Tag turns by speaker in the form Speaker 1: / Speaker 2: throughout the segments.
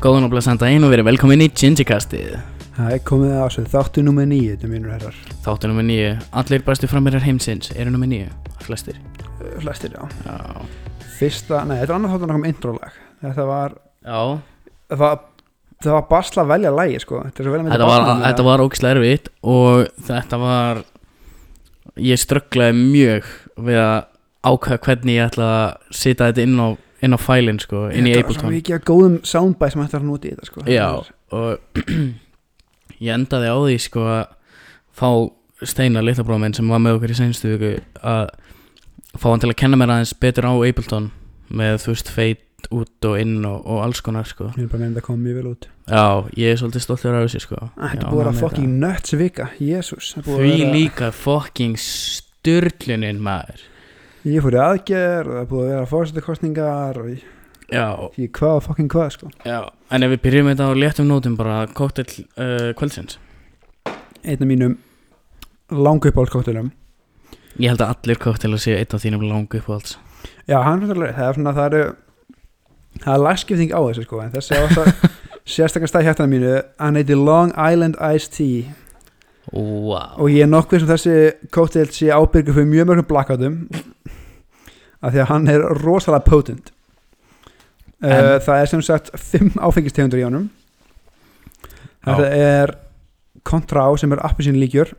Speaker 1: Góðan og blessan daginn og verið velkomin í Gingikastið
Speaker 2: Það er komið að þessu þáttu nummer nýju, þetta mínur herrar.
Speaker 1: Þáttu nummer nýju, allir bestu framverjar heimsins eru nummer nýju, flestir
Speaker 2: Uh, Flestir, já.
Speaker 1: Já,
Speaker 2: Fyrsta, nei, þetta er annað þáttu náttúrulega introlag. Þetta var,
Speaker 1: já
Speaker 2: það var, það var basla að velja lægi, sko. Þetta er svo vel að mynda
Speaker 1: þetta var, þetta var ógislega erfitt og þetta var ég strögglaði mjög við að ákveða hvernig ég ætla að sita þetta inn á, inn á fælinn sko, inn í
Speaker 2: Þetta var svo
Speaker 1: Ableton
Speaker 2: mikið af góðum soundbæ sem hægt var að nota í þetta, sko.
Speaker 1: Já, og ég endaði á því sko að fá Steinar litlabróð minn sem var með okkur í senstu viku að fá hann til að kenna mér aðeins betur á Ableton með þú veist feit út og inn og, og alls konar sko
Speaker 2: Mér er bara meina þetta kom mjög vel út.
Speaker 1: Já, ég er svolítið stoltur af þessu sko Ég
Speaker 2: Æ, Ah, Þetta
Speaker 1: er
Speaker 2: er búið
Speaker 1: ánægður
Speaker 2: að vera
Speaker 1: með þetta.
Speaker 2: fucking nuts vika, jésus.
Speaker 1: Því líka fucking styrlunin maður
Speaker 2: Ég fór í aðgerð og það er búið að vera fórsetakostningar og ég-
Speaker 1: Já,
Speaker 2: ég hvað og fucking hvað, sko.
Speaker 1: já En ef við byrjum þetta á léttum nótum bara Cocktail uh, kvöldsins
Speaker 2: Einn af mínum langu uppáhaldskóttunum.
Speaker 1: Ég held að allir cocktailar séu eitt af þínum langu upp
Speaker 2: Já, hann er alveg, það er svona, það eru það er lagskipting á þessu sko en þessi á þess að sérstakar stæð hjartana mínu hann heiti Long Island Iced Tea
Speaker 1: Wow
Speaker 2: og ég er nokkuð sem þessi cocktail sé ábyrgur fyrir mjög mörgum blackoutum af því að hann er rosalega potent uh,
Speaker 1: En-
Speaker 2: það er sem sagt fimm áfengistegundur í honum
Speaker 1: Já.
Speaker 2: þetta er kontra á sem er appisín líkjör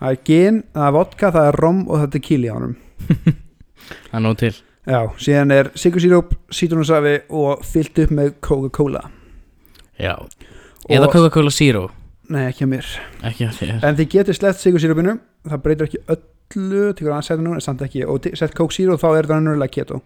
Speaker 2: það er gin, það er vodka, það er rom og það er tequila í honum
Speaker 1: Það er nóg til
Speaker 2: Já, síðan er sikursíróp, sítrunusafi og fyllt upp með Coca-Cola
Speaker 1: Já, eða
Speaker 2: Og-
Speaker 1: Coca-Cola Zero
Speaker 2: Nei, ekki að mér
Speaker 1: Ekki að þér
Speaker 2: En þið getur slett sikursírópinu, það breytir ekki öllu Tekur annars setinu, en samt ekki Og ti- sett Coke Zero, þá er þetta annulega keto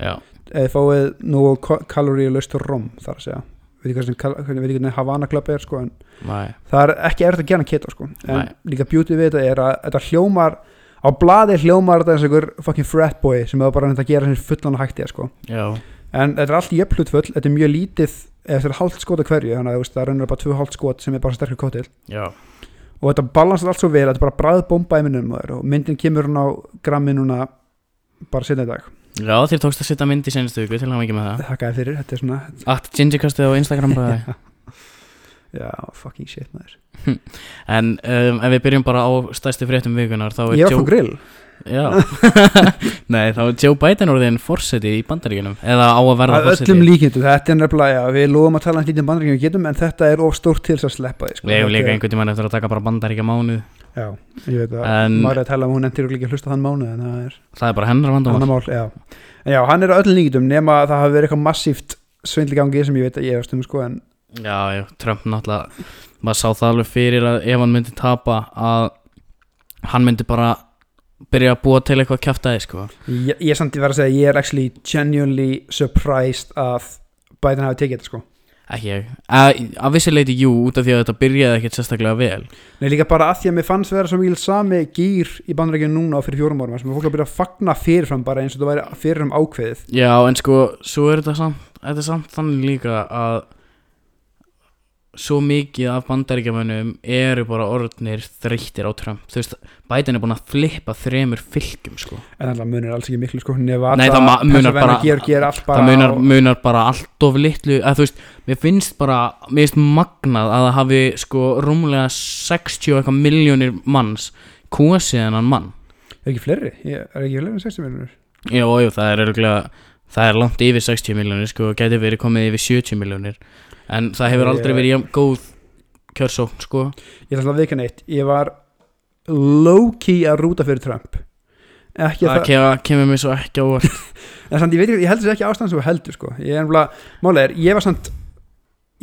Speaker 1: Já,
Speaker 2: Eða fáið nú kaloríu laust rom þar að segja Veit ekki hvað sem kal- hvernig- veit ekki hvernig Havana Club er sko, en
Speaker 1: næ
Speaker 2: það er ekki erfitt að gera keto sko. en
Speaker 1: Nei.
Speaker 2: líka beauty við þetta er að þetta hljómar á blaði hljómar þetta eins og einhver fucking frat boy sem hefur bara reynt að gera sem fullan að hætti sko.
Speaker 1: Já,
Speaker 2: en þetta er allt jöfn hlutföll, þetta er mjög lítið eða þetta er hálft skot að hverju þannig að þú veist, það raunir bara tvö hálft skot sem er bara sterkur kóttil
Speaker 1: já,
Speaker 2: og þetta balansar allt svo vel, þetta er bara bræðbomba í minnum þér og myndin kemur hún á grammin núna bara setna í dag
Speaker 1: já þér tókst að setja mynd í senstu viku til hann ekki með það
Speaker 2: þakka þér fyrir, þetta er svona
Speaker 1: At Gingikastið á Instagram bræði
Speaker 2: já, fucking shit maður
Speaker 1: En um, ef við byrjum bara á stærsti fréttum vikunar þá er
Speaker 2: ég var frá grill,
Speaker 1: Já, nei þá er Joe Biden orðin forseti í bandaríkunum Eða á að verða
Speaker 2: að
Speaker 1: forseti
Speaker 2: öllum líkindum þetta er nefnilega, já, við lofum að tala hans lítið um bandaríkjum við getum, en þetta er of stórt til þess að sleppa því sko.
Speaker 1: Við hefum
Speaker 2: Þetta
Speaker 1: líka
Speaker 2: er-
Speaker 1: einhvern tímann eftir að taka bara bandaríkja mánuð
Speaker 2: já, ég veit að
Speaker 1: En-
Speaker 2: maður er að tala um hún endur og líka hlusta á þann mánu en það er
Speaker 1: Það er bara hennar vandamál
Speaker 2: annar mál, já. En já, hann er að öllum líkindum nema að það hafi verið eitthvað massíft svindligangi sem ég veit að ég efast um sko en
Speaker 1: Já, já, Trump náttúrulega maður sá það alveg fyrir að ef hann myndi tapa að hann myndi bara byrja að búa til eitthvað kjaftaði sko.
Speaker 2: ég, ég samt ég verð að segja að ég er actually genuinely surprised að Biden hafi tekið þetta sko
Speaker 1: ekki ég að, að vissi leiti jú út af því að þetta byrjaði ekkert sérstaklega vel
Speaker 2: Nei líka bara að því að mér fannst vera svo mikil sami gýr í bandarækjunum núna og fyrir fjórum árum þar sem fólk er að byrja að fagna fyrirfram bara eins og það væri fyrirfram ákveðið
Speaker 1: Já, en sko, svo er þetta samt þetta er samt þannig líka að svo mikið af bandaríkjamanum eru bara orðnir þreyttir á Trump þú veist, Biden er búin að flippa þremur fylgjum sko.
Speaker 2: en alltaf munir alls ekki miklu sko nefna
Speaker 1: Nei, það ma- munar bara-
Speaker 2: Georgi er allt bara
Speaker 1: það munar,
Speaker 2: á-
Speaker 1: munar bara allt of litlu að þú veist, mér finnst bara mér finnst magnað að það hafi sko rúmlega 60 og eitthvað miljónir manns kosið hennan mann
Speaker 2: er ekki fleiri, ég, er ekki fleiri en 60 miljonur
Speaker 1: jú, jú, það er örgulega það er langt yfir 60 miljónir sko, gæti verið komið yfir 70 miljónir en það hefur aldrei
Speaker 2: Ég-
Speaker 1: verið jafn góð kjörsókn sko
Speaker 2: ég ætla að veika neitt, ég var low-key að rúta fyrir Trump ekki að
Speaker 1: það
Speaker 2: það,
Speaker 1: kemur, kemur mér svo ekki á óvart
Speaker 2: en samt ég veit ekki, ég heldur þess ekki ástæðan sem þú heldur sko, ég er nefnilega, málega er ég var samt,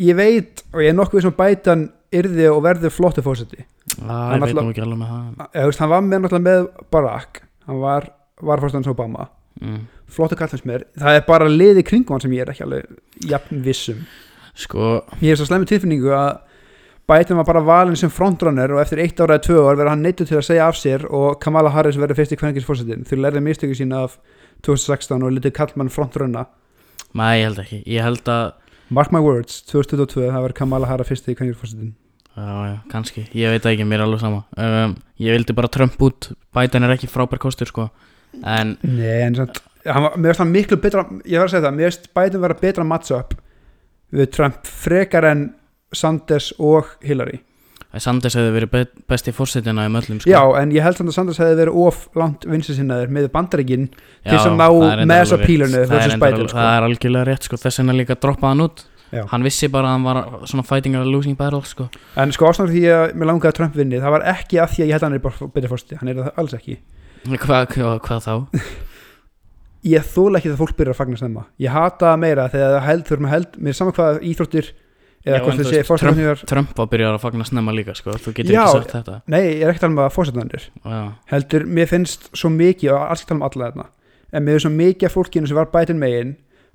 Speaker 2: ég veit og ég er nokkuð sem bætan yrði og verði flottu fósiti,
Speaker 1: það
Speaker 2: En
Speaker 1: er veit
Speaker 2: alltaf-
Speaker 1: nú ekki alveg með það
Speaker 2: eða þú veist, hann var með náttúrulega með Barack, hann var varfórstans Obama,
Speaker 1: mm.
Speaker 2: flottu kallast mér það er bara liði kringum hann sem ég er ekki alveg jafn um. vissum,
Speaker 1: sko,
Speaker 2: ég hef svo slemmi tilfinningu að Biden var bara valin sem frontrunner og eftir eitt ára eða tvö ár verður hann neittur til að segja af sér og Kamala Harris verður fyrsti kvengis fórsetin þau lærði mistöku sína af 2016 og litið kallmann frontrunna
Speaker 1: maður ég held ekki ég held að
Speaker 2: Mark my words, 2022 það verður Kamala Harris fyrsti kvenningfórsetin
Speaker 1: Já, já, kannski, ég veit það ekki, mér er alveg sama um, Ég vildi bara Trump út, Biden er ekki frábær kostur sko En,
Speaker 2: Nei, en samt hann var, Mér finnst það miklu betra, ég var að segja það Mér finnst Biden vera betra matchup við Trump frekar en Sanders og Hillary
Speaker 1: að Sanders hefði verið be- besti fórsetina um öllum sko.
Speaker 2: Já, en ég held samt að Sanders hefði verið of langt vinsu sinnaður með bandaríkin til þess að ná
Speaker 1: það er reyndar
Speaker 2: með þessa
Speaker 1: alveg rétt.
Speaker 2: pílunu
Speaker 1: Það er
Speaker 2: versus
Speaker 1: reyndar
Speaker 2: Biden,
Speaker 1: alveg-
Speaker 2: sko.
Speaker 1: það er algjörlega rétt sko. þess vegna líka droppaði hann út
Speaker 2: Já.
Speaker 1: hann vissi bara að hann var svona fighting a losing battle sko.
Speaker 2: en sko ástæður því að mér langaði að Trump vinni það var ekki að því að ég held að hann er bara betur fórsti hann er það alls ekki
Speaker 1: Hva, hva, hvað þá?
Speaker 2: ég þóla ekki það fólk byrjar að fagna snemma ég hata það meira þegar það held, þurfum að held mér er sama hvað íþróttir
Speaker 1: Já,
Speaker 2: eða
Speaker 1: en
Speaker 2: hvort
Speaker 1: þú
Speaker 2: þið sé
Speaker 1: veist,
Speaker 2: fórstæðanir
Speaker 1: Trump var byrjar að fagna snemma líka sko. þú getur
Speaker 2: Já.
Speaker 1: ekki sagt þetta
Speaker 2: nei, ég er ekkert alveg að fórstæðanir
Speaker 1: Já.
Speaker 2: heldur, mér finnst svo mikið og alls ekki tala um alla þarna en mér finnst svo mikið af fólkinu sem var bætin megin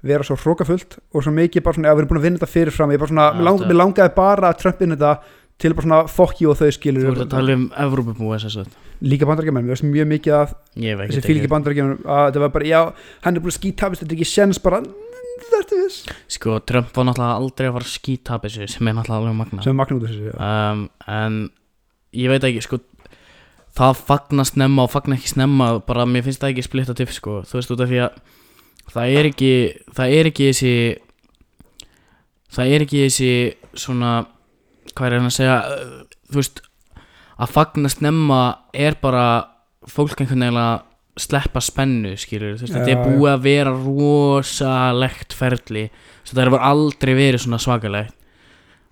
Speaker 2: vera svo hrókafullt og svo mikið bara svona, já, við erum búin að vinna þetta fyrirfram ég bara svona,
Speaker 1: Já,
Speaker 2: mér lang,
Speaker 1: þetta-
Speaker 2: mér langaði bara að Trump inn þetta til bara svona fokki og þau
Speaker 1: þú
Speaker 2: skilur
Speaker 1: ert að tala um Evrópubúi sem sagt.
Speaker 2: líka bandarækjumenn, mér finnst mjög mikið af
Speaker 1: ég veit
Speaker 2: þessi fylgi bandarækjumenn að þetta var bara, já, hann er búin að skítapist þetta er ekki sens bara, þetta er viss
Speaker 1: sko, Trump var náttúrulega aldrei að fara að skýta þessu sem er náttúrulega alveg magna
Speaker 2: sem er magnum út af þessu, já,
Speaker 1: um, en ég veit ekki sko það fagna snemma og fagna ekki snemma bara mér finnst það ekki splitt að tiff sko þú veist út af því að það er ekki það er ekki þessi það er ekki þessi svona hvað er hann að segja uh, þú veist að fagna snemma er bara fólk einhvern veginn að sleppa spennu skilur þú veist þetta
Speaker 2: Já,
Speaker 1: er búið að vera rosalegt ferli Þú veist, þetta hefur aldrei verið svona svakalegt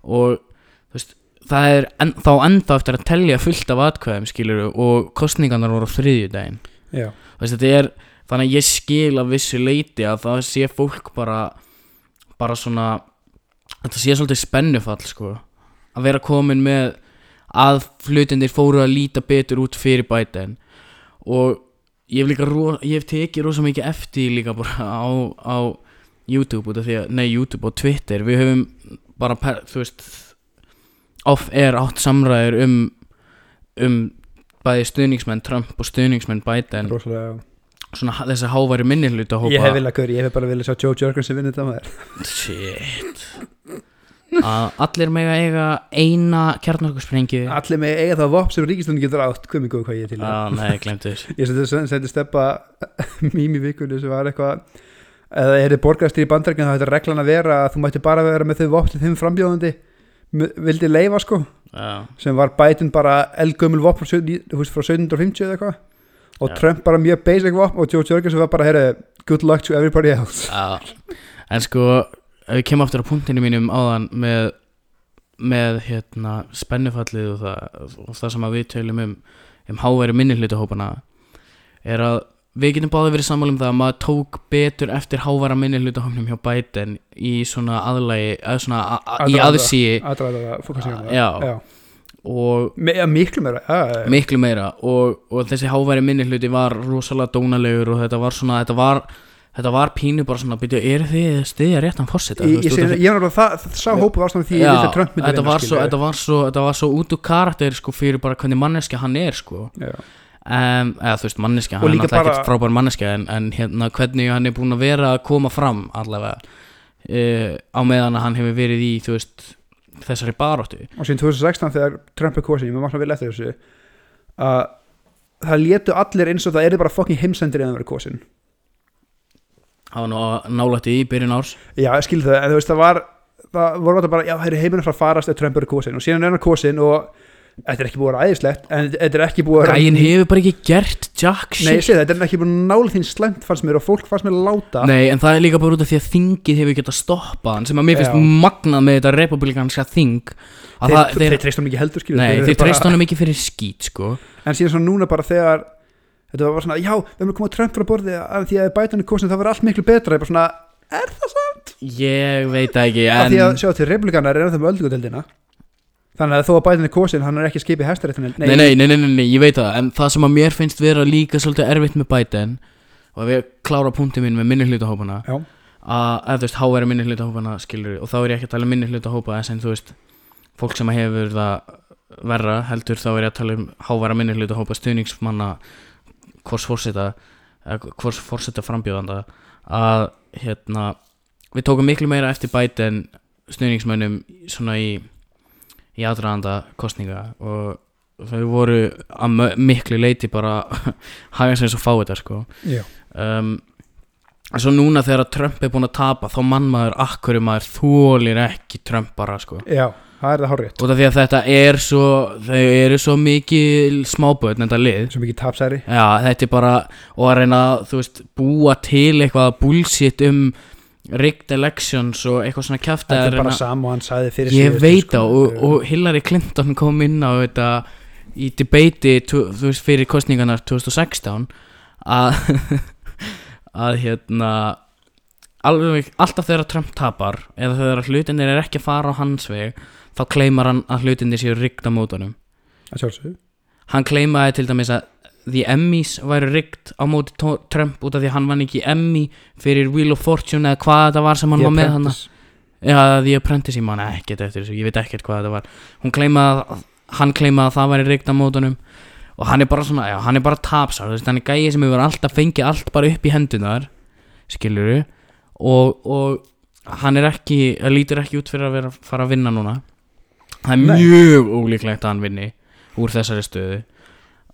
Speaker 1: og þú veist það er en, þá enda eftir að telja fullt af atkvæðum skilur og kostningarnar voru á þriðju daginn
Speaker 2: já,
Speaker 1: veist, þetta er, þannig að ég skil af vissu leiti að það sé fólk bara bara svona þetta sé svolítið spennufall sko að vera komin með að flutindir fóru að líta betur út fyrir bætin og ég hef líka ro, ég hef tekið rosa mikið eftir því líka bara á, á YouTube út af því að, nei YouTube og Twitter við höfum bara, per, þú veist off-air átt samræður um um bæði stuðningsmenn Trump og stuðningsmenn Biden
Speaker 2: rosalega já.
Speaker 1: svona h- þessi háværi minnihluta
Speaker 2: ég
Speaker 1: hópa
Speaker 2: hef vilja, gaur, ég hef bara vilja sjá Joe Jörgensen vinna þetta maður
Speaker 1: Shit að allir mega eiga eina kjarnorkusprengju
Speaker 2: allir með eiga það vopn sem ríkistunum getur átt hvað mig góð hvað ég er til í.
Speaker 1: að nei, glemdu þess
Speaker 2: ég sendi, sendi steppa mím í vikunni sem var eitthvað eða er þið borgarstýr í bandarækjum þá ætti reglan að vera að þú mætti bara vera með þau vopn þinn frambjóðandi M- vildi leifa sko
Speaker 1: já,
Speaker 2: sem var Biden bara elgömmul vopn frá, 17 þú veist, frá 1750 eða eitthvað og
Speaker 1: Já.
Speaker 2: Trump bara mjög basic vopn og Joe Jörgensen var bara heyrðu good luck to everybody else
Speaker 1: já. en sko ef ég kem aftur á punktinu mínum áðan með með hérna spennufallið og það, og það sem að við tölum um um háværi minnihluta hópana er að við getum báði verið sammála um það að maður tók betur eftir háværa minnihluta hópnum hjá Biden í svona aðlægi, eða svona a, a, í
Speaker 2: Aðdraganda.
Speaker 1: aðsíi
Speaker 2: aðræða það fókast ekki á það.
Speaker 1: Já.
Speaker 2: Já.
Speaker 1: og
Speaker 2: Me- ja, miklu meira já, já, já.
Speaker 1: miklu meira og, og þessi háværi minni hluti var rosalega dónalegur og þetta var svona þetta var, þetta var pínu bara svona byrja, er þið stiðja réttan fórseta
Speaker 2: ég, ég, segi- ég, var alveg það, það sá
Speaker 1: Já.
Speaker 2: hópu ástæðan því
Speaker 1: Já,
Speaker 2: ég vissi að Trump myndi
Speaker 1: þetta
Speaker 2: vinna,
Speaker 1: var, svo,
Speaker 2: skilurðu.
Speaker 1: þetta, var svo, þetta var svo út úr karakter sko fyrir bara hvernig manneskja hann er sko
Speaker 2: Já.
Speaker 1: um, eða þú veist manneskja,
Speaker 2: Og
Speaker 1: hann er
Speaker 2: líka
Speaker 1: náttúrulega
Speaker 2: bara-
Speaker 1: ekkert frábær manneskja en, en hérna hvernig hann er búin að vera að koma fram allavega uh, á meðan að hann hefur verið í þú veist þessari baróttu
Speaker 2: og síðan 2016 þegar Trump er kosin ég maður vel eftir þessu að það létu allir eins og það er bara fucking heimsendir eða verið kosin
Speaker 1: hann var nálætti í byrjun árs
Speaker 2: já, ég skil það, en þú veist það var það voru þetta bara, já, það eru heiminn að fara að farast ef Trump er kosin og síðan er hann kosin og þetta er ekki búið að vera æðislegt en þetta er ekki búið að vera
Speaker 1: gæin hefur bara ekki gert jack
Speaker 2: nei,
Speaker 1: shit
Speaker 2: ég segi það, þetta er ekki búið að nála þín slæmt fannst mér og fólk fannst mér að láta
Speaker 1: Nei, en það er líka bara út af því að þingið hefur getað stoppað hann sem að mér finnst
Speaker 2: Já.
Speaker 1: magnað með þetta republikanska þing að
Speaker 2: þeir,
Speaker 1: það,
Speaker 2: þeir,
Speaker 1: þeir,
Speaker 2: þeir treystum ekki heldur skilur
Speaker 1: nei,
Speaker 2: þeir
Speaker 1: þeir,
Speaker 2: eru bara-
Speaker 1: treyst honum ekki fyrir skít sko.
Speaker 2: en síðan svona núna bara þegar þetta var bara svona, já, við erum að koma Trump frá borði að því að bætan er kosin, það verður allt miklu betra Ég bara svona,
Speaker 1: ég veit það ekki
Speaker 2: en...
Speaker 1: en
Speaker 2: því að sjá til republikanar er ennþá með öldungadeildina þannig að þó að Biden er kosin hann er ekki skipið hæstaréttin
Speaker 1: nei nei nei, nei, nei, nei, ég veit það en það sem að mér finnst vera líka svolítið erfitt með Biden og ef ég klára punktið mín með minni hlutahópana
Speaker 2: Já.
Speaker 1: að, eða þú veist, háværi minni hlutahópana skilur og þá er ég ekki að tala um minni hlutahópa en þú veist, fólk sem hefur það verra heldur þá er ég að tala um háværa minni hlutahópa stuðningsmanna hvors fórseta eða hvors fórseta frambjóðanda að hérna við tókum miklu meira eftir Biden stuðningsmönnum svona í í aðræðanda kostninga og þau voru að mö- miklu leiti bara hafa eins og fá þetta sko
Speaker 2: Já.
Speaker 1: um, En svo núna þegar að Trump er búin að tapa þá mann maður akkur maður þólir ekki Trump bara sko
Speaker 2: já, það er það hárrið
Speaker 1: Út af því að þetta er svo, þau eru svo mikið smáböðn þetta lið
Speaker 2: svo mikið tapsæri
Speaker 1: Já, þetta er bara og að reyna að, þú veist, búa til eitthvað bullshit um rigged elections og eitthvað svona kjafta
Speaker 2: þetta
Speaker 1: að
Speaker 2: er bara
Speaker 1: reyna-
Speaker 2: sam og hann sagði fyrir
Speaker 1: Ég
Speaker 2: síðustu,
Speaker 1: veit
Speaker 2: sko.
Speaker 1: það og, og Hillary Clinton kom inn á þetta í debati tu- þú veist, fyrir kostningarnar 2016 að að hérna alveg, alltaf þegar Trump tapar eða þegar hlutinir er ekki að fara á hans veg þá kleimar hann að hlutinir séu riggt á mótunum
Speaker 2: Að sjálfsögðu.
Speaker 1: hann kleimaði til dæmis að The Emmys væru riggt á móti Tó- Trump út af því að hann vann ekki Emmy fyrir Wheel of Fortune eða hvað þetta var sem hann
Speaker 2: The
Speaker 1: var með hann
Speaker 2: Apprentice.
Speaker 1: Já, The Apprentice, ég man ekkert eftir þessu, ég veit ekkert hvað þetta var Hún kleimaði að, hann kleimaði að það væri reykt á mótunum Og hann er bara svona, já, hann er bara tapsar, þú veist, hann er gæið sem hefur alltaf fengið allt bara upp í hendunar Skiljuru og, og hann er ekki, það lítur ekki út fyrir að vera, fara að vinna núna Það er
Speaker 2: Nei.
Speaker 1: mjög ólíklegt að hann vinni úr þessari stöðu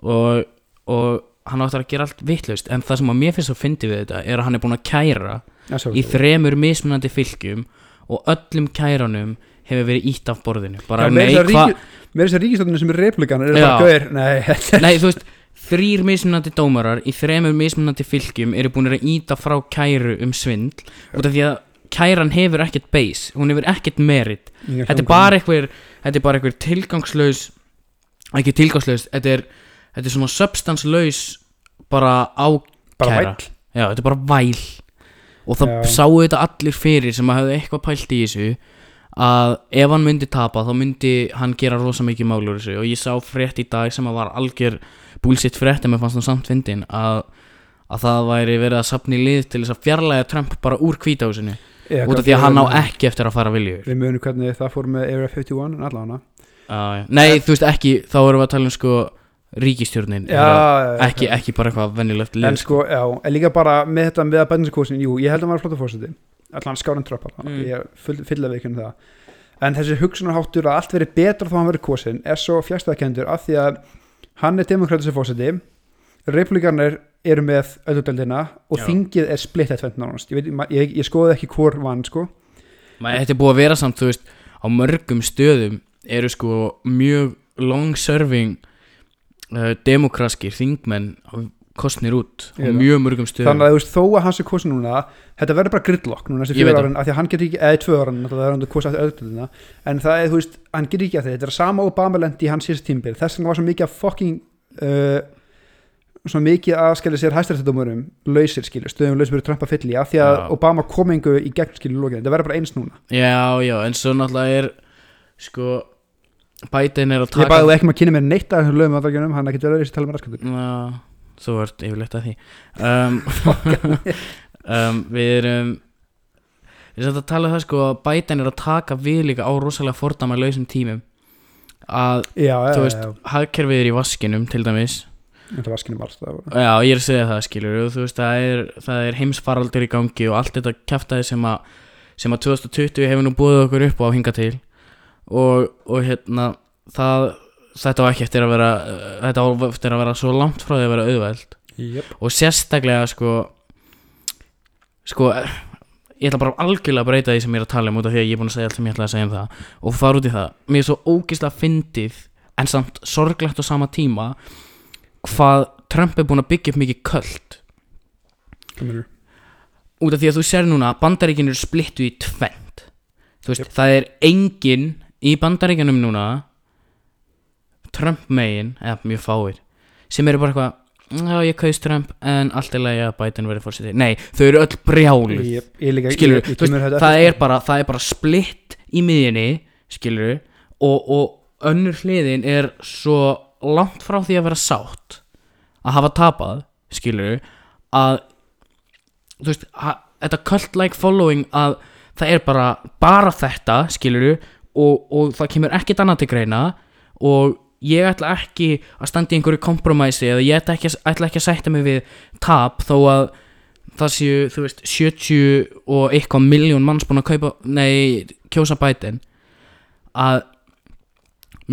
Speaker 1: Og, og hann áttar að gera allt vitlaust En það sem að mér finnst að fyndi við þetta er að hann er búin að kæra
Speaker 2: Að
Speaker 1: í
Speaker 2: sjálfsögðu.
Speaker 1: þremur mismunandi fylgjum og öllum kæranum hefur verið ítt af borðinu bara
Speaker 2: Já, meira
Speaker 1: nei,
Speaker 2: þess að
Speaker 1: hva,
Speaker 2: ríki- meira þess að ríkistofnunum sem er replikan er bara
Speaker 1: Já.
Speaker 2: gauðir nei, þetta er-
Speaker 1: nei, þú veist þrýr mismunandi dómarar í þremur mismunandi fylgjum eru búin að íta frá kæru um svindl út af því að kæran hefur ekkert base, hún hefur ekkert merit
Speaker 2: Ég
Speaker 1: þetta er bara einhver þetta er bara einhver tilgangslaus ekki tilgangslaus, þetta er þetta er svona substanslaus bara á
Speaker 2: bara
Speaker 1: kæra.
Speaker 2: væll.
Speaker 1: Já, þetta er bara væl Og það
Speaker 2: Já.
Speaker 1: sáu þetta allir fyrir sem að hefðu eitthvað pælt í þessu að ef hann myndi tapa þá myndi hann gera rosa mikið mál úr þessu og ég sá frétt í dag sem að var algjör búlsitt frétt en mér fannst hann samt fyndin að, að það væri verið að safna í lið til þess að fjarlæga Trump bara úr hvítahúsinu
Speaker 2: Ég,
Speaker 1: út af
Speaker 2: hvað
Speaker 1: því að hann á
Speaker 2: við-
Speaker 1: ekki eftir að fara viljur
Speaker 2: við munum hvernig það fór með Area 51 en allan hana
Speaker 1: uh, Nei, þú veist ekki, þá erum við að tala um sko ríkistjórnin Þeirra- ekki,
Speaker 2: ekki
Speaker 1: ekki bara eitthvað venjulegt
Speaker 2: en
Speaker 1: lið
Speaker 2: sko, já, en líka bara með þetta með að bætinskósin, jú, ég held að hann var flott að fórseti allan skáran tröpp allan,
Speaker 1: Mm.
Speaker 2: ég full, fulla veikinn það en þessi hugsunarháttur að allt verið betra þá hann verið kosin er svo fjastæðkendur af því að hann er demokratis að fórseti republikanir eru með ölludeldina og
Speaker 1: Já.
Speaker 2: þingið er splitt eftir nánast, ég, veit, ma- ég, ég skoði ekki hvort vann sko,
Speaker 1: Maður, þetta er búið að vera samt, þú veist, á mörgum stöðum eru sko mjög long-serving uh, demokraskir þingmenn kostnir út á
Speaker 2: Ég veit
Speaker 1: mjög mörgum stöðum.
Speaker 2: þannig að þú veist þó að hans er kosin núna, þetta verður bara gridlock núna þessi
Speaker 1: Ég veit
Speaker 2: fjögur
Speaker 1: það.
Speaker 2: árin, af því að hann getur ekki, eða tvö árin það er hann að kosa eftir ölludeldina en það er, þú veist, hann getur ekki að þetta þetta er sama Obama lendi í hans síðast tímbil þess vegna var svo mikið að fucking uh, svo mikið að skilja sér hæstaréttadómurum lausir skilja, stöðum lausir fyrir Trump að fylla í af því að
Speaker 1: Já.
Speaker 2: Obama kom engu í gegn skilja lókinu, þetta verður bara eins núna
Speaker 1: Já, já, en svo náttúrulega er, sko, Biden er að
Speaker 2: ég bæði
Speaker 1: taka...
Speaker 2: þú ekki maður að kynna mér neitt að lögum að það hann er ekki til að tala með raskatum
Speaker 1: Já, þú ert yfirleitt að því. Um, um, við erum... Við erum samt að tala um það sko að Biden er að taka við líka á rosalega fordama lausum tímum að
Speaker 2: já, já,
Speaker 1: Þú
Speaker 2: já,
Speaker 1: veist-
Speaker 2: já,
Speaker 1: hagkerfið er í vaskinum til dæmis
Speaker 2: þetta var skilja marst það var-
Speaker 1: Já, ég er að segja það skilur og þú veist, það er, það er heimsfaraldur í gangi og allt þetta kjaftaði sem að sem að 2020 hefur nú búið okkur upp á hinga til og, og hérna það, þetta var ekki eftir að vera eh, þetta var eftir að vera svo langt frá því að vera auðveld
Speaker 2: Jöp.
Speaker 1: og sérstaklega sko sko eh, ég ætla bara algjörlega að breyta því sem ég er að tala um út af því að ég er búin að segja allt sem ég ætla að segja um það og fara út í það mér er svo ógislega fyndið en samt sorglegt á sama tíma hvað Trump er búin að byggja upp mikið köld
Speaker 2: Hvað meinarðu?
Speaker 1: út af því að þú sér núna að bandaríkinn eru splittu í tvend þú veist, það er enginn í bandaríkinum núna Trump megin eða mjög fáir sem eru bara eitthvað Já, ég kaus Trump en allt er lagi að Biden verið fórseti Nei, þau eru öll brjáluð
Speaker 2: Ég- ég líka- ég-
Speaker 1: skilur,
Speaker 2: ég
Speaker 1: þú
Speaker 2: kemur
Speaker 1: veist,
Speaker 2: þetta
Speaker 1: það
Speaker 2: eftir, sko.
Speaker 1: er bara það er bara splitt í miðjunni skilur, og, og önnur hliðin er svo langt frá því að vera sátt að hafa tapað, skilur að þú veist, ha, þetta cult-like following að það er bara bara þetta, skilur og, og það kemur ekkert annað til greina og ég ætla ekki að standa í einhverju kompromæsi eða ég ætla ekki, ætla ekki að sætta mig við tap þó að það séu, þú veist, 70 og eitthvað miljón manns búin að kaupa nei, kjósa bætin að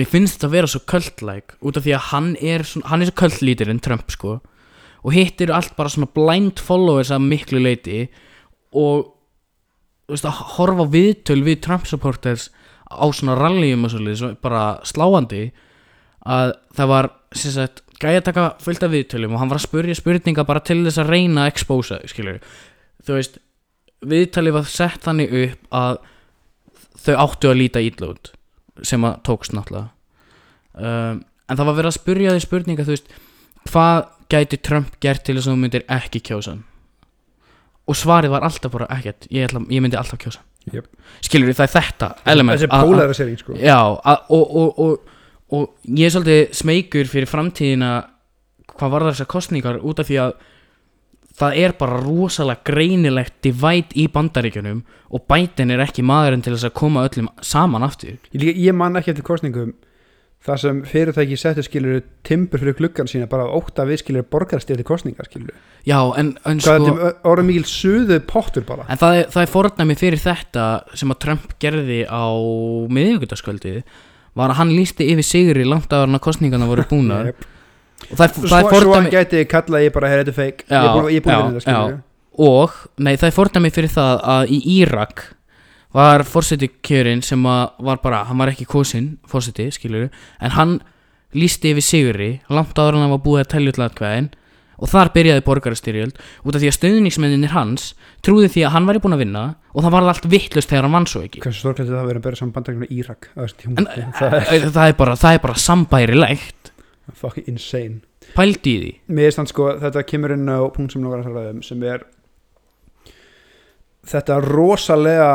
Speaker 1: mér finnst þetta að vera svo kvöldlæk út af því að hann er, svona, hann er svo kvöldlítirinn Trump sko og hitt eru allt bara svona blind followers af miklu leiti og þú veist, að horfa á viðtöl við Trump supporters á svona rallyum og svolítið, svo bara sláandi að það var sem sagt, gæja að taka fullt af viðtölum og hann var að spurja spurninga bara til þess að reyna að expósa, þau, skilur þú veist, viðtalið var sett þannig upp að þau áttu að líta illa út sem að tókst náttúrulega um, en það var verið að spurja því spurninga þú veist, hvað gæti Trump gert til þess að þú myndir ekki kjósa hann og svarið var alltaf bara ekkert, ég, ætla, ég myndi alltaf kjósa hann
Speaker 2: Jöp.
Speaker 1: skilur það er þetta element
Speaker 2: þessi
Speaker 1: að- að-
Speaker 2: polarisering sko
Speaker 1: Já, að, og, og, og, og ég er svolítið smeykur fyrir framtíðina hvað var þessar kostningar út af því að það er bara rosalega greinilegt divide í bandaríkjunum og bætin er ekki maðurinn til þess að koma öllum saman aftur
Speaker 2: Ég, líka, ég man ekki eftir kostningum þar sem fyrirtæki settu skilur timbur fyrir gluggan sína bara ótt að við skilur borgarstið til kostningar skilur
Speaker 1: Já, en, en
Speaker 2: sko,
Speaker 1: sko
Speaker 2: orðum mikil suðu pottur bara
Speaker 1: En það er, það er fornæmi fyrir þetta sem að Trump gerði á miðvíkudaskvöldið var að hann lísti yfir sigri langt áður en að kostningarna voru búnar
Speaker 2: Jep.
Speaker 1: og það er,
Speaker 2: svo,
Speaker 1: það er
Speaker 2: svo
Speaker 1: fordæmi
Speaker 2: hann gæti kallað ég bara, hey, þetta er fake
Speaker 1: Já,
Speaker 2: ég er búin- ég er búin
Speaker 1: já,
Speaker 2: að vinna þetta skilur
Speaker 1: já. og, nei það er fordæmi fyrir það að í Írak var fórseti kjörin sem að var bara, hann var ekki kosinn fórseti, skilur en hann lísti yfir sigri langt áður en hann var búið að telja utlatkvæðin og þar byrjaði borgarastyrjöld út af því að stöðningsmenninir hans trúði því að hann væri búin að vinna og það varði allt vittlust þegar hann vann svo ekki
Speaker 2: hversu sorglega það að vera að bera saman bandaríkjum í Írak á þessu
Speaker 1: en, eh,
Speaker 2: tíma það er
Speaker 1: það, er bara, það er bara sambærilegt
Speaker 2: fucking insane
Speaker 1: pældi í því
Speaker 2: mér er stann sko, þetta kemur inn á punkt sem náttúrulega talaðum um, sem er þetta rosalega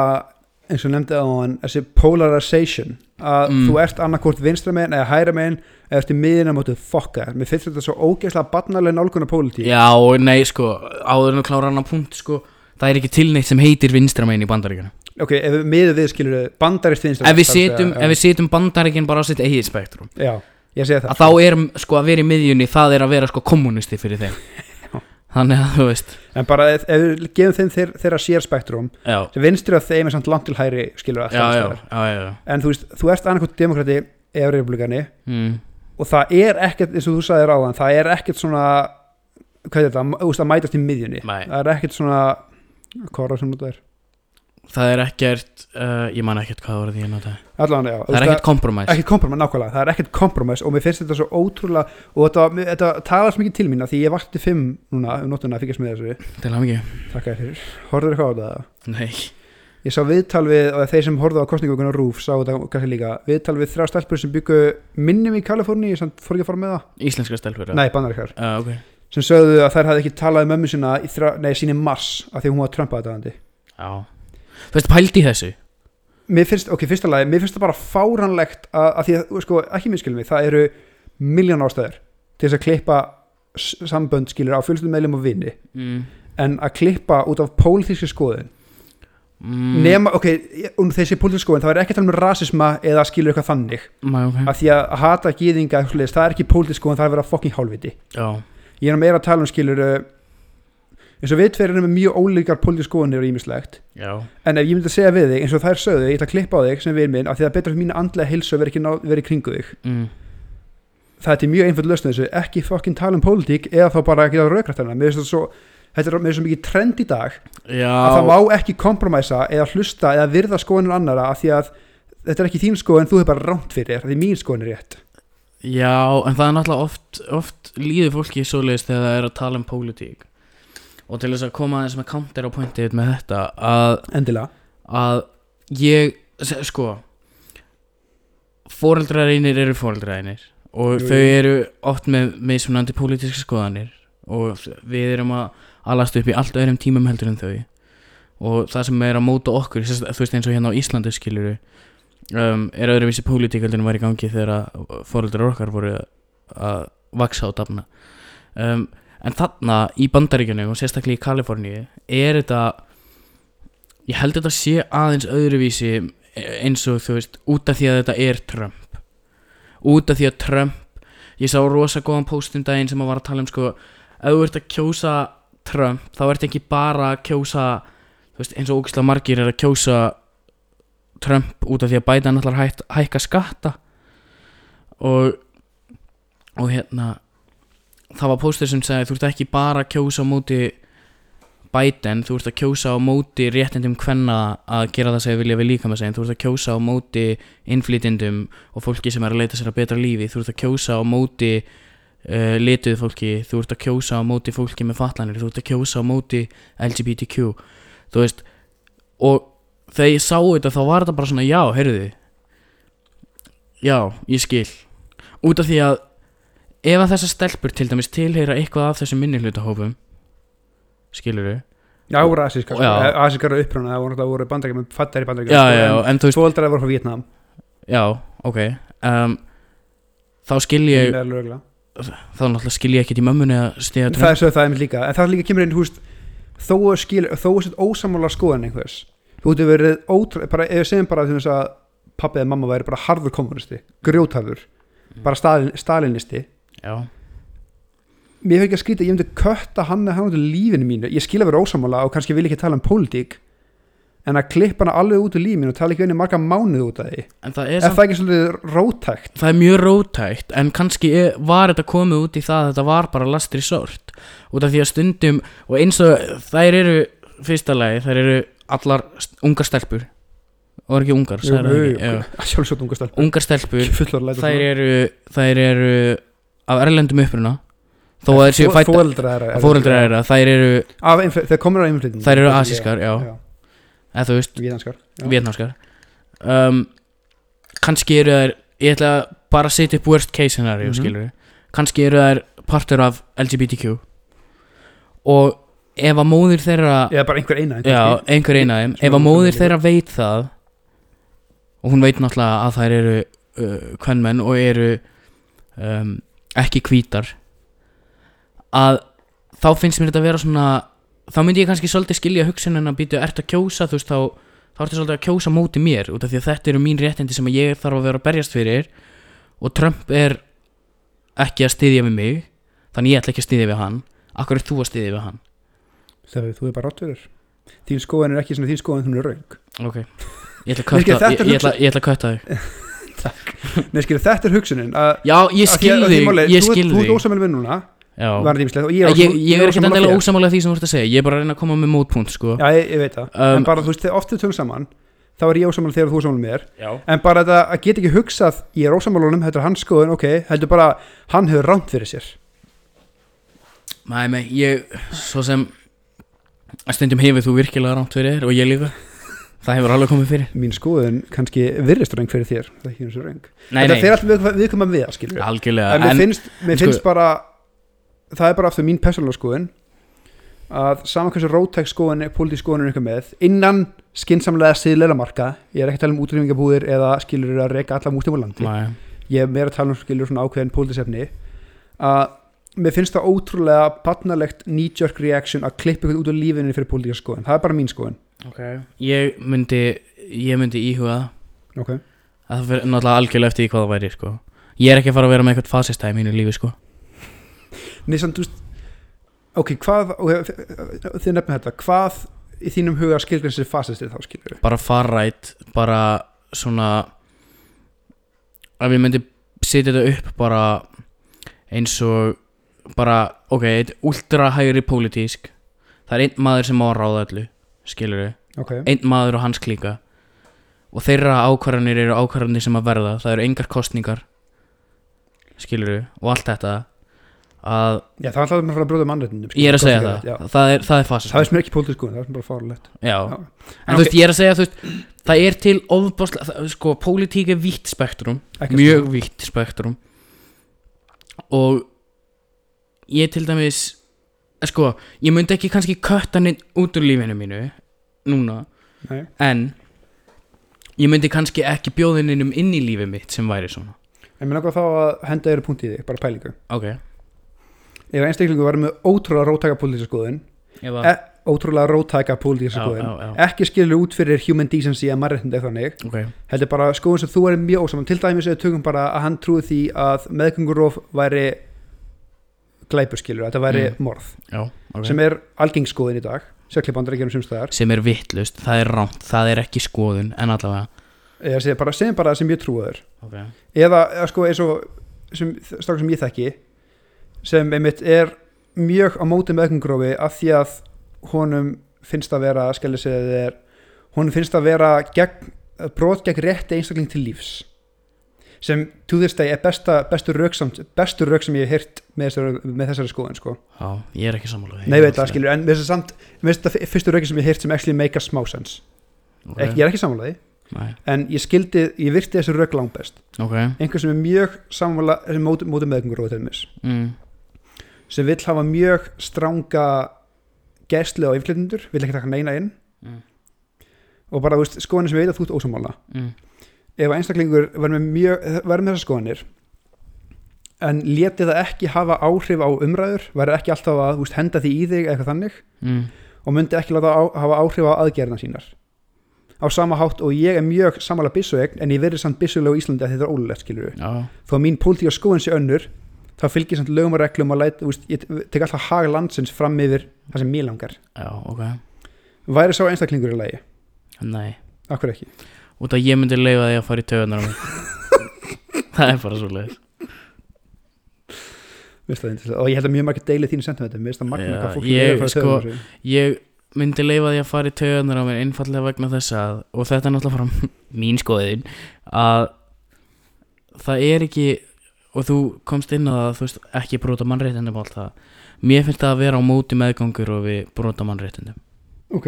Speaker 2: eins og ég nefndi á hann þessi polarization að
Speaker 1: Mm.
Speaker 2: þú ert annarkvort vinstra megin eða hægra megin eða eftir miðina mótu fokka þér. mér finnst þetta svo ógeðslega barnalega nálguna pólitík
Speaker 1: Já, og nei, sko, áður en að klára hann að punkt, sko, það er ekki tilneitt sem heitir vinstramenn í bandaríkjana
Speaker 2: ok, ef við miður við skilur þau bandarist vinstra
Speaker 1: ef við
Speaker 2: þar að segja,
Speaker 1: setjum,
Speaker 2: já,
Speaker 1: ef við setjum bandaríkinn bara á sitt eigið spektrum
Speaker 2: já, ég segi það
Speaker 1: að þá er sko að vera í miðjunni það er að vera sko kommunisti fyrir þeim þannig að þú veist
Speaker 2: en bara ef, ef við gefum þeim þeir, þeirra sér spektrum
Speaker 1: já,
Speaker 2: sem vinstri að þeim er samt langt til hæri skilur
Speaker 1: já, já,
Speaker 2: það
Speaker 1: já, já, já.
Speaker 2: en þú veist, þú ert annarkvort demokrati eða republikani
Speaker 1: Mm.
Speaker 2: og það er ekkert, eins og þú sagðir á þann það er ekkert svona hvað er þetta, þú veist að mætast í miðjunni
Speaker 1: Nei.
Speaker 2: það er ekkert svona hvað er það sem þetta er
Speaker 1: það er ekkert uh, ég man ekkert hvað voru því að nota
Speaker 2: allan, já,
Speaker 1: það er ekkert kompromæs
Speaker 2: ekki kompromis, nákvæmlega, það er ekkert kompromis og mér finnst þetta svo ótrúlega og þetta, mér- þetta talar svo mikið til mín að því ég vakti fimm núna um nóttuna að fylgjast með þessu
Speaker 1: til hann ekki,
Speaker 2: þakka þér fyrir, horfður eitthvað á þetta
Speaker 1: nei
Speaker 2: ég sá viðtal við, og þeir sem horfðu á kostningugunum rúf sá þetta kannski líka, viðtal við þrjá stelpur sem byggu minnum í Kaliforni, ég samt fór ekki að fara með það
Speaker 1: íslenska stelfur eða?
Speaker 2: nei, bannar ykkar,
Speaker 1: uh, ok,
Speaker 2: sem sögðu að þær hafði ekki talað um mömmu sína í þrjá, nei, síni mars af því hún var Trump aðdæðandi
Speaker 1: já þú veist, pældi í þessu
Speaker 2: mér finnst, ok, fyrsta lagi, mér finnst það bara fáranlegt að, að því að, sko, ekki minnskilum mig það eru miljón ástæður til þess að klippa s- sambönd skilur á fjölstum meðlum og vini
Speaker 1: mm.
Speaker 2: en að klippa út af pólitíski skoðun
Speaker 1: Mm.
Speaker 2: nema, ok, ég- um þessi pólitíski skoðun það er ekki að tala um rasisma eða skilur eitthvað þannig
Speaker 1: Mæ, Mm, ok,
Speaker 2: af því að hata gýðinga eitthvað svoleiðis, það er ekki pólitísk skoðun, það er að vera fokking hálfviti
Speaker 1: já
Speaker 2: ég er nú meira að tala um skilur uh, eins og við tveir erum með mjög ólíkar pólitísk skoðunir og ímislegt
Speaker 1: já,
Speaker 2: en ef ég myndi að segja við þig, eins og þær sögðu ég ætla að klippa á þig sem við minn, af því það er betra fyrir mín andlega heilsu að vera ekki ná, vera í kringu þig
Speaker 1: mm.
Speaker 2: það er mjög einföld lausn á þessu, ekki fokkin tala um pólitík eða þá bara ekki að raukrætt hana mér finnst þetta svo, þetta er mér finnst svo mikið trend í dag
Speaker 1: já
Speaker 2: að það má ekki kompromæsa eða hlusta eða virða skoðunum annara af því að þetta er ekki þín skoðun, þú er bara rámt fyrir þér, af því mín skoðun er rétt
Speaker 1: Já, en það er náttúrulega oft, oft líður fólki svoleiðist þegar það er að tala um pólitík og til þess að koma aðeins með counter á pointið með þetta að,
Speaker 2: endilega
Speaker 1: að ég, se- sko foreldrareinir eru foreldrareinir og
Speaker 2: Jú, jú.
Speaker 1: þau eru oft með mismunandi pólitíska skoðanir og við erum að alast upp í allt öðrum tímum heldur en þau og það sem er að móta okkur sérst- þú veist eins og hérna á Íslandi skilur um, er öðruvísi pólitík heldur en var í gangi þegar að foreldrar okkar voru að vaksa og dafna um, en þarna í Bandaríkjunum og sérstaklega í Kaliforníu er þetta ég held þetta sé aðeins öðruvísi eins og þú veist út af því að þetta er Trump út af því að Trump ég sá rosa góðan póst um daginn sem að var að tala um sko ef þú ert að kjósa Trump þá ert ekki bara að kjósa þú veist, eins og ógislega margir er að kjósa Trump út af því að Biden ætlar að hætt- hækka skatta og og hérna það var póstur sem sagði þú ert ekki bara að kjósa á móti Biden, þú ert að kjósa á móti réttindum hvenna að gera það sem þau vilja við líka með segin, þú ert að kjósa á móti innflytindum og fólki sem er að leita sér að betra lífi, þú ert að kjósa á móti uh, lituð fólki, þú ert að kjósa á móti fólki með fatlanir, þú ert að kjósa á móti LGBTQ, þú veist og þegar ég sá þetta þá var þetta bara svona já, heyrðu já, ég skil út af því að ef að þessar stelpur til dæmis tilheyra eitthvað af þessum minnihlutahópum skilur við
Speaker 2: Já, það voru asískar,
Speaker 1: Já.
Speaker 2: sko. asískar eru upprána það voru, það voru bandakar með fattar í bandakar
Speaker 1: já, já, já, en þú veist,
Speaker 2: Fóldar voru frá Vietnam
Speaker 1: já, ok um, þá skil ég
Speaker 2: meðal örugglega.
Speaker 1: þá náttúrulega skil ég ekkert í mömmunni að stiga
Speaker 2: Það er svo það einmitt líka En það líka kemur inn, húst Þó að skil, þó að sett ósamála skoðan einhvers Þú ert verið ótrú bara, Ef við segjum bara til þess að pappi eða mamma væri bara harður kommunisti, grjótharður
Speaker 1: Mm.
Speaker 2: bara stalin, stalinisti
Speaker 1: já,
Speaker 2: Mér fyrir ekki að skrýta, ég myndi kötta hann eða hann út í lífinu mínu, ég skil að vera ósamála og kannski vil ekki tala um pólitík en að klippa hana alveg út úr lífinu og tala ekki einu marga mánuð út af því
Speaker 1: en það er
Speaker 2: Er
Speaker 1: samt,
Speaker 2: það ekki svolítið rótækt?
Speaker 1: það er mjög rótækt en kannski er- var þetta komið út í það að þetta var bara lastri sort út af því að stundum og eins og þær eru fyrsta lagi, þær eru allar st- ungar stelpur og er ekki ungar,
Speaker 2: Jú,
Speaker 1: sagði það
Speaker 2: jú,
Speaker 1: ekki já.
Speaker 2: jú, sjálfsögd unga stelpur
Speaker 1: ungar stelpur
Speaker 2: Fullar lætur
Speaker 1: þær eru, þær eru af erlendum uppruna þó að þær séu
Speaker 2: Fó-
Speaker 1: fæta
Speaker 2: foreldrar þeirra eru-
Speaker 1: fóreldra er það, þær eru,
Speaker 2: Af innfl- Þeir komur á innflytjum
Speaker 1: þær eru asískar já,
Speaker 2: Mm, Já,
Speaker 1: eða þú veist,
Speaker 2: vietnamskar Já.
Speaker 1: vietnamskar um, kannski eru þær ég ætla bara að setja upp worst case scenario mm
Speaker 2: Mhm.
Speaker 1: kannski eru þær partur af LGBTQ og ef að móðir þeirra
Speaker 2: Eða bara einhver eina einhver
Speaker 1: Já,
Speaker 2: skil.
Speaker 1: einhver eina af þeim
Speaker 2: Svona
Speaker 1: Ef að
Speaker 2: sem
Speaker 1: móðir
Speaker 2: við-
Speaker 1: þeirra veit það og hún veit náttúrulega að þær eru uh, kvennmenn og eru um, ekki hvítar að þá finnst mér þetta að vera svona þá myndi ég kannski svolítið skilja hugsunin að býtu ert að kjósa þú veist þá þá ertu svolítið að kjósa móti mér út af því að þetta eru mín réttindi sem að ég þarf að vera að berjast fyrir og Trump er ekki að styðja við mig þannig ég ætla ekki að styðja við hann Akkur er þú að styðja við hann?
Speaker 2: Þegar þú er bara rottverður Þín skoðan er ekki svona þín skoðan, hún er raung
Speaker 1: Ok Ég ætla að
Speaker 2: Virkið,
Speaker 1: kötta ég,
Speaker 2: þetta er
Speaker 1: ég, ætla- ég ætla að kötta þig
Speaker 2: Nei, skil, þetta er hugsunin að-
Speaker 1: Já, ég
Speaker 2: að því
Speaker 1: skil
Speaker 2: að- að því
Speaker 1: þig
Speaker 2: máli,
Speaker 1: Ég
Speaker 2: þú ert-
Speaker 1: skil
Speaker 2: Þú
Speaker 1: þig
Speaker 2: ert ósamil við núna
Speaker 1: Já
Speaker 2: Varðið ímslega Og
Speaker 1: Ég,
Speaker 2: ég
Speaker 1: ég, er ekki
Speaker 2: ósammála
Speaker 1: endilega
Speaker 2: þér.
Speaker 1: ósamála því sem þú ert að segja Ég er bara að reyna að koma með mótpunkt sko
Speaker 2: Já, ég, ég veit það
Speaker 1: Um,
Speaker 2: En bara, þú veist, þegar oft við tölum saman Þá er ég ósamil þegar þú er ósamil mér
Speaker 1: Já
Speaker 2: En bara þetta að geta ekki hugsað Ég er ósamil honum, þetta er hans skoðun, ok Heldur bara, hann hefur rámt fyrir sér
Speaker 1: Nei, nei, ég Svo sem að Stundum hefur þú virkilega rámt fyrir þér Og ég líka Það hefur alveg komið fyrir
Speaker 2: Mín skoðun kannski virðist röng fyrir þér Það er ekki eins og röng
Speaker 1: Nei,
Speaker 2: Þetta
Speaker 1: nei
Speaker 2: fer alltaf viðkvæmum við það, skilur
Speaker 1: Algjörlega
Speaker 2: en mér finnst, mér
Speaker 1: sko-
Speaker 2: finnst bara það er bara aftur mín persónulega skoðun að saman hversu rótæk skoðun pólitísk skoðun er eitthvað með innan skinsamlega siðleila marka ég er ekki að tala um útrýmingabúðir eða skilur að reyka alla mútum á landi
Speaker 1: Nei,
Speaker 2: ég er meira að tala um skilur svona ákveðin pólitísefni að mér finnst það ótrúlega patnalegt knee-jerk reaction að klippa ykkur út úr lífinu fyrir pólitíska skoðun það er bara mín skoðun
Speaker 1: okay. Ég myndi Ég myndi íhuga það.
Speaker 2: okay.
Speaker 1: að Það fyrir náttúrulega algjörlega eftir því hvað það væri sko Ég er ekki að fara að vera með eitthvað fasista í mínu lífi sko
Speaker 2: Nei, samt, þú veist, ok, hvað okay, þið nefnum þetta, hvað í þínum huga skilgrins er fasistir þá skilur
Speaker 1: bara farrætt bara svona ef ég myndi setja þetta upp bara eins og bara, ok, eitt ultra hægri pólitísk, það er einn maður sem má að ráða öllu, skilur við
Speaker 2: okay.
Speaker 1: einn maður og hans klíka og þeirra ákvarðanir eru ákvarðanir sem að verða það eru engar kostningar skilur við, og allt þetta að,
Speaker 2: Já, það er alltaf bara að brjóta mannréttindum
Speaker 1: ég er að segja
Speaker 2: kosningarétt,
Speaker 1: það
Speaker 2: já.
Speaker 1: það er, það er fasism
Speaker 2: Það er sem ekki pólitísk skoðun, það er sem bara farulegt
Speaker 1: já, en
Speaker 2: Já.
Speaker 1: þú
Speaker 2: En ok.
Speaker 1: veist, ég er að segja þú veist, það er til ofbáslega, það- sko, pólitík er vítt spektrum
Speaker 2: Ekki
Speaker 1: mjög vítt spektrum og ég til dæmis eh, sko, ég myndi ekki kannski kötta hann út úr lífinu mínu núna,
Speaker 2: skoðun. Nei.
Speaker 1: en ég myndi kannski ekki bjóðininum inn í lífið mitt sem væri svona
Speaker 2: En mér langar þá að henda þér punkt í þig, bara pælingu
Speaker 1: ok,
Speaker 2: Ef einstaklingu var með ótrúlega rótæka pólitíska skoðun
Speaker 1: ef
Speaker 2: e, Ótrúlega rótæka pólitíska
Speaker 1: Já,
Speaker 2: skoðun
Speaker 1: já, já.
Speaker 2: Ekki skilur út fyrir human decency að mannréttindi eða þannig
Speaker 1: ok,
Speaker 2: Heldur bara skoðun sem þú er mjög ósaman Til dæmis eða tökum bara að hann trúið því að meðgöngurof væri glæpur skilur, þetta væri
Speaker 1: Mm.
Speaker 2: morð
Speaker 1: já, ok
Speaker 2: sem er algengskoðun í dag Sjöklipandar ekki um sumstæðar
Speaker 1: sem er vittlust, það er rámt, það er ekki skoðun en allavega
Speaker 2: Eða segja bara, segjum bara það sem ég trúið
Speaker 1: ok,
Speaker 2: eða eða sko eins og sem, strákur sem ég þekki sem einmitt er mjög á móti með ökungrófi af því að honum finnst að vera skellir sig að það er honum finnst að vera gegn, brot gegn rétti einstakling til lífs sem to this day er besta, bestu rauk samt, bestu rauk sem ég hef heyrt með þessari, með þessari skoðin sko.
Speaker 1: Já, ég er ekki sammála því.
Speaker 2: nei veit það skilur, en með þess að samt með þess að fyrstu rauki sem ég hef heyrt sem actually make a smá sense
Speaker 1: Ok,
Speaker 2: okay. ég er ekki sammálaði,
Speaker 1: Nei,
Speaker 2: en ég skildi ég virti þessu rauk langt best
Speaker 1: ok
Speaker 2: einhver sem er mjög sammála sem móti, móti með ökungrófi til þess
Speaker 1: mm.
Speaker 2: sem vill hafa mjög stranga gæslu á yfirflytjendur, vill ekki taka neina inn
Speaker 1: Mm.
Speaker 2: og bara þú veist, skoðanir sem ég veit að þú ert ósamála
Speaker 1: Mm.
Speaker 2: ef einstaklingur var með, mjög, var með þessar skoðanir en leti það ekki hafa áhrif á umræður væri ekki alltaf að þú veist, henda því í þig eða eitthvað þannig
Speaker 1: Mm.
Speaker 2: og myndi ekki láta á, hafa áhrif á aðgerðina sínar á sama hátt og ég er mjög samála byssuegn en ég verið samt byssulega á Íslandi að þetta er ólulegt skilur
Speaker 1: Já,
Speaker 2: þó að mín pólitík og skoðin sé önnur þá fylgir samt lögum og reglum og læt, úst, ég tek alltaf hag landsins fram yfir það sem mér langar
Speaker 1: já, ok
Speaker 2: væri sá einstaklingur í lagi,
Speaker 1: Nei,
Speaker 2: akkur ekki
Speaker 1: út að ég myndi leifa því að fara í töðunar á mig Það er bara svo leiðis
Speaker 2: Mér finnst það yndislegt. og ég held að mjög margir deili þín sentimentum mér finnst það magna
Speaker 1: Já,
Speaker 2: hvað fólk
Speaker 1: ég,
Speaker 2: er frá
Speaker 1: sko,
Speaker 2: þau
Speaker 1: Ég myndi leifa því að fara í töðunar á mér einfallega vegna þess að og þetta er náttúrulega bara mín skoðin að það er ekki og þú komst inn að þú veist ekki brota mannréttindum og allt það Mér finnst það að vera á móti meðgangur og við brota mannréttindum
Speaker 2: ok,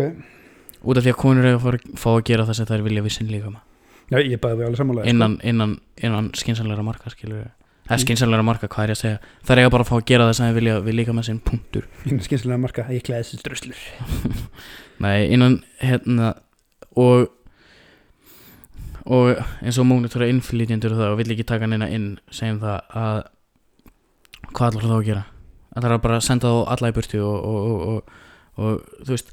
Speaker 1: út af því að konur eiga að fara- fá að gera það sem þær vilja við sinn líka með
Speaker 2: já ég bæði við alveg sammála sko.
Speaker 1: innan, innan, innan skinsanlegra marka skilur við eða skinsanlegra marka, hvað er ég að segja það er eiga bara að fá að gera það sem þið vilja við líka með sinn punktur
Speaker 2: innan skynsilega marga, ég klæði þessi druslur
Speaker 1: nei, innan hérna og og eins og mónitora innflytjendur og það og vill ekki taka neina inn segjum það að hvað ætlar þá að gera ætlar að bara senda þá alla í burtu og, og, og, og, og þú veist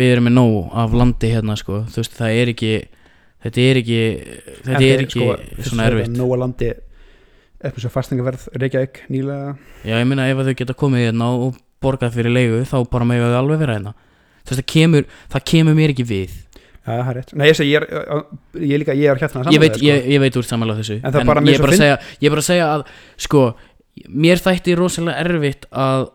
Speaker 1: við erum með nóg af landi hérna sko þú veist það er ekki þetta er ekki þetta er
Speaker 2: sko,
Speaker 1: ekki svona erfitt
Speaker 2: nóa landi eftir svo fastingaverð Reykjavík nýlega
Speaker 1: Já, ég minna ef að þau geta komið hérna og borgað fyrir leigu þá bara mega þau alveg vera hérna Þú veist, það kemur, það kemur mér ekki við
Speaker 2: já það er rétt, nei ég segi ég er, ég er líka, ég er hérna að
Speaker 1: ég veit,
Speaker 2: sammála þér,
Speaker 1: ég, ég veit úr samanlega þessu
Speaker 2: En það er bara mér
Speaker 1: ég, er
Speaker 2: svo
Speaker 1: bara að
Speaker 2: finn-
Speaker 1: segja, ég er bara að segja að sko, mér þætti rosalega erfitt að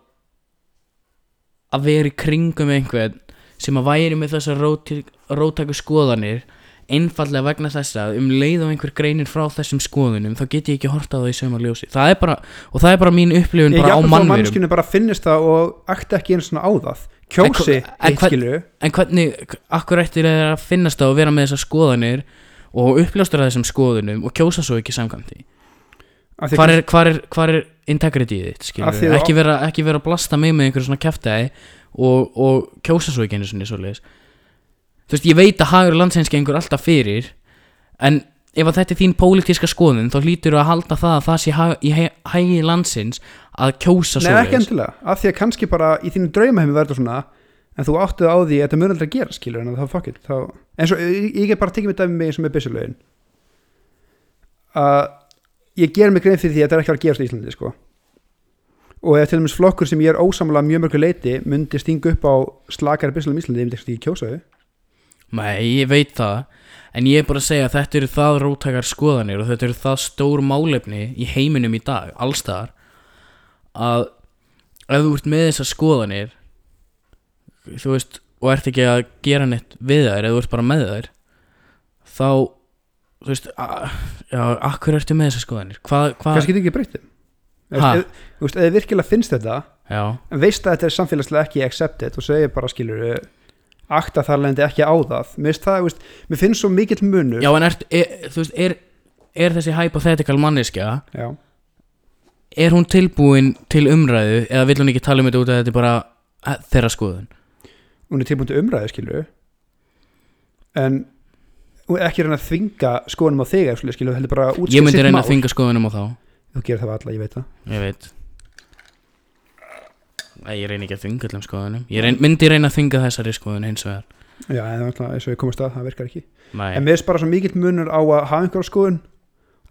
Speaker 1: að vera í kringum einhvern sem að væri með þessar róti- róttæku skoðanir einfallega vegna þess að um leið og einhver greinir frá þessum skoðunum þá get ég ekki horta á það í sömur ljósi það er bara, og það er bara mín upplifun
Speaker 2: Ég
Speaker 1: bara á
Speaker 2: jafnvel þó
Speaker 1: mannverum
Speaker 2: mannskjunni bara finnist það og akti ekki einu svona á það kjósi,
Speaker 1: En hva- en
Speaker 2: eitt
Speaker 1: hvað-
Speaker 2: skilu
Speaker 1: En hvernig, akkur ættir þeir að finnast á að vera með þessar skoðanir og uppljóstra þessum skoðunum og kjósa svo ekki samkvæmt því? Hvar er, hvar er, hvar er integrity þitt, skilur
Speaker 2: Af því
Speaker 1: við?
Speaker 2: að-
Speaker 1: Ekki vera, ekki vera að blasta mig með einhverju svona kæftæði og, og kjósa svo ekki einu svona svoleiðis. Þú veist, ég veit að hagur landsins gengur alltaf fyrir, en ef að þetta er þín pólitíska skoðun, þá hlýtur að halda það að það sé hag- í hæ- hagi landsins að kjósa
Speaker 2: Nei, ekki
Speaker 1: svoleiðis.
Speaker 2: endilega, af því að kannski bara í þínu draumaheimu verður þetta svona en þú áttuð á því að þetta mun aldrei að gera skilur en það fuck it þá... en svo ég, ég get bara tekið mig dæmi eins og með byssulögin að ég ger mig grein fyrir því að þetta er ekki að fara að gerast í Íslandi sko. og ef til dæmis flokkur sem ég er ósamlega mjög mörgu leiti myndi stinga upp á slakari byssulögum í Íslandi ég myndi ekki kjósa þau
Speaker 1: Nei, ég veit það En ég er bara að segja að þetta eru það róttakar skoðanir og þetta eru það stór málefni í heiminum í dag, allstaðar að ef þú ert með þessar skoðanir þú veist, og ert ekki að gera neitt við þær, eða þú ert bara með þær þá þú veist, a- já, akkur ertu með þessar skoðanir? Hvað, hvað,
Speaker 2: kannski getur ekki breytið
Speaker 1: Ha?
Speaker 2: þú veist, eða virkilega finnst þetta
Speaker 1: já,
Speaker 2: en veist að þetta er samfélagslega ekki accepted og segir bara skilur akta þar lendi ekki á það mér finnst, það, þú veist, mér finnst svo mikill munur
Speaker 1: já, en ert, er, þú veist, er, er þessi hypothetical manneskja
Speaker 2: Já.
Speaker 1: er hún tilbúin til umræðu eða vill hún ekki tala um þetta út að þetta er bara eh, þeirra skoðun
Speaker 2: hún er tilbúin til umræðu skilur en hún er ekki að reyna að þvinga skoðunum á þig skilur, skilur heldur bara útskýr
Speaker 1: ég myndi reyna að þvinga skoðunum á þá
Speaker 2: þú gerir það við alla, ég veit það
Speaker 1: ég veit Nei, ég reyni ekki að þvinga allum skoðunum ég reyn, myndi reyna að þvinga þessari skoðun eins og þar
Speaker 2: já, en það er alltaf eins og ég komast að, það virkar ekki en
Speaker 1: Nei.
Speaker 2: mér finnst bara svo mikill munur á að hafa einhverja skoðun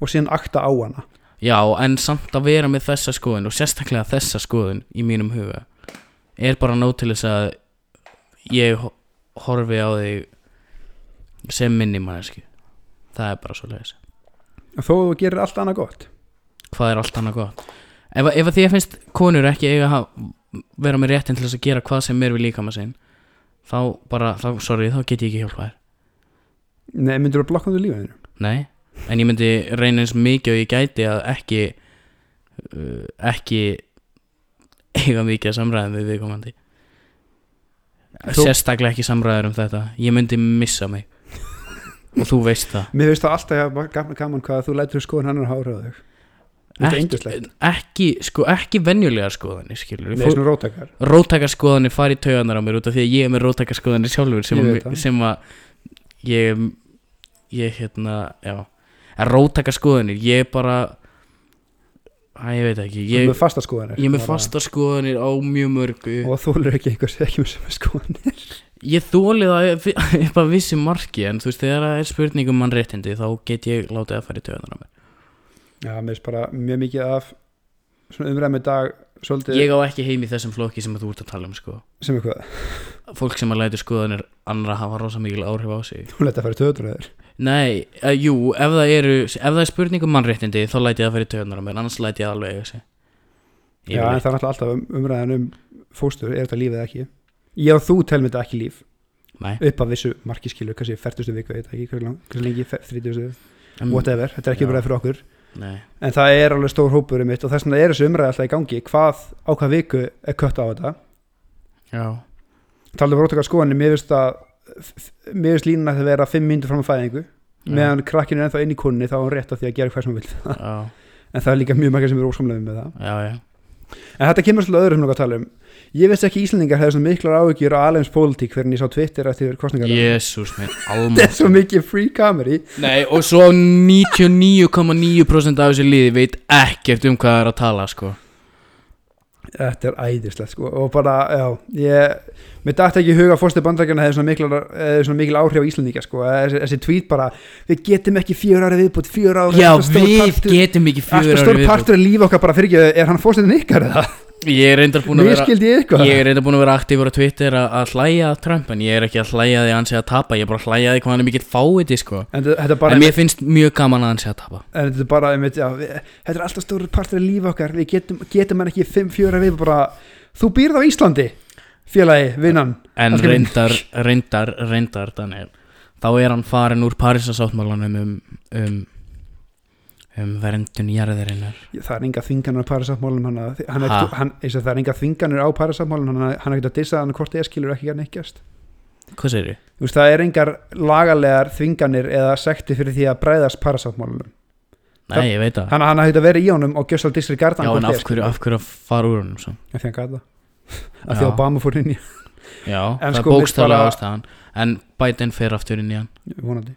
Speaker 2: og síðan akta á hana
Speaker 1: já, en samt að vera með þessa skoðun og sérstaklega þessa skoðun í mínum huga er bara nóg til þess að ég ho- horfi á þig sem minni mannesku það er bara svo leiðis
Speaker 2: en þó þú gerir allt annað gott
Speaker 1: hvað er allt annað gott ef, ef að því að finnst konur ekki eiga að ha- vera með réttin til þess að gera hvað sem er við líkama sinn þá bara, þá, sorry, þá get ég ekki hjálpað þér
Speaker 2: Nei, myndur þú að blokka um því lífið þínu?
Speaker 1: nei, en ég myndi reyna eins mikið og ég gæti að ekki uh, ekki eiga mikið að samræða við viðkomandi
Speaker 2: Þú-
Speaker 1: sérstaklega ekki samræður um þetta ég myndi missa mig og þú veist það
Speaker 2: Mér finnst það alltaf gaman, gaman hvað þú lætur skoðun hann að hára á þig Þetta er
Speaker 1: ekki,
Speaker 2: yndislegt.
Speaker 1: ekki, sko, ekki venjulegar skoðanir skilur
Speaker 2: Nei, svona rótækar
Speaker 1: rótækarskoðanir fari í tauganar á mér út af því að ég er með rótækarskoðanir sjálfur sem,
Speaker 2: Ég
Speaker 1: að,
Speaker 2: veit það.
Speaker 1: sem að ég ég hérna, já en rótækarskoðanir, ég er bara að ég veit ekki
Speaker 2: Ég
Speaker 1: ég,
Speaker 2: með fasta skoðanir
Speaker 1: ég er með
Speaker 2: Bara-
Speaker 1: fasta skoðanir á mjög mörgu
Speaker 2: Og þú lur ekki einhvers ekki með sem skoðanir
Speaker 1: ég þóli það upp að vissi marki en þú veist þegar það er spurning um mannréttindi þá get ég látið að fara í tauganar á mér
Speaker 2: Já, mér finnst bara mjög mikið af Svona umræðum í dag Svolítið
Speaker 1: ég á ekki heim í þessum flokki sem að þú ert að tala um sko
Speaker 2: sem eitthvað
Speaker 1: fólk sem að læti skoðanir annara hafa rosa mikil áhrif á sig
Speaker 2: Þú leta að fara í töðröður
Speaker 1: Nei, uh, jú, ef það eru ef það er spurning um mannréttindi þá læti ég það fyrir töðunar á mér, annars læti ég það alveg eiga sig
Speaker 2: Já, en það er náttúrulega alltaf um- umræðan um fóstur Er þetta lífið eða ekki Ég og þú telum þetta ekki líf
Speaker 1: Nei,
Speaker 2: upp að vissu marki skilu, kannski færtustu viku veit ekki hversu lang- hversu lengi, þrítustu,
Speaker 1: um,
Speaker 2: whatever þetta er ekki
Speaker 1: já.
Speaker 2: umræði fyrir okkur
Speaker 1: Nei,
Speaker 2: en það er alveg stór hópur um mitt og þess vegna er þessu umræði alltaf í gangi hvað á hvað viku er kött á þetta
Speaker 1: já,
Speaker 2: talaðu um rótaka skoðanir, mér finnst að mér finnst línuna að vera fimm myndur fram að fæðingu
Speaker 1: Já.
Speaker 2: meðan krakkinu er ennþá inn í kunni þá er hún rétt á því að gera hvað sem hún vil
Speaker 1: já,
Speaker 2: en það er líka mjög margir sem eru ósamlega með það
Speaker 1: já, já
Speaker 2: En þetta kemur svolítið öðru sem nokkuð að tala um Ég veist ekki að Íslendingar hefði svona miklar áhyggjur á alheims pólitík fyrir en ég sá Twitter eftir kostningar
Speaker 1: Jésús minn,
Speaker 2: Þetta er
Speaker 1: almann
Speaker 2: svo mikið free comedy
Speaker 1: Nei, og svo 99,9% af þessu liði veit ekkert um hvað það er að tala, sko
Speaker 2: Þetta er æðislegt sko og bara, já, ég mér dætti ekki í huga að fórstu bandrækjana hefði svona, miklar, hefði svona mikil áhrif á Íslendinga sko að þessi, þessi tweet bara, við getum ekki fjör ári viðbútt, fjör ári
Speaker 1: Já, við getum ekki
Speaker 2: Alltaf
Speaker 1: fjögur
Speaker 2: stór
Speaker 1: ári viðbútt
Speaker 2: partur að lífa okkar bara fyrir ekki er hann fórstuðin ykkar eða?
Speaker 1: Ég er reyndar búin að
Speaker 2: Mér
Speaker 1: vera
Speaker 2: skildi ég eitthvað
Speaker 1: Ég er reynda búin að vera aktífur á Twitter að, að hlæja að Trump en ég er ekki að hlæja því að hann sé að tapa ég er bara að hlæja því hvað hann er mikill fáiði sko
Speaker 2: En þetta- þetta er bara,
Speaker 1: En mér finnst mjög gaman að hann sé að tapa
Speaker 2: en þetta er bara einmitt, já, við, þetta er alltaf stór partur að lífa okkar við getum, getum hann ekki fimm, fjör ári viðbútt bara, þú býrð á Íslandi félagi, vinnan
Speaker 1: En
Speaker 2: Það skal-
Speaker 1: reyndar, reyndar, reyndar Daniel Þá er hann farin úr Parísasáttmálanum um, um, um verndun jarðirinnar
Speaker 2: það er enga þvinganur á parasáttmálum hann, að- hann,
Speaker 1: Ha?
Speaker 2: er- hann, eins og það er enga þvinganur á parasáttmálum hann, að- hann er ekki að dissa hann hvort eða skilur ekki að nekkjast
Speaker 1: Hvað segir þið?
Speaker 2: Þú veist, það er engar lagalegar þvinganir eða sekti fyrir því að bræðast parasáttmálunum
Speaker 1: Nei, ég veit það
Speaker 2: hann, hann hafði að vera í honum og gjössal dissir gardan
Speaker 1: Já, en af hverju, af hverju að fara úr honum sko? svo?
Speaker 2: af því að gata af því
Speaker 1: Já.
Speaker 2: að Obama fór inn í
Speaker 1: Já,
Speaker 2: En
Speaker 1: það
Speaker 2: sko,
Speaker 1: er
Speaker 2: mér
Speaker 1: bókstaflega
Speaker 2: bara-
Speaker 1: ástæðan En Biden fer aftur inn í hann
Speaker 2: vonandi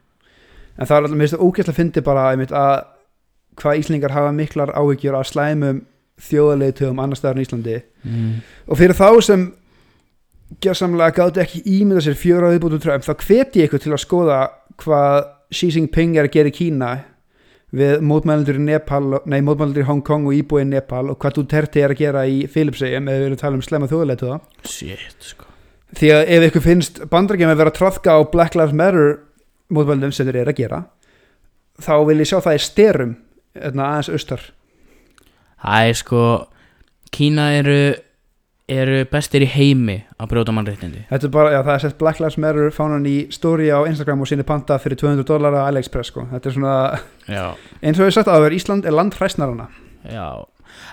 Speaker 2: en það er alltaf, mér finnst það ógæslega fyndi bara einmitt að hvað Íslingar hafa miklar áhyggjur af slæmum þjóðarleiðtöfum annar staðar en Íslandi
Speaker 1: mm.
Speaker 2: og fyrir þá sem gerðsamlega gáttu ekki ímynda sér fjöra viðbútu Trump þá hveti ég ykkur til að skoða hvað Xi Jinping er að gera í Kína við mótmælendur í Nepal nei, mótmælendur í Hong Kong og íbúi í Nepal og hvað Duterte er að gera í Philipseyjum ef við erum að tala um slemma þjóðleitu það
Speaker 1: Shit, sko
Speaker 2: því að ef ykkur finnst bandarækjum að vera að trafka á Black Lives Matter mótmælendum sem þeir eru að gera þá vil ég sjá það í styrum aðeins austar
Speaker 1: Það er sko Kína eru, eru bestir í heimi að brjóta mannréttindi
Speaker 2: Þetta er bara, já það er sett Black Lives Matter fánan í stóri á Instagram og sinni panta fyrir 200 dólar á AliExpress sko. Þetta er svona,
Speaker 1: Já
Speaker 2: eins og ég sagt áður, Ísland er land hræsnarana.
Speaker 1: Já,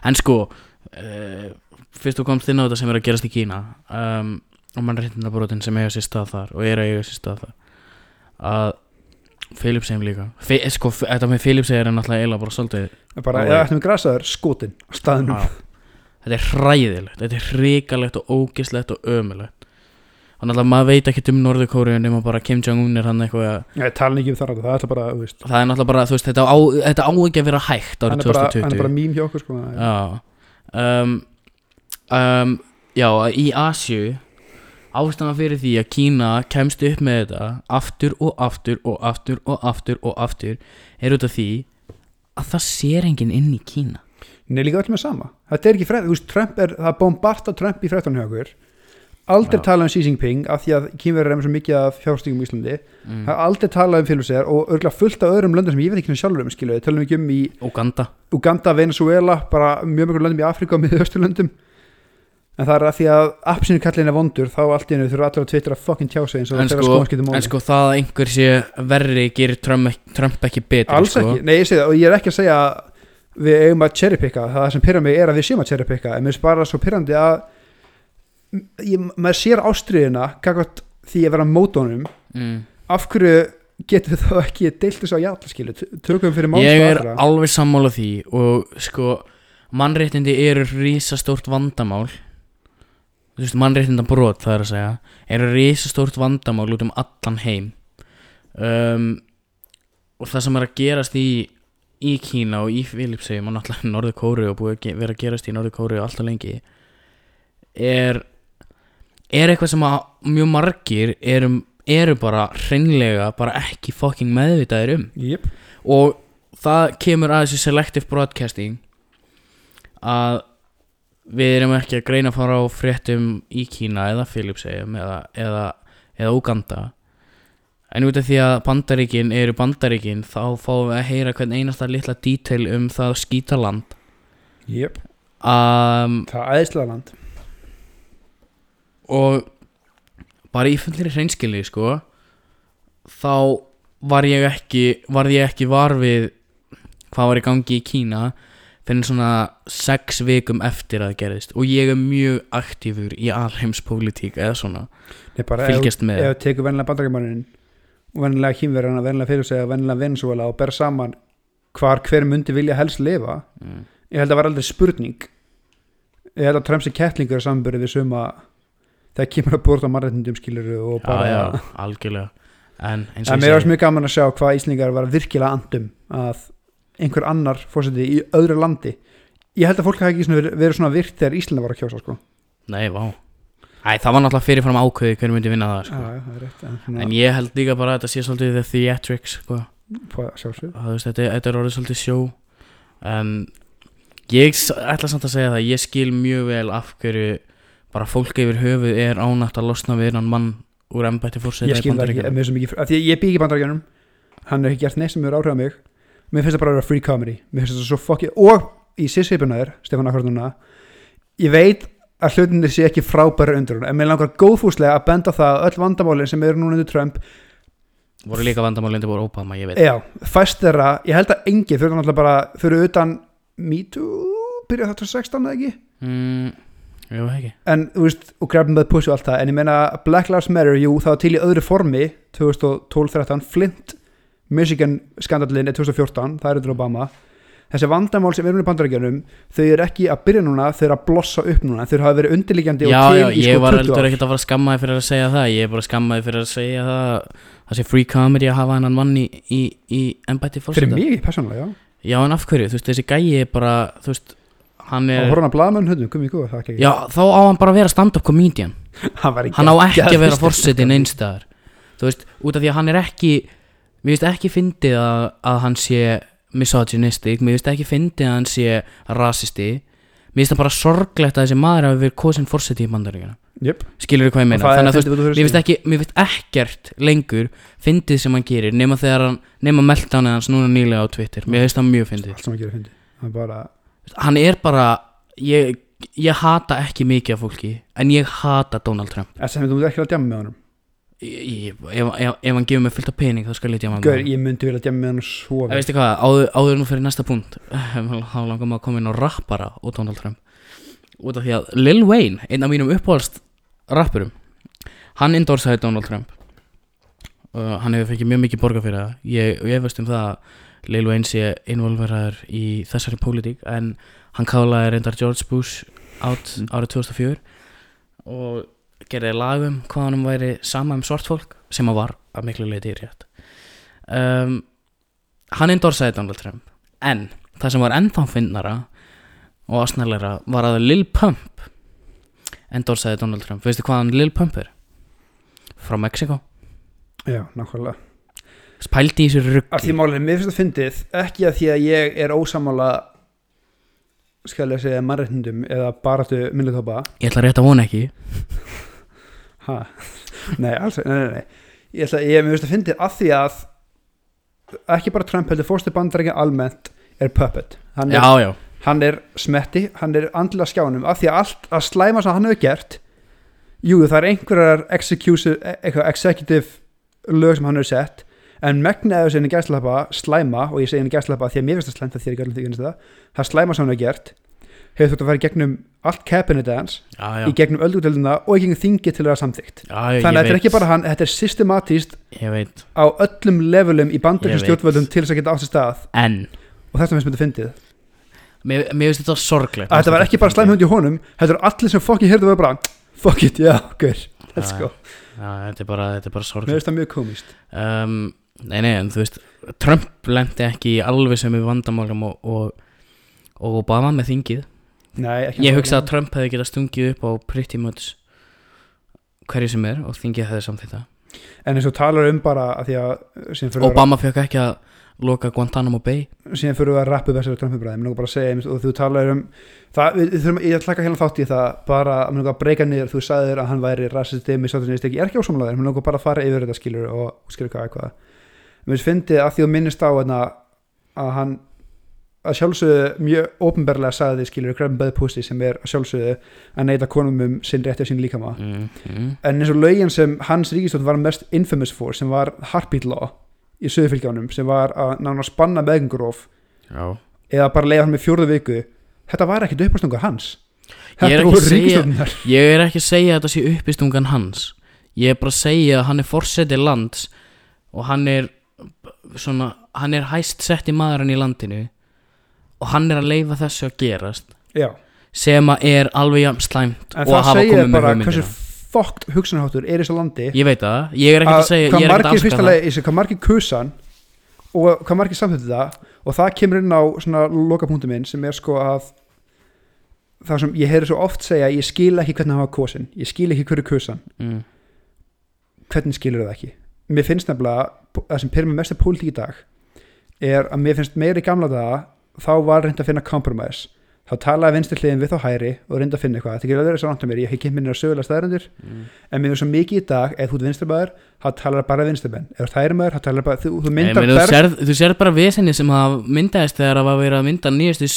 Speaker 1: en sko uh, fyrst þú komst inn á þetta sem er að gerast í Kína um, og mannréttindabrotin sem eiga sér stað þar og er að eiga sér stað þar að Filipsheim líka Fe, sko, f- þetta með Filipsheim er náttúrulega eiginlega bara svolítið
Speaker 2: Bara,
Speaker 1: Já,
Speaker 2: eða
Speaker 1: já.
Speaker 2: ættum við grasaður, skotin á staðnum.
Speaker 1: á. þetta er hræðilegt þetta er hrikalegt og ógislegt og ömulegt og náttúrulega maður veit ekkert um Norður-Kóriu nema bara Kim Jong-un er hann eitthvað að-
Speaker 2: Ég tala ekki um þar að það er alltaf bara, þú veist,
Speaker 1: það er náttúrulega bara, þú veist, þetta á, þetta á ekki að vera hægt
Speaker 2: hann
Speaker 1: árið
Speaker 2: er bara,
Speaker 1: 2020
Speaker 2: hann er bara mím hjá okkur sko. Já.
Speaker 1: Já um, um, Já, í Asju Ástæðan fyrir því að Kína kemst upp með þetta aftur og aftur og aftur og aftur og aftur er út af því að það sér enginn inn í Kína
Speaker 2: Nei, líka öll með sama. Þetta er ekki frétt, þú veist, Trump er, það er bombarta Trump í fréttunum hjá okkur. aldrei
Speaker 1: Já.
Speaker 2: talað um Xi Jinping af því að kýmverður er með svo mikið af fjárstingum í Íslandi
Speaker 1: mm.
Speaker 2: það er aldrei talað um Filipseyjar og örgulega fullt af öðrum löndum sem ég veit ekki hvernig sjálfur um skilu við talum ekki um í
Speaker 1: Uganda
Speaker 2: Uganda, Venezuela bara mjög mjög löndum í Afrika og miðausturlöndum en það er að því að appsinu kallin er vondur þá allt í hennu þurfa allir að tvittra að fucking tjá sig eins og
Speaker 1: En
Speaker 2: þeirra
Speaker 1: sko-
Speaker 2: skoðanskiptum
Speaker 1: En
Speaker 2: máli
Speaker 1: sko það að einhver sé verri gerir Trump, ek- Trump ekki betur
Speaker 2: alls
Speaker 1: sko.
Speaker 2: ekki, nei ég segi það og ég er ekki að segja að við eigum að cherrypicka, það sem pyrra mig er að við séum að cherrypicka, en mér finnst bara svo pyrrandi að ég, maður sér ástriðina kakvart því að vera mótónum
Speaker 1: mm.
Speaker 2: af hverju getur þá ekki deilt þessu á játlaskilu, tökum fyrir málstu
Speaker 1: Ég er alveg sammála því og sko mannréttindi eru rísastórt vandamál þú veist mannréttinda brot það er að segja eru rísastórt vandamál út um allan heim um, og það sem er að gerast í í Kína og í Filipsheim og náttúrulega Norður Kóru og búið að ge- vera að gerast í Norður Kóru alltaf lengi er er eitthvað sem að mjög margir erum, eru bara hreinlega bara ekki fucking meðvitaðir um
Speaker 2: Jep,
Speaker 1: og það kemur að þessu selective broadcasting að við erum ekki að greina fara á fréttum í Kína eða Filipsheim eða, eða, eða Uganda en út af því að bandaríkin eru bandaríkin þá fáum við að heyra hvern einasta litla detail um það skítaland
Speaker 2: jep,
Speaker 1: um,
Speaker 2: það er æðislega land
Speaker 1: og bara í fullir hreinskilni sko þá var ég ekki varð ég ekki var við hvað var í gangi í Kína fyrir svona sex vikum eftir að það gerðist og ég er mjög aktífur í alheimspolítík eða svona
Speaker 2: Nei, bara ef-
Speaker 1: fylgjast með
Speaker 2: ef þú tekur vennilega bandarækjumannin og vennilega kýmverjana, vennilega fyrirsæða vennilega Venezuela og ber saman hvar hver myndi vilja helst lifa
Speaker 1: Mm.
Speaker 2: ég held að það var aldrei spurning ég held að Trump sem kettlingur samburði við suma þegar kemur að búrta mannréttindum skiluru og
Speaker 1: já,
Speaker 2: bara
Speaker 1: já, algjörlega en eins
Speaker 2: en
Speaker 1: og
Speaker 2: mér
Speaker 1: ég
Speaker 2: varst
Speaker 1: segi
Speaker 2: mjög gaman að sjá hvað Íslingar var virkilega andum að einhver annar fórseti í öðru landi ég held að fólk hafi ekki svona verið, verið svona virkt þegar Íslanda var að kjósa sko.
Speaker 1: nei, vá Æ, það var náttúrulega fyrirfram ákveði hver myndi vinna það
Speaker 2: já,
Speaker 1: sko.
Speaker 2: já, það er rétt en, svona,
Speaker 1: en ég held líka bara að þetta sé svolítið the theatrics sko.
Speaker 2: på- sjálfsögðu.
Speaker 1: það, þú veist, þetta, þetta er orðið svolítið sjó en ég s- ætla samt að segja það ég skil mjög vel af hverju bara fólk yfir höfuð er ánægt að losna við hann mann úr embætti fórseta
Speaker 2: ég
Speaker 1: í
Speaker 2: skil það ekki,
Speaker 1: Bandaríkjunum.
Speaker 2: mér er svo mikið af því að ég bý ekki í bandarækjunum hann er ekki gert neitt sem hefur áhrif á mig mér finnst það bara að vera free comedy mér finnst það svo fokki og í síðsveipinaður, Stefán Akkortuna ég veit að hlutinir sé ekki frábæri undir hún en mér langar góðfúslega að benda á það að öll vandamálin sem eru núna undir Trump
Speaker 1: voru líka vandamálindi voru Obama ég veit
Speaker 2: já, fæst þeirra, ég held að engi fyrir náttúrulega bara, fyrir utan Me Too, byrja þetta 16 eða ekki
Speaker 1: mm, jú ekki
Speaker 2: en þú veist, og grabin með push og allt það en ég meina Black Lives Matter, jú, það var til í öðru formi 2012-13, Flint Michigan skandalin er 2014 það er undir Obama þessi vandamál sem er með bandarækjanum þau eru ekki að byrja núna, þau eru að blossa upp núna þau hafa verið undirliggjandi
Speaker 1: já,
Speaker 2: og til
Speaker 1: já,
Speaker 2: í
Speaker 1: ég
Speaker 2: sko
Speaker 1: var
Speaker 2: 20
Speaker 1: eldur
Speaker 2: ár
Speaker 1: ekkert að fara að skamma þið fyrir að segja það ég er bara að skamma þið fyrir að segja það það sé free comedy að hafa hennan mann í, í, í embætti
Speaker 2: fyrir
Speaker 1: fórseta
Speaker 2: mig, persónulega, já,
Speaker 1: já, en af hverju, þú veist, þessi gæi er bara þú veist, hann
Speaker 2: og
Speaker 1: er
Speaker 2: horfum að blaðmenn höndum, komið í góða, það ekki
Speaker 1: já, þá á hann bara að vera stand-up comedian
Speaker 2: hann, var í
Speaker 1: hann á
Speaker 2: gegn-
Speaker 1: ekki að vera
Speaker 2: geðveikt.
Speaker 1: forsetin einstæðar þú veist, út af því að hann er ekki mér finnst ekki fyndið að, að hann sé misogynistik, mér finnst ekki fyndið að hann sé rasisti mér finnst það bara sorglegt að þessi maður hafi verið kosin forseti í bandaríkina,
Speaker 2: Jep,
Speaker 1: skilur þú hvað ég
Speaker 2: og
Speaker 1: meina
Speaker 2: það er
Speaker 1: þannig að þú veist,
Speaker 2: fyndið út af
Speaker 1: mér
Speaker 2: fyrir
Speaker 1: finnst
Speaker 2: sig.
Speaker 1: ekki mér finnst ekkert lengur fyndið sem hann gerir, nema þegar hann nema meltdánið hans núna nýlega á Twitter mér finnst það mjög fyndið,
Speaker 2: allt sem að gera fyndið Það er bara,
Speaker 1: hann er bara ég, ég hata ekki mikið af fólki, en ég hata Donald Trump
Speaker 2: en sem þú mútt ekki að djama með honum
Speaker 1: Ég- ég- ef, ef, ef hann gefur mig fullt af pening þá skal ég djama
Speaker 2: Gaur,
Speaker 1: með
Speaker 2: ég myndi vilja djama með honum svo
Speaker 1: hann
Speaker 2: vel.
Speaker 1: veistu hvað, áður, áður nú fyrir næsta punkt þá langar maður að koma inn á rappara og Donald Trump út af því að Lil Wayne, einn af mínum uppáhaldst rappurum, hann endorsaði Donald Trump uh, hann hefur fengið mjög mikið borga fyrir það ég, og ég veist um það að Lil Wayne sé involveraður í þessari pólitík en hann kálaði reyndar George Bush át
Speaker 2: Mm.
Speaker 1: árið 2004 og gerði lagum hvað hann væri sama um svart fólk sem hann var að miklu leiti rétt um, hann endorsaði Donald Trump en það sem var ennþá finnara og ásnæðleira var að Lil Pump endorsaði Donald Trump veistu hvað hann Lil Pump er? frá Mexiko
Speaker 2: Já, nákvæmlega
Speaker 1: spældi í þessu
Speaker 2: Af
Speaker 1: ruggli
Speaker 2: því málið, er, mér finnst það fyndið ekki að því að ég er ósamála skal ég segja mannréttindum eða baratu minnitópa
Speaker 1: ég ætla rétt að vona ekki
Speaker 2: ha, nei, alls, nei, nei, nei ég ætla, ég mér veist að fyndi að því að ekki bara Trump heldur fórstu bandarækja almennt er puppet hann er,
Speaker 1: já, já,
Speaker 2: hann er smetti, hann er andla skjánum af því að allt að slæma sem hann hefur gert jú, það er einhverjar executive, eitthvað, executive lög sem hann hefur sett en megnaðu sem hann gæstlapa slæma og ég segi hann gæstlapa því að mér finnst það slæmt að þér gætlum því að það það slæma sem hann hefur gert hefur þótt að fara í gegnum allt cabinet hans
Speaker 1: já, já,
Speaker 2: í gegnum öldutölduna og í gegnum þingi til að vera samþygt
Speaker 1: já, já
Speaker 2: þannig að
Speaker 1: ég
Speaker 2: þetta er
Speaker 1: veit.
Speaker 2: ekki bara hann, þetta er systematíst
Speaker 1: Ég veit,
Speaker 2: á öllum levelum í bandaríkjum
Speaker 1: Ég veit.
Speaker 2: stjórnvöldum til þess að geta átt sér stað
Speaker 1: en
Speaker 2: og þetta finnst mér þetta fyndið
Speaker 1: Mér, mér finnst þetta sorglegt
Speaker 2: að þetta var ekki bara slæmhund í honum þetta er allir sem fokki heyrðu verið bara fuck it, já, gaur, let's
Speaker 1: Já,
Speaker 2: go
Speaker 1: Já, þetta er bara, þetta er bara
Speaker 2: mér
Speaker 1: sorglegt
Speaker 2: finnst það mjög komist
Speaker 1: um, Nei, nei, en þú veist Trump lendi ekki í alveg sem við vandamálum og, og, og Obama með þingið
Speaker 2: Nei, ekki
Speaker 1: Ég
Speaker 2: hann.
Speaker 1: hugsa að Trump hefði getað stungið upp á pretty much hverju sem er og þingið hefði samþýtt það
Speaker 2: en eins og talar um bara að því að síðan fyrir, að,
Speaker 1: Obama fekk ekki að loka Guantanamo Bay
Speaker 2: síðan fyrir að rappa upp þessari trömpubræði mér langar bara að segja, eins og þú talar um það, við, við þurfum, ég ætla ekki hérna þátt í það bara að mér langar að breyka niður, þú sagðir að hann væri rassisti, misotinist, ég er ekki ósamlega mér langar bara að fara yfir þetta skilur og skilur hvað eitthvað mér finnst fyndið að því að minnist á hérna, að hann að sjálfsögðu mjög ópenbarlega sagði skilur Grambad Pussy sem er að sjálfsögðu að neyta konum um sinn rétti og sinn líkama
Speaker 1: mm -hmm.
Speaker 2: en eins og lögin sem hans ríkistjórn var mest infamous for sem var Heartbeat Law í söðufylgjónum sem var að nána spanna meðgengurof
Speaker 1: Já
Speaker 2: eða bara leiða hann með fjórðu viku þetta var ekkit uppastunga hans
Speaker 1: Ég er
Speaker 2: þetta
Speaker 1: ekki
Speaker 2: voru
Speaker 1: að segja-
Speaker 2: ríkistjórnar
Speaker 1: Ég er ekki að segja að þetta sé uppistungan hans Ég er bara að segja að hann er forsetið lands og hann er svona, hann er hæst sett í maðurinn í landinu og hann er að leifa þessu að gerast
Speaker 2: Já,
Speaker 1: sem að er alveg jafn slæmt
Speaker 2: en
Speaker 1: og að
Speaker 2: það
Speaker 1: hafa
Speaker 2: segir
Speaker 1: komið með
Speaker 2: bara hversu
Speaker 1: hugmyndina
Speaker 2: fokkt hugsanháttur er í þessu landi
Speaker 1: Ég veit það, ég er ekki að segja,
Speaker 2: hvað
Speaker 1: ég er ekki að
Speaker 2: margir
Speaker 1: afskaka
Speaker 2: fyrsta
Speaker 1: það
Speaker 2: lagi, ég sé, hvað margir kusan og hvað margir samþýttu það og það kemur inn á svona lokapunktum minn sem er sko að það sem ég heyri svo oft segja ég skil ekki hvernig hafa kosin, ég skil ekki hverju kusan
Speaker 1: mm.
Speaker 2: hvernig skilur það ekki mér finnst nefnilega, það sem pyrir mér mest er pólitík í dag er að mér finnst meira í gamla daga þá var reynd að finna compromise þá talaði vinstri hliðin við þá hæri og reynd að finna eitthvað, þetta er ekki alveg svo náttúrulega mér ég hef kynnt minni að sögulega staðrendir
Speaker 1: Mm.
Speaker 2: en mér finnst svo mikið í dag, ef þú ert vinstri maður þá talar bara vinstri menn, ef þú ert hæri maður þá talar bara, þú, þú
Speaker 1: Nei,
Speaker 2: myndar
Speaker 1: meni, þú, serð, þú serð bara vesenni sem það myndaðist þegar það var verið að mynda nýjastu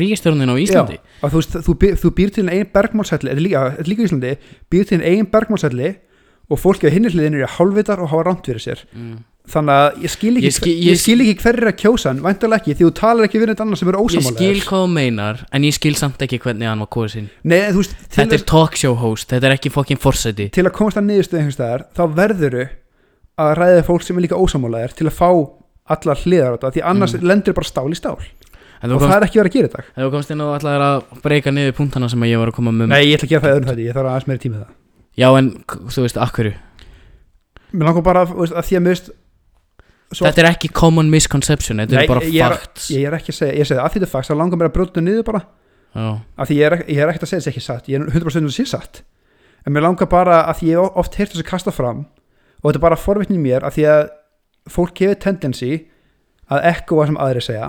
Speaker 1: ríkistörnin á Íslandi
Speaker 2: Já, og þú, veist, þú, býr, þú býr til einn bergmálsælli þetta er líka, þetta er líka í Íslandi, býr til einn bergmálsælli og fólk á hinni hliðinu eru hálfvitar og hafa rámt fyrir sér
Speaker 1: mm.
Speaker 2: þannig að ég skil ekki,
Speaker 1: Ég skil-
Speaker 2: ég,
Speaker 1: ég
Speaker 2: skil ekki hverjir að kjósa hann, væntalega ekki því þú talar ekki við neitt annað sem eru
Speaker 1: Ég skil
Speaker 2: ósamálega
Speaker 1: hvað þú meinar en ég skil samt ekki hvernig hann var kosin
Speaker 2: Nei, þú veist, til,
Speaker 1: Þetta er talkshow host, þetta er ekki fokkin forseti
Speaker 2: til að komast að niðurstöð einhvers staðar, þá verðuru að ræða fólk sem er líka ósamálega til að fá allar hliðar á þetta því annars
Speaker 1: Mm.
Speaker 2: lendir bara stál í stál
Speaker 1: En þú
Speaker 2: og það
Speaker 1: komst,
Speaker 2: er ekki verið að gera í dag
Speaker 1: ef þú komst inn og ætlaðir að breyka niður punktana sem að ég var að koma með um.
Speaker 2: Nei, ég ætla að gera það öðrum þetta, ég þarf aðeins meira tíma í það
Speaker 1: Já en k- þú veist, akkurru
Speaker 2: Mér langar bara þú veist, að því að mér veist svo-
Speaker 1: Þetta er ekki common misconception, þetta
Speaker 2: Nei,
Speaker 1: er bara
Speaker 2: ég er-
Speaker 1: facts
Speaker 2: Ég er ekki að segja, ég segi að þetta er fakt þá langar mér að brjóta þetta niður bara
Speaker 1: Já,
Speaker 2: af því ég er, ek- ég er ekkert að segja þess ekki satt ég er 100% að segja satt en mér langar bara að því ég hef oft heyrt þessu kasta fram og þetta er bara forvitni í mér af því að fólk hefur tendensi að ekkoa sem aðri segja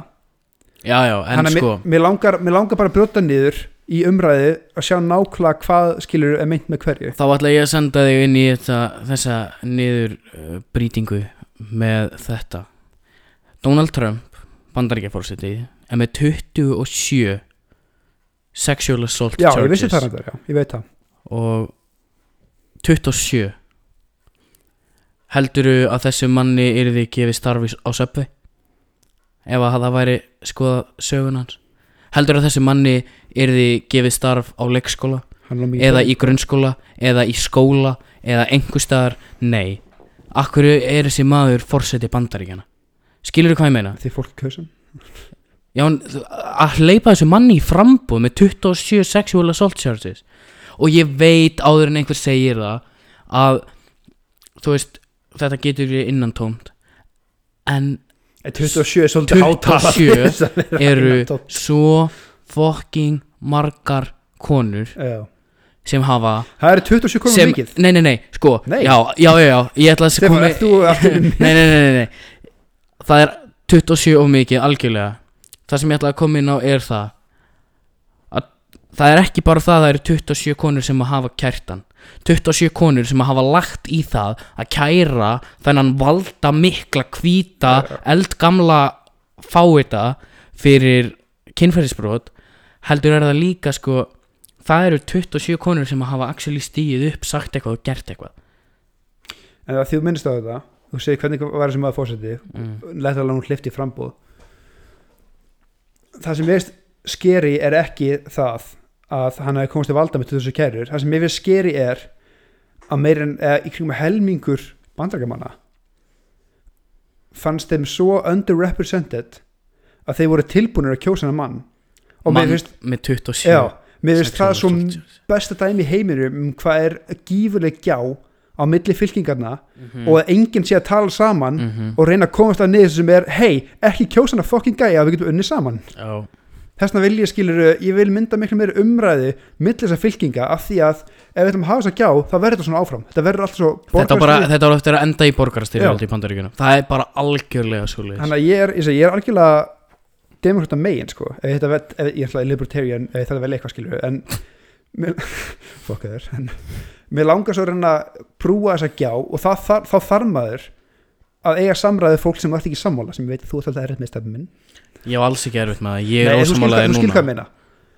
Speaker 1: já, já en
Speaker 2: að
Speaker 1: sko
Speaker 2: mér, mér, langar, mér langar bara að brjóta niður í umræðu að sjá nákvæmlega hvað skilur er meint með hverju
Speaker 1: Þá ætla ég að senda þig inn í þetta, þessa niður uh, brýtingu með þetta Donald Trump, bandaríkjaforseti er með 27 sexual assault
Speaker 2: já,
Speaker 1: charges
Speaker 2: ég vissi það reyndar, já, ég veit það
Speaker 1: og 27 heldurðu að þessu manni yrði gefið starfi á söpvi ef að það væri skoða sögun hans heldurðu að þessu manni yrði gefið starf á leikskóla
Speaker 2: Hann er nú mikið-
Speaker 1: eða í grunnskóla eða í skóla eða einhver staðar nei akkur er þessi maður fórseti bandaríkjana skilurðu hvað ég meina
Speaker 2: því fólk kausum
Speaker 1: Já, en að hleypa þessu manni í frambúð með 27 sexual assault charges og ég veit áður en einhver segir það að þú veist, þetta getur verið innantómt en
Speaker 2: 27 er svolítið hátalað
Speaker 1: 27
Speaker 2: þess að vera
Speaker 1: eru
Speaker 2: innantómt.
Speaker 1: svo fucking margar konur
Speaker 2: Já.
Speaker 1: sem hafa
Speaker 2: það eru 27 konum
Speaker 1: sem,
Speaker 2: mikið
Speaker 1: nei, nei, nei, sko
Speaker 2: Nei.
Speaker 1: Já, já, já, já, ég ætla að
Speaker 2: Stefán,
Speaker 1: koma
Speaker 2: ert þú aftur
Speaker 1: nei, nei, nei, nei, nei Það er 27 og mikið algjörlega Það sem ég ætla að koma inn á er það að það er ekki bara það að það eru 27 konur sem að hafa kært hann 27 konur sem að hafa lagt í það að kæra þennan valda mikla hvíta eldgamla fáita fyrir kynferðisbrot heldur er það líka sko það eru 27 konur sem að hafa actually stíð upp, sagt eitthvað og gert eitthvað
Speaker 2: en ef þú minnst á þetta þú segir hvernig var þessi maður fórseti
Speaker 1: mm.
Speaker 2: lett alveg hún hlifti frambúð það sem veist skeri er ekki það að hann hefði komist til valda með 2000 kærur það sem ég veist skeri er að meir en eða, í kringum helmingur bandarkamanna fannst þeim svo underrepresented að þeir voru tilbúinir að kjósa hennar mann og
Speaker 1: mann
Speaker 2: mér finnst,
Speaker 1: með 27
Speaker 2: já, mér finnst það svo
Speaker 1: 647.
Speaker 2: besta dæmi í heiminum um hvað er gífurleg gjá á milli fylkingarna
Speaker 1: Mhm.
Speaker 2: og að enginn sé að tala saman
Speaker 1: Mhm.
Speaker 2: og reyna að komast að niður sem er hei, ekki kjósa hana fokkin gæja við getum unni saman
Speaker 1: Já.
Speaker 2: þess vegna vil ég skilur, ég vil mynda miklu meiri umræði millir þessar fylkinga af því að ef við ætlum að hafa þess að gjá, þá verður þetta svona áfram það verður alltaf svo
Speaker 1: Þetta, bara,
Speaker 2: borgarastyrjöld.
Speaker 1: þetta var eftir að enda í
Speaker 2: Já.
Speaker 1: borgarastyrjöld í Bandaríkjunum Það er bara algjörlega svo
Speaker 2: þannig að ég er, ég, segi, ég er algjörlega demokrata megin sko ef þetta, vet- ef, ég er alltaf libertarian ef þetta vel eitthvað skilur en mér, fokka þér en, mér langar svo að reyna að prúa þessa gjá og það, það, þá þarf maður að eiga samræði fólk sem þú ert ekki sammála sem ég veit að þú ert alltaf erfitt með stefnum minn
Speaker 1: Ég hef alls ekki erfitt með það Ég er
Speaker 2: Nei, þú skilur hvað-
Speaker 1: ósamálaðið
Speaker 2: þú skilur
Speaker 1: núna
Speaker 2: hvað meina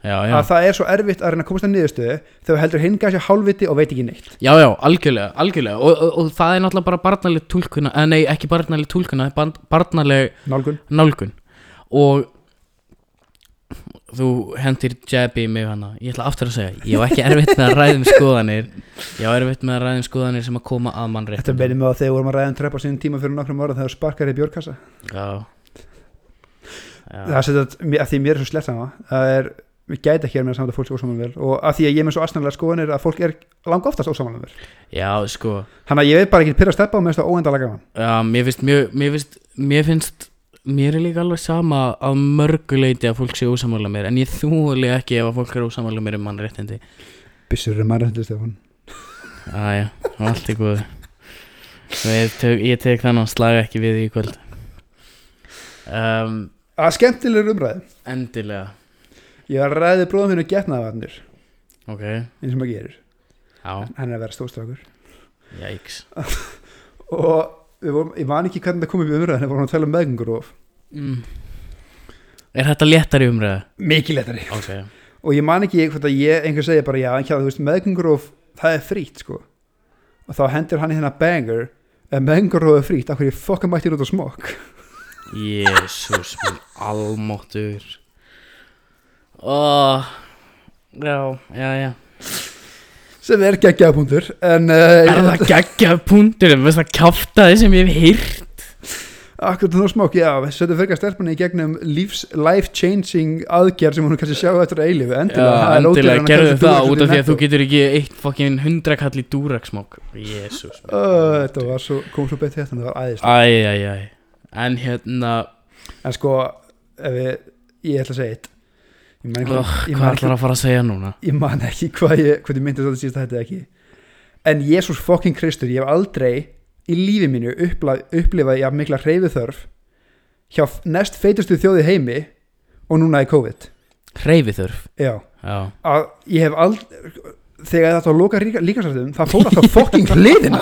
Speaker 1: já, já.
Speaker 2: að það er svo erfitt að reyna að komast að niðurstöðu þegar heldur hinga sér hálfviti og veit ekki neitt
Speaker 1: já, já, algjörlega, algjörlega. Og, og, og það er náttúrulega bara barnaleg tólkun eh, Nei, ekki barnaleg tólkun Það er barn- barnaleg
Speaker 2: nálgun
Speaker 1: nálgun Og þú hendir jabbi í mig hana Ég ætla aftur að segja Ég á ekki erfitt með að ræðum skoðanir Ég á erfitt með að ræðum skoðanir sem að koma að mannrétt
Speaker 2: Þetta meðin með að þegar vorum að ræða um trepp á sínum tíma fyrir nokkrum ára þegar þú sparkar í björkassa
Speaker 1: Já, já.
Speaker 2: það setja að því mér er svo slett sama það er, við gæti ekki að mér saman að fólk sé ósamanum vel og að því að ég er með svo astanlega skoðanir að fólk er langa oftast ósamanum vel
Speaker 1: já sko
Speaker 2: þannig að ég veit bara ekki pyrra steppa og mér finnst það óendalega gaman
Speaker 1: Já, mér finnst mjög, mér finnst, mér finnst, mér er líka alveg sama að mörgu leiti að fólk sé ósamála mér en ég þúli ekki ef að fólk er ósamála mér um mannréttindi.
Speaker 2: Bissur er maður hendur Stefán
Speaker 1: Æja, allt í góðu. Ég tek, ég tek þannig að slaga ekki við í kvöld. Um,
Speaker 2: að skemmtilegur umræði
Speaker 1: endilega,
Speaker 2: ég var að ræði bróðum hennu getnaðvarnir
Speaker 1: ok,
Speaker 2: um eins og maður gerir
Speaker 1: já,
Speaker 2: hann er að vera stóðstrákur
Speaker 1: jæks.
Speaker 2: og við vorum, ég man ekki hvernig það kom upp í umræðinu vorum að tala um meðgöngur og
Speaker 1: Mm. Er þetta léttari umræða?
Speaker 2: mikið letari
Speaker 1: Ok,
Speaker 2: og ég man ekki hvort að ég einhver segja bara já, en hjá, þú veist, meðgöngurof það er frýtt sko og þá hendur hann í þennan banger en meðgöngurof er frýtt, af hverju fokka mættir út á smokk
Speaker 1: jésús, minn almóttur. Oh, já, já, já.
Speaker 2: sem er geggjaðbúndur en
Speaker 1: Er
Speaker 2: uh,
Speaker 1: það geggjað punktur? Er það kjáftaði sem ég hef hýrt?
Speaker 2: akkur þú smokk, já, setjum fyrir að stelpunni í gegnum lífs, life changing aðgerð sem hún kannski sjá eftir að eilífi endilega, það er ódýrara en
Speaker 1: endilega
Speaker 2: að
Speaker 1: gerðu
Speaker 2: kaupa sér
Speaker 1: það
Speaker 2: dúrax
Speaker 1: út af því að þú
Speaker 2: Netto.
Speaker 1: getur ekki eitt fokkin hundrakall í dúraksmokk Jésús
Speaker 2: Ö, þetta var svo, kom svo betur þetta en það var aðeins
Speaker 1: Æj, æj, æj En hérna,
Speaker 2: en sko, ef við, ég ætla að segja eitt ég man
Speaker 1: oh,
Speaker 2: ekki, ég
Speaker 1: hvað
Speaker 2: man ekki
Speaker 1: ætlar að fara að segja núna?
Speaker 2: ég man ekki hvað ég, hvað ég myndi þetta síðast þetta ekki en Jésús fokkin Kristur, ég hef aldrei í lífi mínu uppla, upplifað ég mikla reyfi þörf hjá f- næst feitustu þjóði heimi og núna í COVID
Speaker 1: Hreyfiþurf
Speaker 2: Já,
Speaker 1: Já
Speaker 2: að ég hef aldrei þegar þetta var að loka líka, líkasrættum það fór alltaf fokkin hliðina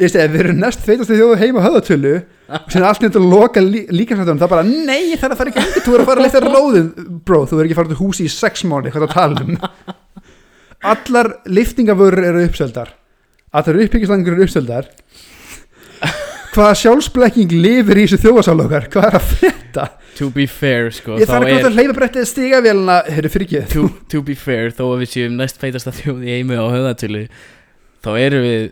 Speaker 2: ég segi, við erum næst feitustu þjóði heima höðatölu og sem allt nefnir að loka lí, líkasrættum það bara, nei, það er að fara í gangi þú er að fara að leita róðin, bro, þú er ekki að fara til húsi í sex mánu, hvað það tala um allar liftingavörur eru uppseldar allar uppbyggistangur eru uppseldar hvaða sjálfsblekking lifir í þessu þjóðasál okkar hvað er að frétta?
Speaker 1: To be fair, sko
Speaker 2: ég
Speaker 1: þá
Speaker 2: þarf ekki
Speaker 1: er-
Speaker 2: að hleypa brettið stigavélina heyrðu fyrir ekki
Speaker 1: to, to be fair, þó að við séum næst feitasta þjóð í einu á höfðatölu Þá erum við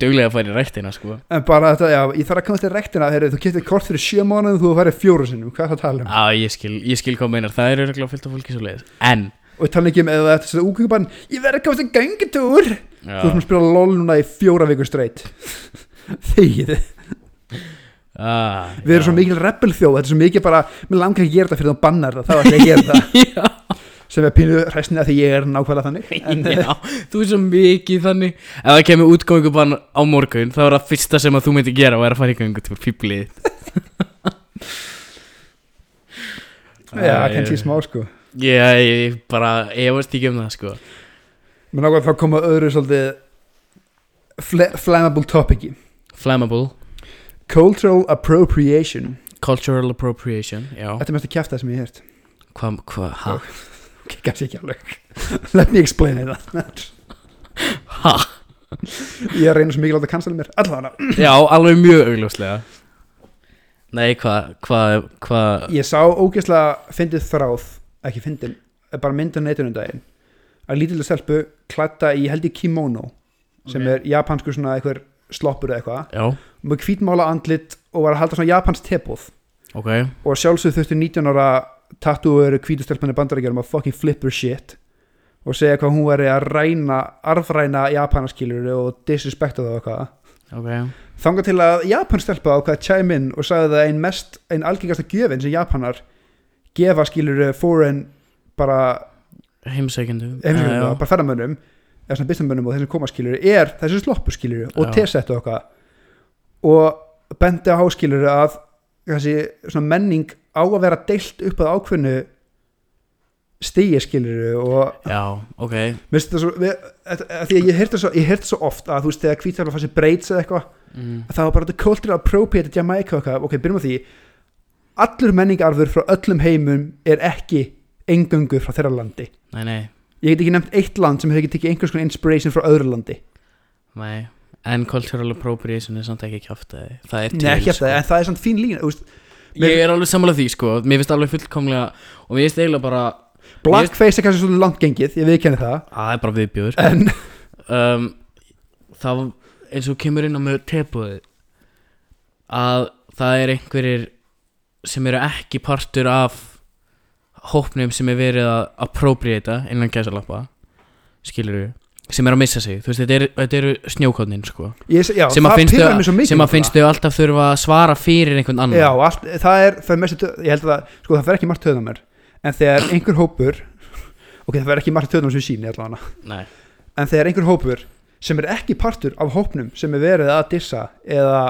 Speaker 1: duglega að fara í rættina, sko
Speaker 2: en bara þetta, já, ég þarf að komast til rektina heyrðu, þú kiptið kort fyrir sjö mánuðum þú færið fjóru sinnum, hvað er það að tala um?
Speaker 1: Á, ég skil, ég skil hvað þú meinar, það eru regla fyllt af fólki svo leiðis En
Speaker 2: og ég tala ekki um eða þetta setja úkvökubann ég verð að komast til gangitúr
Speaker 1: Já.
Speaker 2: þú erum að spila lol núna í fjóra vikur streitt þegið
Speaker 1: ah,
Speaker 2: Við erum svo mikil rebelþjóð, þetta er svo mikil bara Mér langar ekki að gera þetta fyrir þá bannar það, þá ætla ég að gera það
Speaker 1: Já,
Speaker 2: Sem er pínu hræstni að því ég er nákvæmlega þannig en,
Speaker 1: já, þú er svo mikið þannig Ef það kemur útgöngubann á morgun þá er það fyrsta sem að þú myndir gera og er að fara í göngu til fýblið
Speaker 2: Já, kannski smá sko
Speaker 1: ég, ég bara efast ekki um það sko
Speaker 2: Mér nákvæmlega þá koma öðru svolítið fle flammable topici
Speaker 1: Flammable,
Speaker 2: Cultural appropriation
Speaker 1: cultural appropriation Já,
Speaker 2: Þetta er mest að kjæfta sem ég hef hert
Speaker 1: hvað, hva, ha?
Speaker 2: Kanski ekki alveg Let me explain it
Speaker 1: Ha?
Speaker 2: Ég er að reyna svo mikið að láta cancela mér Allavega,
Speaker 1: Já, alveg mjög augljóslega Nei, hvað, hvað, hvað
Speaker 2: ég sá ógeðslega fyndið þráð Ekki fyndin, eh, bara myndin neitunum daginn Að lítilega stelpu klætta í held í kimono Sem
Speaker 1: Ok.
Speaker 2: er japansku svona einhver sloppur eða eitthvað
Speaker 1: Já,
Speaker 2: Með hvítmála andlit og var að halda svona japans tebóð
Speaker 1: ok
Speaker 2: og sjálfsög þurfti 19 ára tattúur kvítustelpunni bandaríkjörum að fucking flipper shit og segja hvað hún veri að ræna arfræna japanaskilur og disrespekta það og eitthvað
Speaker 1: Ok,
Speaker 2: þanga til að japanstelpa á hvað chime in og sagði það ein mest, ein algengasta gjöfin sem japanar gefa skilur foreign bara,
Speaker 1: heimsækjandi
Speaker 2: heimsækjum,
Speaker 1: Já, já.
Speaker 2: bara ferðamönnum eða svona bistamönnum og þessum koma skilur er þessi sloppur skilur og
Speaker 1: Já.
Speaker 2: teset og eitthvað og bendi á háskilur að þessi svona menning á að vera deilt upp að ákveðnu stigi skilur og
Speaker 1: Já, ok
Speaker 2: mér finnst þetta svo, við, að, að því að ég heyrti svo, ég heyrti svo oft að þú veist þegar hvítarlega fann sér breyts eða eitthvað
Speaker 1: mm.
Speaker 2: að það var bara þetta cultural appropriated Jamaica og eitthvað, ok, byrjum á því allur menningarfur frá öllum heimum er ekki engöngu frá þeirra landi
Speaker 1: Nei, nei,
Speaker 2: ég get ekki nefnt eitt land sem hefur ekki tekið einhvers konar inspiration frá öðru landi
Speaker 1: nei En cultural appropriation er samt ekki kjáftæði Það er til
Speaker 2: Nei, ekki eftir
Speaker 1: sko.
Speaker 2: það, en það er samt fín lína þú veist,
Speaker 1: Ég er alveg sammála því sko Mér finnst alveg fullkomlega Og mér finnst eiginlega bara
Speaker 2: blackface er kannski svona langt gengið, ég viðkenni það
Speaker 1: að Það er bara viðbjóður
Speaker 2: en
Speaker 1: um, Þá eins og kemur inn á með tebúði Að það er einhverjir Sem eru ekki partur af Hópnum sem er verið að Appropriata innan gæsalappa Skilur við Sem eru að missa sig Þú veist þetta eru, þetta eru snjókotnin sko
Speaker 2: ég, já,
Speaker 1: sem að
Speaker 2: það
Speaker 1: finnst
Speaker 2: pirrar mig svo
Speaker 1: þau
Speaker 2: mikið
Speaker 1: sem að
Speaker 2: það.
Speaker 1: finnst þau alltaf þurfa að svara fyrir einhvern annan
Speaker 2: já, allt, það er, það er mest ég held að það, sko það fer ekki margt töðan mér en þegar einhver hópur ok, það fer ekki margt töðan sem síni allavega
Speaker 1: Nei.
Speaker 2: en þegar einhver hópur sem er ekki partur af hópnum sem er verið að dissa eða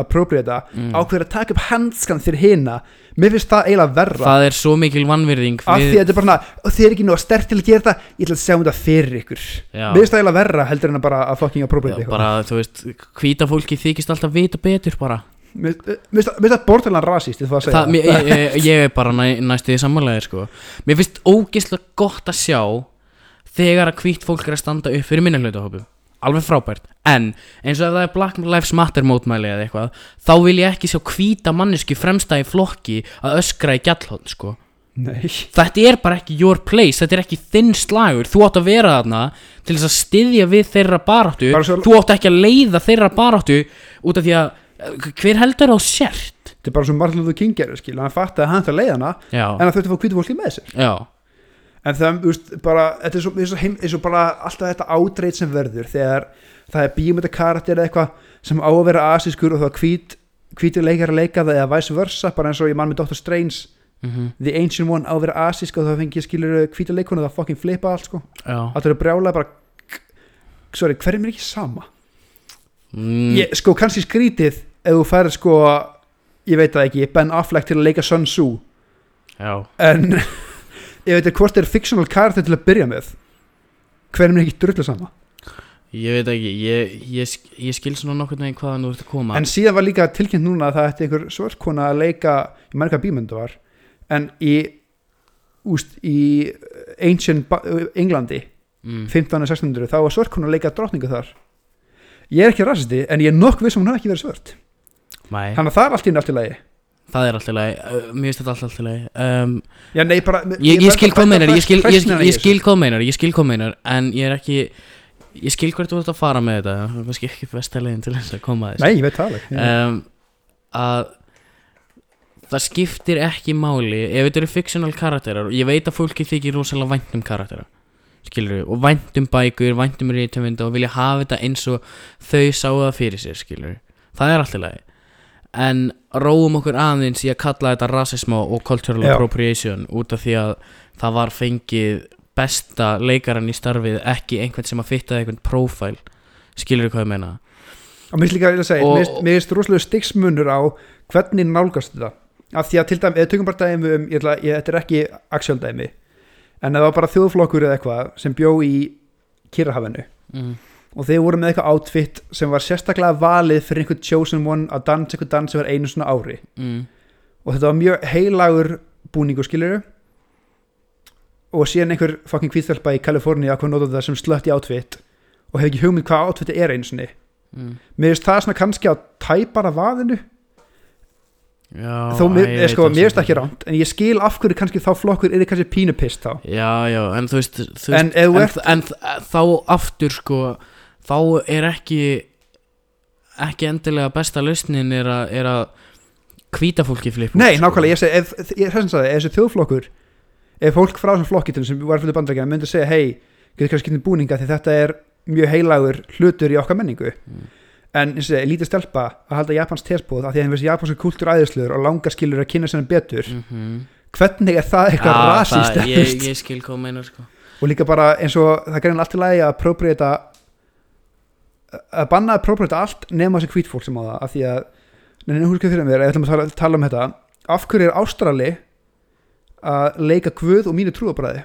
Speaker 2: appropriata
Speaker 1: Mm.
Speaker 2: ákveður að taka upp henskan fyrir hina mér finnst það eiginlega verra
Speaker 1: það er svo mikil vannvirðing
Speaker 2: af því að þetta er bara svona, og þið er ekki nú að sterk til að gera þetta ég ætla að segja um þetta fyrir ykkur
Speaker 1: Já.
Speaker 2: mér finnst það eiginlega verra heldur en að bara að fucking appropriata
Speaker 1: Já,
Speaker 2: eitthvað
Speaker 1: bara, þú veist, hvíta fólki þykist alltaf vita betur bara
Speaker 2: mér mér finnst það- mér finnst það bortalega rasist ég það að segja
Speaker 1: það, mér, ég, ég, ég er bara næ, næstu því samanlega sko. mér finnst ógeðslega gott að sjá þegar að hvít fólk er að standa upp fyrir minna hlutahópum alveg frábært, en eins og ef það er Black Lives Matter mótmæli eða eitthvað þá vil ég ekki sjá hvíta mannesku fremsta í flokki að öskra í gjallhótt sko.
Speaker 2: nei,
Speaker 1: þetta er bara ekki your place, þetta er ekki þinn slagur þú átt að vera þarna til þess að styðja við þeirra baráttu
Speaker 2: Bara svo-
Speaker 1: þú átt ekki að leiða þeirra baráttu út af því að eh, hver heldur á sért
Speaker 2: þetta er bara svo Martin Luther King gerur skil hann fatt að hann ætti að leiða hana
Speaker 1: já,
Speaker 2: en hann þurfti að fá hvítu fólki með sér
Speaker 1: já,
Speaker 2: en það, þú veist, bara þetta er svo, eins, og heim, eins og bara alltaf þetta átreit sem verður þegar það er bíumönda karakter eða eitthvað sem á að vera asískur og það er hvít, hvítur leikar að leika það eða vice versa, bara eins og ég mann með Dr. Strange
Speaker 1: mm
Speaker 2: The Ancient One á að vera asísk og það fengið skilur hvítur leikonu það fucking flipa allt sko
Speaker 1: já.
Speaker 2: allt eru brjála bara sorry, hverjum er ekki sama
Speaker 1: Mm,
Speaker 2: ég, sko kannski skrítið ef þú færir sko ég veit það ekki, Ben Affleck til að leika Sun Tzu
Speaker 1: já,
Speaker 2: en ég veit ekki hvort er fictional karakter til að byrja með hverjum er ekki drullu sama
Speaker 1: ég veit ekki ég, ég, sk- ég skil svona nokkurn veginn hvaðan þú ert að koma
Speaker 2: en síðan var líka tilkynnt núna að það ætti einhver svartkona að leika ég maður hvað bímöndu var en í úst, í eh, ancient Ba- Englandi
Speaker 1: mm,
Speaker 2: 15. og 1600 þá var svartkona að leika drottningu þar ég er ekki rasisti en ég er nokk við sem hún hafi ekki verið svört
Speaker 1: nei,
Speaker 2: þannig að það er allt í nátt í lagi
Speaker 1: það er alltaf leið eh, mér finnst þetta alltaf leið um,
Speaker 2: já, nei, bara,
Speaker 1: ég, ég skil hvað meinar ég skil, ég,
Speaker 2: hræsnina
Speaker 1: skil-
Speaker 2: í
Speaker 1: ég
Speaker 2: þessu.
Speaker 1: skil hvað meinar ég skil hvað meinar en ég er ekki ég skil hvert þú ert að fara með þetta það er kannski ekki besta leiðin til þess að koma að
Speaker 2: nei, ég veit það alveg já.
Speaker 1: um, að það skiptir ekki máli ef þetta eru fictional karakterar og ég veit að fólki þykir rosalega vænt um karakterar skilur og vænt um bækur vænt um rítumvinda og vilja hafa þetta eins og þau sáu það fyrir sér skilur það er alltaf lagi en róum okkur aðeins í að kalla þetta rasisma og cultural
Speaker 2: Já.
Speaker 1: appropriation út af því að það var fengið besta leikaran í starfið ekki einhvern sem að fitta einhvern profil skilur hvað ég meina
Speaker 2: og mér finnst líka að segja,
Speaker 1: Og-
Speaker 2: mér finnst- mér finnst rosalega stigsmunur á hvernig nálgast þetta af því að til dæmi, eða tökum bara dæmi um ég ætla, ég, þetta er ekki actual dæmi en það var bara þjóðflokkur eða eitthvað sem bjó í Kirrahafinu
Speaker 1: mm.
Speaker 2: og þeir voru með eitthvað outfit sem var sérstaklega valið fyrir einhvern chosen one að dansa einhvern dans sem var einu svona ári
Speaker 1: Mm.
Speaker 2: og þetta var mjög heilagur búningu skilur og síðan einhver fucking kvíðstelpa í Kaliforníu að hvað nota það sem slött í outfit og hefði ekki hugmynd hvað outfit er einu sinni
Speaker 1: Mm.
Speaker 2: mér finnst það svona kannski á tæpara vaðinu
Speaker 1: Já,
Speaker 2: þó mér,
Speaker 1: æ,
Speaker 2: ég,
Speaker 1: ég
Speaker 2: sko,
Speaker 1: veit
Speaker 2: mér
Speaker 1: það
Speaker 2: finnst það ekki rámt en ég skil af hverju kannski þá flokkur er kannski pínupist þá
Speaker 1: Já, já, en þú veist, þú veist
Speaker 2: en ef þú
Speaker 1: en,
Speaker 2: ert
Speaker 1: en þ- eh, þá aftur sko þá er ekki ekki endilega besta lausnin er, a, er að hvíta fólki flippa út,
Speaker 2: Nei,
Speaker 1: sko.
Speaker 2: nákvæmlega, ég segi, ef, ég þessum sagði, ef þessi þjóðflokkur ef fólk frá þessum flokki til þess sem var fyrir bandrækina myndi segja, hei, getur kannski skipt um búninga því þetta er mjög heilagur hlutur í okkar menningu
Speaker 1: Mm.
Speaker 2: en eins og segi, lítið stelpa að halda Japans tesbúð af því að hann veist japanska kultúr æðisluður og langar skilur að kynna sérna betur
Speaker 1: Mhm.
Speaker 2: hvernig er það
Speaker 1: Já,
Speaker 2: eitthvað rasist
Speaker 1: Ah, það- ég, ég skil hvað þú meinar sko
Speaker 2: og líka bara eins og það gerðin allt í lagi að appropriata að banna að appropriata allt nema þessi hvít fólk sem á það af því að, neina húskið fyrir mér ef við ætlum að tala, tala um þetta, af hverju er Ástrali að leika guð og mínu trúabræði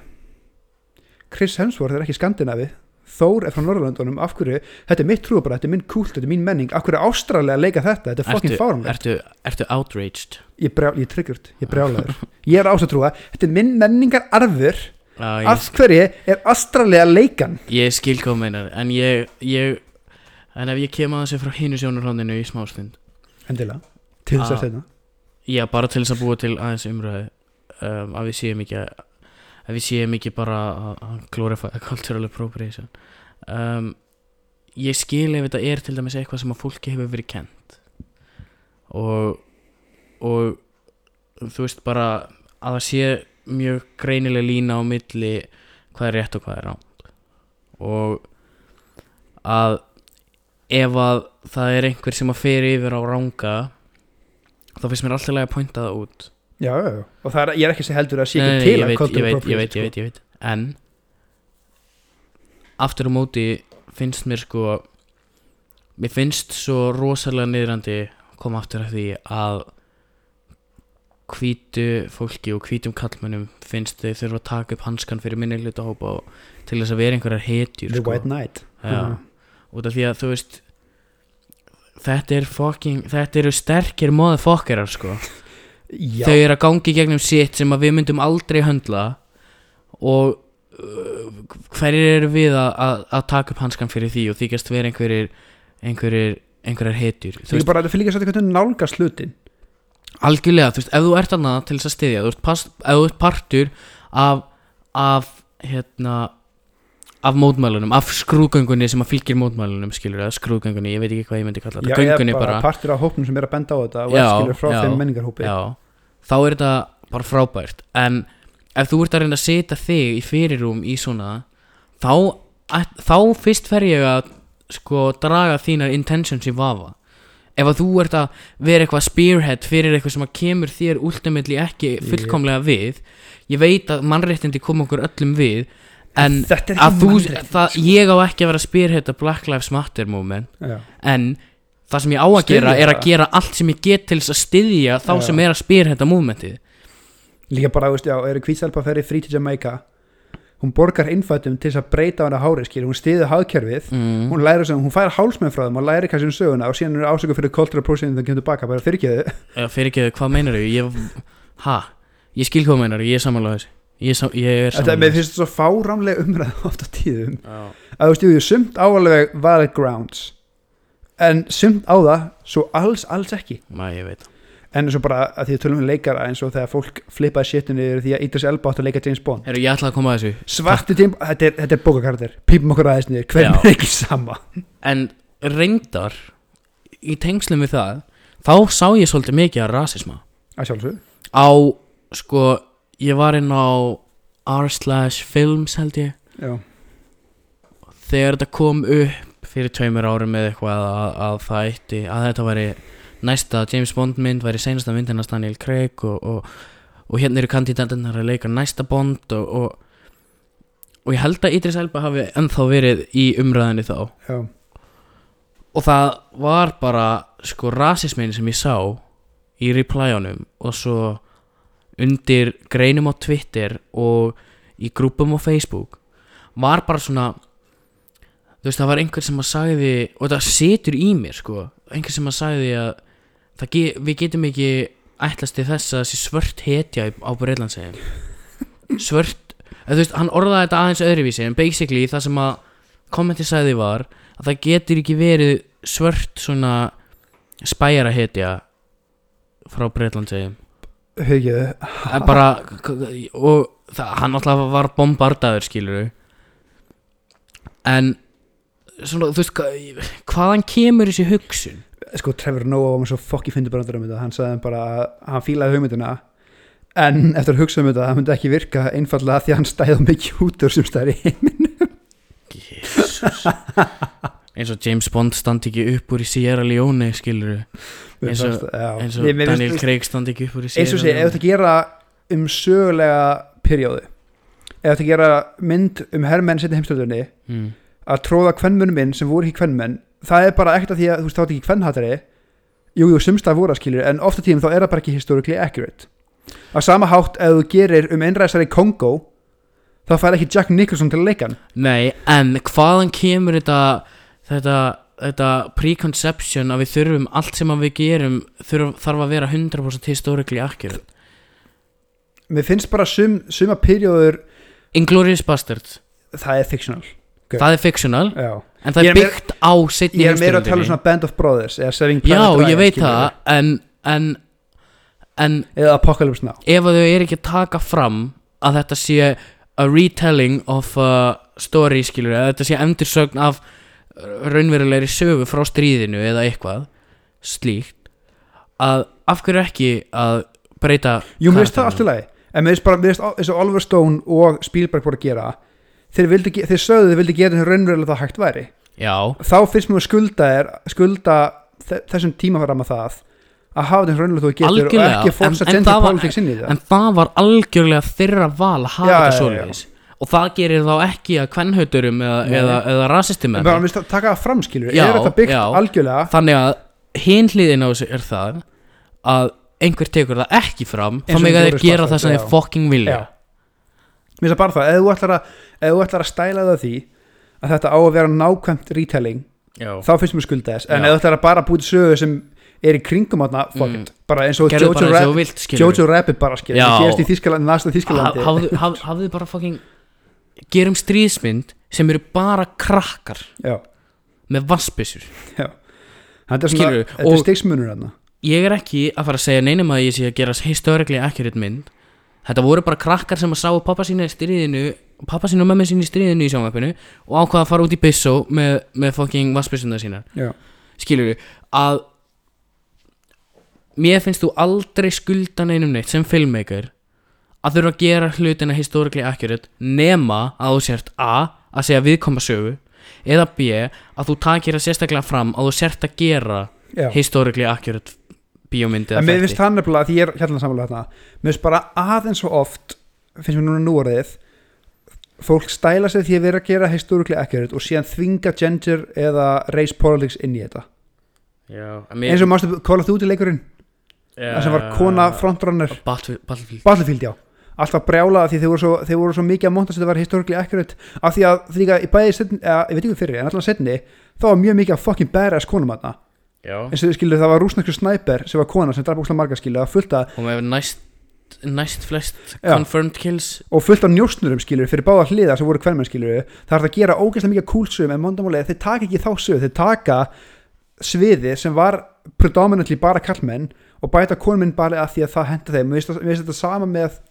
Speaker 2: Chris Hemsworth er ekki skandinavi Þór er frá Norrlandunum, af hverju þetta er mitt trúabræði, þetta er minn kult, þetta er mín menning af hverju er Ástrali að leika þetta, þetta er fucking fárum
Speaker 1: ertu, ertu outraged
Speaker 2: ég, brjál, ég er tryggjurt, ég er brjálaður ég er ásatrúa, þetta er minn menningar arfur,
Speaker 1: Já, ég,
Speaker 2: af hverju er Ástrali að leikan
Speaker 1: ég skil hvað þú meinar en ég, ég en ef ég kem að þessu frá hinu sjónurhóndinu í smástund
Speaker 2: Endilega Til þess að
Speaker 1: Ah.
Speaker 2: setna
Speaker 1: já, bara til þess að búa til aðeins umræði um, að við séum ekki að að við séum ekki bara að- að glorify a cultural appropriation um, ég skil ef þetta er til dæmis eitthvað sem að fólki hefur verið kent og og þú veist bara að það sé mjög greinileg lína á milli hvað er rétt og hvað er rámt og að ef að það er einhver sem að fer yfir á ranga þá finnst mér alltaf lega að pointa það út
Speaker 2: Já, já, já Og það er, ég er ekki að segja heldur að sé
Speaker 1: Nei,
Speaker 2: ekki
Speaker 1: nei,
Speaker 2: til
Speaker 1: ég
Speaker 2: að
Speaker 1: veit,
Speaker 2: cultural
Speaker 1: ég veit, ég
Speaker 2: appropriation,
Speaker 1: veit, ég veit, ég veit en aftur á móti finnst mér sko mér finnst svo rosalega niðrandi koma aftur að því að hvítu fólki og hvítum kallmönnum finnst þau þurfa að taka upp hanskan fyrir minni hlutahópa og til þess að vera einhverjar
Speaker 2: sko.
Speaker 1: hetjur
Speaker 2: The
Speaker 1: sko.
Speaker 2: White Knight
Speaker 1: Já,
Speaker 2: Mhm.
Speaker 1: út af því að þú veist þetta er fucking þetta eru sterkir motherfuckerar sko
Speaker 2: Já,
Speaker 1: þau eru að gangi gegnum sitt sem að við myndum aldrei höndla og uh, hverjir eru við að, að, að taka upp hanskan fyrir því og þykjast vera einhverjir einhverjir, einhverjar hetjur þú
Speaker 2: það er
Speaker 1: veist,
Speaker 2: bara að það fylgja svolítið hvernig nálgast hlutin
Speaker 1: algjörlega, þú veist, ef þú ert annað til þess að styðja, þú ert, past, ef þú ert partur af, af hérna af mótmælunum, af skrúgöngunni sem að fylgir mótmælunum, skilur það, skrúgöngunni ég veit ekki hvað ég myndi kalla
Speaker 2: Já,
Speaker 1: þetta,
Speaker 2: ég er
Speaker 1: göngunni bara,
Speaker 2: partur af hópnum sem er að benda á þetta og
Speaker 1: Já,
Speaker 2: efskilur frá
Speaker 1: já,
Speaker 2: þeim menningarhópi
Speaker 1: Já, þá er þetta bara frábært En ef þú ert að reyna að setja þig í fyrirrúm í svona Þá, ætt- þá fyrst fer ég að sko draga þínar intentions í vafa Ef að þú ert að vera eitthvað spearhead fyrir eitthvað sem að kemur þér ultimately ekki fullkomlega við Ég veit að mannréttindi kom okkur öllum við En
Speaker 2: Þetta er
Speaker 1: að
Speaker 2: ekki
Speaker 1: þú,
Speaker 2: mannréttindi,
Speaker 1: það,
Speaker 2: sko.
Speaker 1: ég á ekki að vera spearhead að Black Lives Matter moment
Speaker 2: Já,
Speaker 1: en það sem ég á að
Speaker 2: Styðja
Speaker 1: gera er að
Speaker 2: það.
Speaker 1: gera allt sem ég get til þess að styðja þá
Speaker 2: Já.
Speaker 1: sem er að spyr þetta movementið
Speaker 2: líka bara, veist, já, eru kvítselpa að ferja frí til Jamaica hún borgar innfættum til þess að breyta hana hári skil, hún stiði hagkerfið
Speaker 1: mm.
Speaker 2: hún læri sem, hún fær hálsmenn frá þeim og læri kannski um söguna og síðan er ásöku fyrir cultural appropriation þegar kemur tilbaka, bara fyrirgeðu
Speaker 1: fyrir ekki, hvað meinar ég? ég ha, ég skil hvað meinar ég er samanlega þessu ég, sam, ég er
Speaker 2: Þetta er, mér
Speaker 1: samanlega
Speaker 2: finnst þetta svo fáramlega umræða oft á tíðum
Speaker 1: þessu
Speaker 2: að þú veist, jú, jú, sumt áalega valid grounds en sumt á það svo alls, alls ekki
Speaker 1: Mæ, ég veit það.
Speaker 2: en eins og bara að því að tölum við leikara eins og þegar fólk flippaði shitinu yfir því að Idris Elba átt að leika James Bond
Speaker 1: Heru, ég ætla að koma að þessu
Speaker 2: svarti James, þetta er, þetta er bókakarðir pípum okkur aðeins niður,
Speaker 1: Já.
Speaker 2: hvernig er ekki sama
Speaker 1: en reyndar í tengslum við það þá sá ég svolítið mikið að rasisma
Speaker 2: að sjálfsög,
Speaker 1: á, sko, ég var inn á r slash films held ég
Speaker 2: já,
Speaker 1: þegar þetta kom upp fyrir tveimur árum eða eitthvað að, að það eitti að þetta væri næsta James Bond mynd væri seinasta myndin hans Daniel Craig og, og, og hérna eru kandidatinnar að leika næsta Bond og, og, og ég held að Idris Elba hafi ennþá verið í umræðinni þá
Speaker 2: já,
Speaker 1: og það var bara sko rasismin sem ég sá í replyunum og svo undir greinum á Twitter og í grúpum á Facebook var bara svona þú veist það var einhver sem að sagði og það situr í mér sko einhver sem að sagði að það ge, við getum ekki ætlast til þess að þessi svört hetja í- á Breitlandsegin svört eða þú veist hann orðaði þetta aðeins öðruvísi en basically það sem að kommenti sagði var að það getur ekki verið svört svona spæjara hetja frá Breitlandsegin
Speaker 2: Hugið
Speaker 1: Það er bara og það, hann alltaf var bombardaður skilur en svona, þú veist hva- hvaðan kemur þessi hugsun
Speaker 2: Sko Trevor Noah var mér svo fokki fyndi bara um þetta Hann sagði hann bara að hann fílaði hugmyndina En eftir að hugsa um þetta Það myndi ekki virka einfallega því að hann stæði of mikið út úr sem stæði
Speaker 1: Jesus. eins og James Bond standi ekki upp úr í Sierra Leone skilur Eins og- eins og Daniel Craig standi ekki upp úr í
Speaker 2: eins
Speaker 1: Sierra
Speaker 2: og sé, ef þetta gera um sögulega perjóðu ef þetta gera mynd um herrmenn setja heimstöldunni
Speaker 1: mm.
Speaker 2: að tróða kvennmönnum inn sem voru ekki kvennmenn það er bara ekkert að því að þú veist þá er ekki kvennhatari jú, jú, sumst það voru að skilur en ofta tíðum þá er það bara ekki historically accurate á sama hátt ef þú gerir um einræðsari Kongo þá fær ekki Jack Nicholson til að leika hann
Speaker 1: nei, en hvaðan kemur þetta þetta, þetta preconception að við þurfum allt sem að við gerum þurf, þarf að vera 100% historically accurate
Speaker 2: mér finnst bara sum, suma perjóður
Speaker 1: Inglourious Bastards
Speaker 2: það er fictional Ok.
Speaker 1: Það er fictional,
Speaker 2: já.
Speaker 1: en það
Speaker 2: Ég
Speaker 1: er
Speaker 2: er meira-
Speaker 1: byggt á setni
Speaker 2: ég er meira að tala um svona Band of Brothers eða Saving
Speaker 1: Já,
Speaker 2: Private Ryan
Speaker 1: ég veit
Speaker 2: skilurðu,
Speaker 1: það, en, en En
Speaker 2: eða Apocalypse Now
Speaker 1: ef að þau eru ekki að taka fram Að þetta sé a retelling of a story, skilur Að þetta sé endursögn af raunverulegri sögu frá stríðinu eða eitthvað slíkt að af hverju ekki að breyta
Speaker 2: Jú, mér finnst það allt í
Speaker 1: karakterunum?
Speaker 2: lagi En mér finnst bara, mér finnst á- eins og Oliver Stone og Spielberg voru að gera Þeir, vildu, ge- þeir sögðu þeir vildu gera þeir raunverulega það hægt væri
Speaker 1: Já,
Speaker 2: Þá finnst mér að skulda er skulda þe- þessum tímafæram að það að hafa þeim raunverulega þú getur
Speaker 1: Algjörlega,
Speaker 2: og ekki forsa
Speaker 1: en- en
Speaker 2: gender
Speaker 1: það var-
Speaker 2: politics inn í það
Speaker 1: en það var algjörlega þeirra val að hafa
Speaker 2: Já,
Speaker 1: þetta
Speaker 2: já, já.
Speaker 1: svoleiðis og það gerir þá ekki að kvennhauturum eða,
Speaker 2: Nei.
Speaker 1: eða, eða rasistum
Speaker 2: En bara, mér finnst það taka það fram skilur
Speaker 1: Já,
Speaker 2: Er þetta byggt
Speaker 1: já.
Speaker 2: algjörlega
Speaker 1: þannig að hin hliðin á þessu er það að einhver tekur það ekki fram þá
Speaker 2: Eins og
Speaker 1: mega þeir
Speaker 2: Inglourious
Speaker 1: gera það
Speaker 2: Basterds,
Speaker 1: sem
Speaker 2: já.
Speaker 1: þeir fucking vilja
Speaker 2: Já. Mér finnst það bara það, ef þú ætlar að, ef þú ætlar að stæla það því að þetta á að vera nákvæmt retelling
Speaker 1: Já.
Speaker 2: þá finnst mér skulda þess en
Speaker 1: Já.
Speaker 2: ef þú ætlar að bara búið sögu sem er í kringum þarna, fuck
Speaker 1: Mm.
Speaker 2: it, bara eins og
Speaker 1: gerðu
Speaker 2: Jojo
Speaker 1: bara
Speaker 2: Rabbit-
Speaker 1: eins og þú vilt skilur
Speaker 2: Jojo Rabbit bara skilur
Speaker 1: Já.
Speaker 2: það gerist í Þískalandi, næsta Þískalandi
Speaker 1: Ha- hafðu- haf- hafðu bara fucking gerum stríðsmynd sem eru bara krakkar
Speaker 2: já,
Speaker 1: með vassbissur
Speaker 2: þetta er svona
Speaker 1: Skilurðu?
Speaker 2: þetta er
Speaker 1: Og-
Speaker 2: stigsmunur hann
Speaker 1: ég er ekki að fara að segja neinum að ég sé að gera historically accurate mynd þetta voru bara krakkar sem að sáu pappa sína í stríðinu pappa sína og mömmu sína í stríðinu í sjónvæpinu og ákvaða að fara út í byssó með, með fucking vassbyssuna sína
Speaker 2: já,
Speaker 1: skilur við að mér finnst þú aldrei skulda neinum neitt sem filmmaker að þurfa að gera hlutina historically accurate nema að þú sért a að segja viðkoma sögu eða b að þú takir það sérstaklega fram að þú sért að gera
Speaker 2: já.
Speaker 1: historically accurate bíómyndi eða
Speaker 2: en mér
Speaker 1: þætti.
Speaker 2: finnst hann nefnilega því ég er hérna samlega þarna mér finnst bara aðeins og oft finnst mér núna núorðið fólk stæla sig því að vera að gera historically accurate og síðan þvinga gender eða race politics inn í þetta
Speaker 1: Já, en mér-
Speaker 2: eins og mástu Call of Duty leikurinn það sem var kona frontrunner
Speaker 1: Battle- Battlefield
Speaker 2: Battlefield já alltaf brjála því þeir voru svo, þeir voru svo mikið að monta sem þetta var historically accurate af því að því að í bæði setni, eða, ég veit ekki fyrri en allan setni þá var mjög mikið að fucking badass konum aðna
Speaker 1: Já.
Speaker 2: eins og þau skilur það var rúsnarskur snæper sem var kona sem draf búkslega marga skilur það var fullt að
Speaker 1: og með næst næst flest
Speaker 2: Já.
Speaker 1: confirmed kills
Speaker 2: og fullt af njósnurum skilur fyrir báða hliða sem voru hvermenn skilur það er hægt að gera ógeðslega mikið kúlsum en mondamálega þeir taka ekki þá sög þeir taka sviði sem var predominantly bara kallmenn og bæta konuminn bara að því að það henda þeim Mér finnst það- mér finnst þetta sama með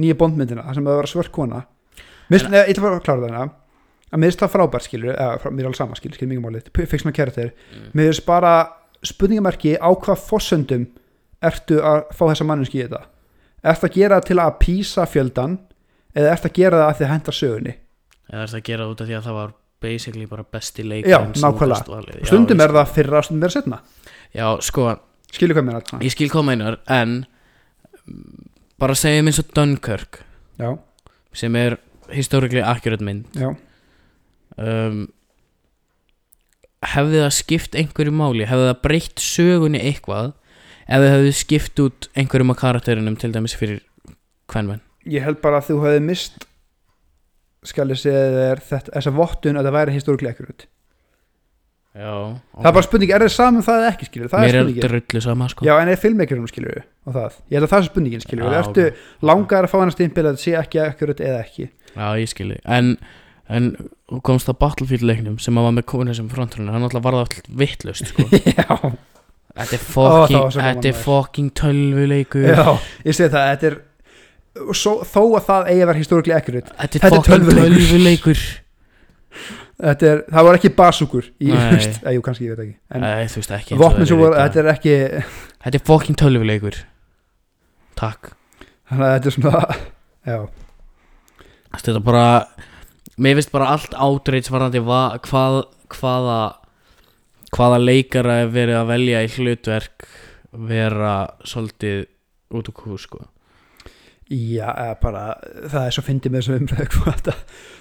Speaker 2: nýja bondmyndina þar sem það var svört kona Mér finnst- Nei, ég ætla bara að klára það hérna að mér finnst það frábært skilur eða, frá- mér er alveg sama skilur, skilur mjög um málið fyrst maður kæra þér mér finnst bara spurningamerki á hvað fossöndum ertu að fá þessa manninski í þetta ertu að gera það til að písa fjöldan eða ertu að gera það að þið henda sögunni
Speaker 1: eða er það að gera út af því að það var basically bara besti leikur
Speaker 2: Já, nákvæmlega. stundum er það fyrra stundum er það setna
Speaker 1: já, sko,
Speaker 2: skilur hvað mér að
Speaker 1: ég skil koma einar en mm, bara segjum eins og Dunkirk
Speaker 2: já,
Speaker 1: sem er historically accurate mynd
Speaker 2: já,
Speaker 1: um, hefði það skipt einhverju máli hefði það breytt sögunni eitthvað ef þið hefði skipt út einhverjum af karakterinum til dæmis fyrir hvernvenn
Speaker 2: ég held bara að þú hefði mist skal ég segja þér þetta, þessa vottun að það væri historikli accurate
Speaker 1: Já
Speaker 2: það er bara spurning, er það saman það eða ekki skilur það
Speaker 1: Mér
Speaker 2: er
Speaker 1: er
Speaker 2: spurningin,
Speaker 1: drullu sama sko
Speaker 2: já en er filmmeikurinn skilur og það, ég held að það er spurningin skilur
Speaker 1: Já,
Speaker 2: ja, ertu
Speaker 1: ok.
Speaker 2: langar að fá hann að stimpil að þetta sé ekki accurate eða ekki
Speaker 1: Já, ég skilji En, en þú komst að Battlefield leiknum sem að var með kona sem frontrunner hann alltaf varð allt vittlust sko.
Speaker 2: já,
Speaker 1: Þetta er
Speaker 2: Ó, það
Speaker 1: fucking,
Speaker 2: var svo gaman,
Speaker 1: þetta er
Speaker 2: maður.
Speaker 1: fucking tölvuleikur
Speaker 2: já, ég segi það þetta er, og svo, þó að það eigi að vera historikli accurate
Speaker 1: Þetta er
Speaker 2: Þetta er
Speaker 1: fucking
Speaker 2: tölvuleikur.
Speaker 1: tölvuleikur
Speaker 2: þetta er, það voru ekki basúkur í,
Speaker 1: Nei.
Speaker 2: veist, eh, jú, kannski, ég veit ekki en
Speaker 1: Æ, Þú veist ekki eins og
Speaker 2: vopnin
Speaker 1: þeir
Speaker 2: sem
Speaker 1: eru
Speaker 2: voru,
Speaker 1: í dag.
Speaker 2: þetta er ekki
Speaker 1: Þetta er fucking tölvuleikur Takk
Speaker 2: þannig að þetta er svona já,
Speaker 1: Þetta er bara Mér finnst bara allt átreits varðandi va, hvað, hvaða hvaða leikara er verið að velja í hlutverk vera svolítið út úr kú sko
Speaker 2: já, eða bara það er svo fyndið með þessum umræðu sko, hvað þetta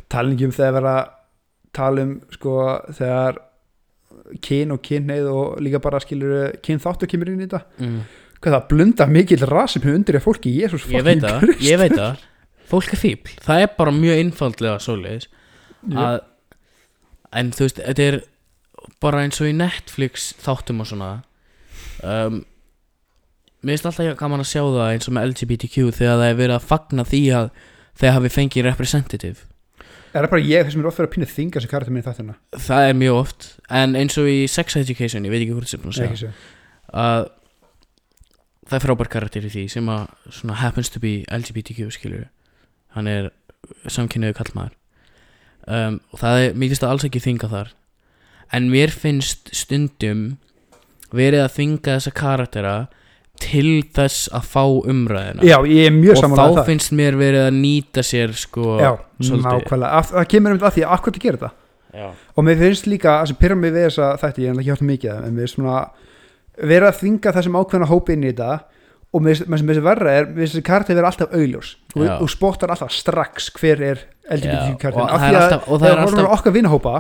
Speaker 2: talningum um þegar vera talum sko þegar kyn og kynneið og líka bara skilur kyn þáttu kemur inn í þetta
Speaker 1: mm.
Speaker 2: hvað það blunda mikill rasum undir ég fólki, jésús
Speaker 1: Ég veit það, ég veit það Fólk er fíbl, það er bara mjög einfaldlega svoleiðis að, En þú veist, þetta er bara eins og í Netflix þáttum og svona um, Mér finnst alltaf gaman að sjá það eins og með LGBTQ þegar það er verið að fagna því að þeir hafi fengið representative
Speaker 2: er það bara ég þessum er oft verið að pínu þinga sem karakter minn í þáttina
Speaker 1: Það er mjög oft, en eins og í sex education, ég veit ekki hvort sem búin að
Speaker 2: Nei,
Speaker 1: segja
Speaker 2: ekki svo.
Speaker 1: að það er frábær karakter í því sem að svona happens to be LGBTQ skilur hann er samkynniðu kallmaður um, og það er, mér finnst það alls ekki þinga þar en mér finnst stundum verið að þinga þessa karaktera til þess að fá umræðina
Speaker 2: já, ég er mjög
Speaker 1: og þá
Speaker 2: samanlega það
Speaker 1: finnst mér verið að nýta sér sko
Speaker 2: já,
Speaker 1: svolítið.
Speaker 2: nákvæmlega, Af- það kemur um að því akkur að gera þetta
Speaker 1: Já.
Speaker 2: og mér finnst líka, það sem pyrra mig við þessa þætti, ég er náttúrulega ekki hjátt mikið af þeim, en mér finnst svona vera að þvinga þessum ákveðna hópi inn í þetta og mér finnst- mér finnst þessi verra er, mér finnst þessi karakter vera alltaf augljós og,
Speaker 1: Já.
Speaker 2: og spottar alltaf strax hver er
Speaker 1: Já, og
Speaker 2: LGBTQ karakter af
Speaker 1: það er
Speaker 2: því að
Speaker 1: alltaf- og það er
Speaker 2: þegar horfum við á okkar vinahópa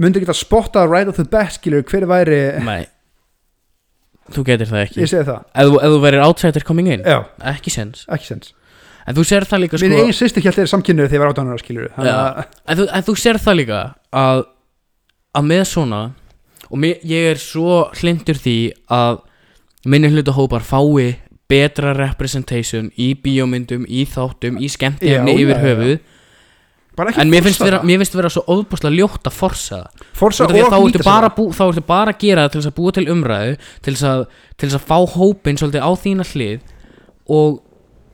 Speaker 2: myndi geta spottað right off the bat skilur hver væri,
Speaker 1: Nei, þú getur það ekki
Speaker 2: ég segi það
Speaker 1: ef, þú- ef þú verir outsider coming in
Speaker 2: já,
Speaker 1: ekki sens
Speaker 2: ekki sens
Speaker 1: En þú sér það líka
Speaker 2: minn
Speaker 1: sko
Speaker 2: eigin sýstir hjálp er samkynnuð þegar ég var 18 ára skilur þannig að,
Speaker 1: en þú, en þú sér það líka að að með svona og mér, ég er svo hlindur því að minni hluta hópar fái betra representation í bíómyndum, í þáttum, í skemmtifni
Speaker 2: Já, já,
Speaker 1: yfir
Speaker 2: já.
Speaker 1: höfuð
Speaker 2: bara ekki
Speaker 1: en mér finnst,
Speaker 2: forsa
Speaker 1: vera,
Speaker 2: það.
Speaker 1: mér finnst vera svo óðbúrslega ljótt að forsa það Út
Speaker 2: forsa
Speaker 1: af því að
Speaker 2: og
Speaker 1: þá ertu
Speaker 2: nýta sér
Speaker 1: bara,
Speaker 2: það.
Speaker 1: bú, þá ertu bara að gera það til þess að búa til umræðu til þess að, til þess að fá hópin svolítið á þína hlið og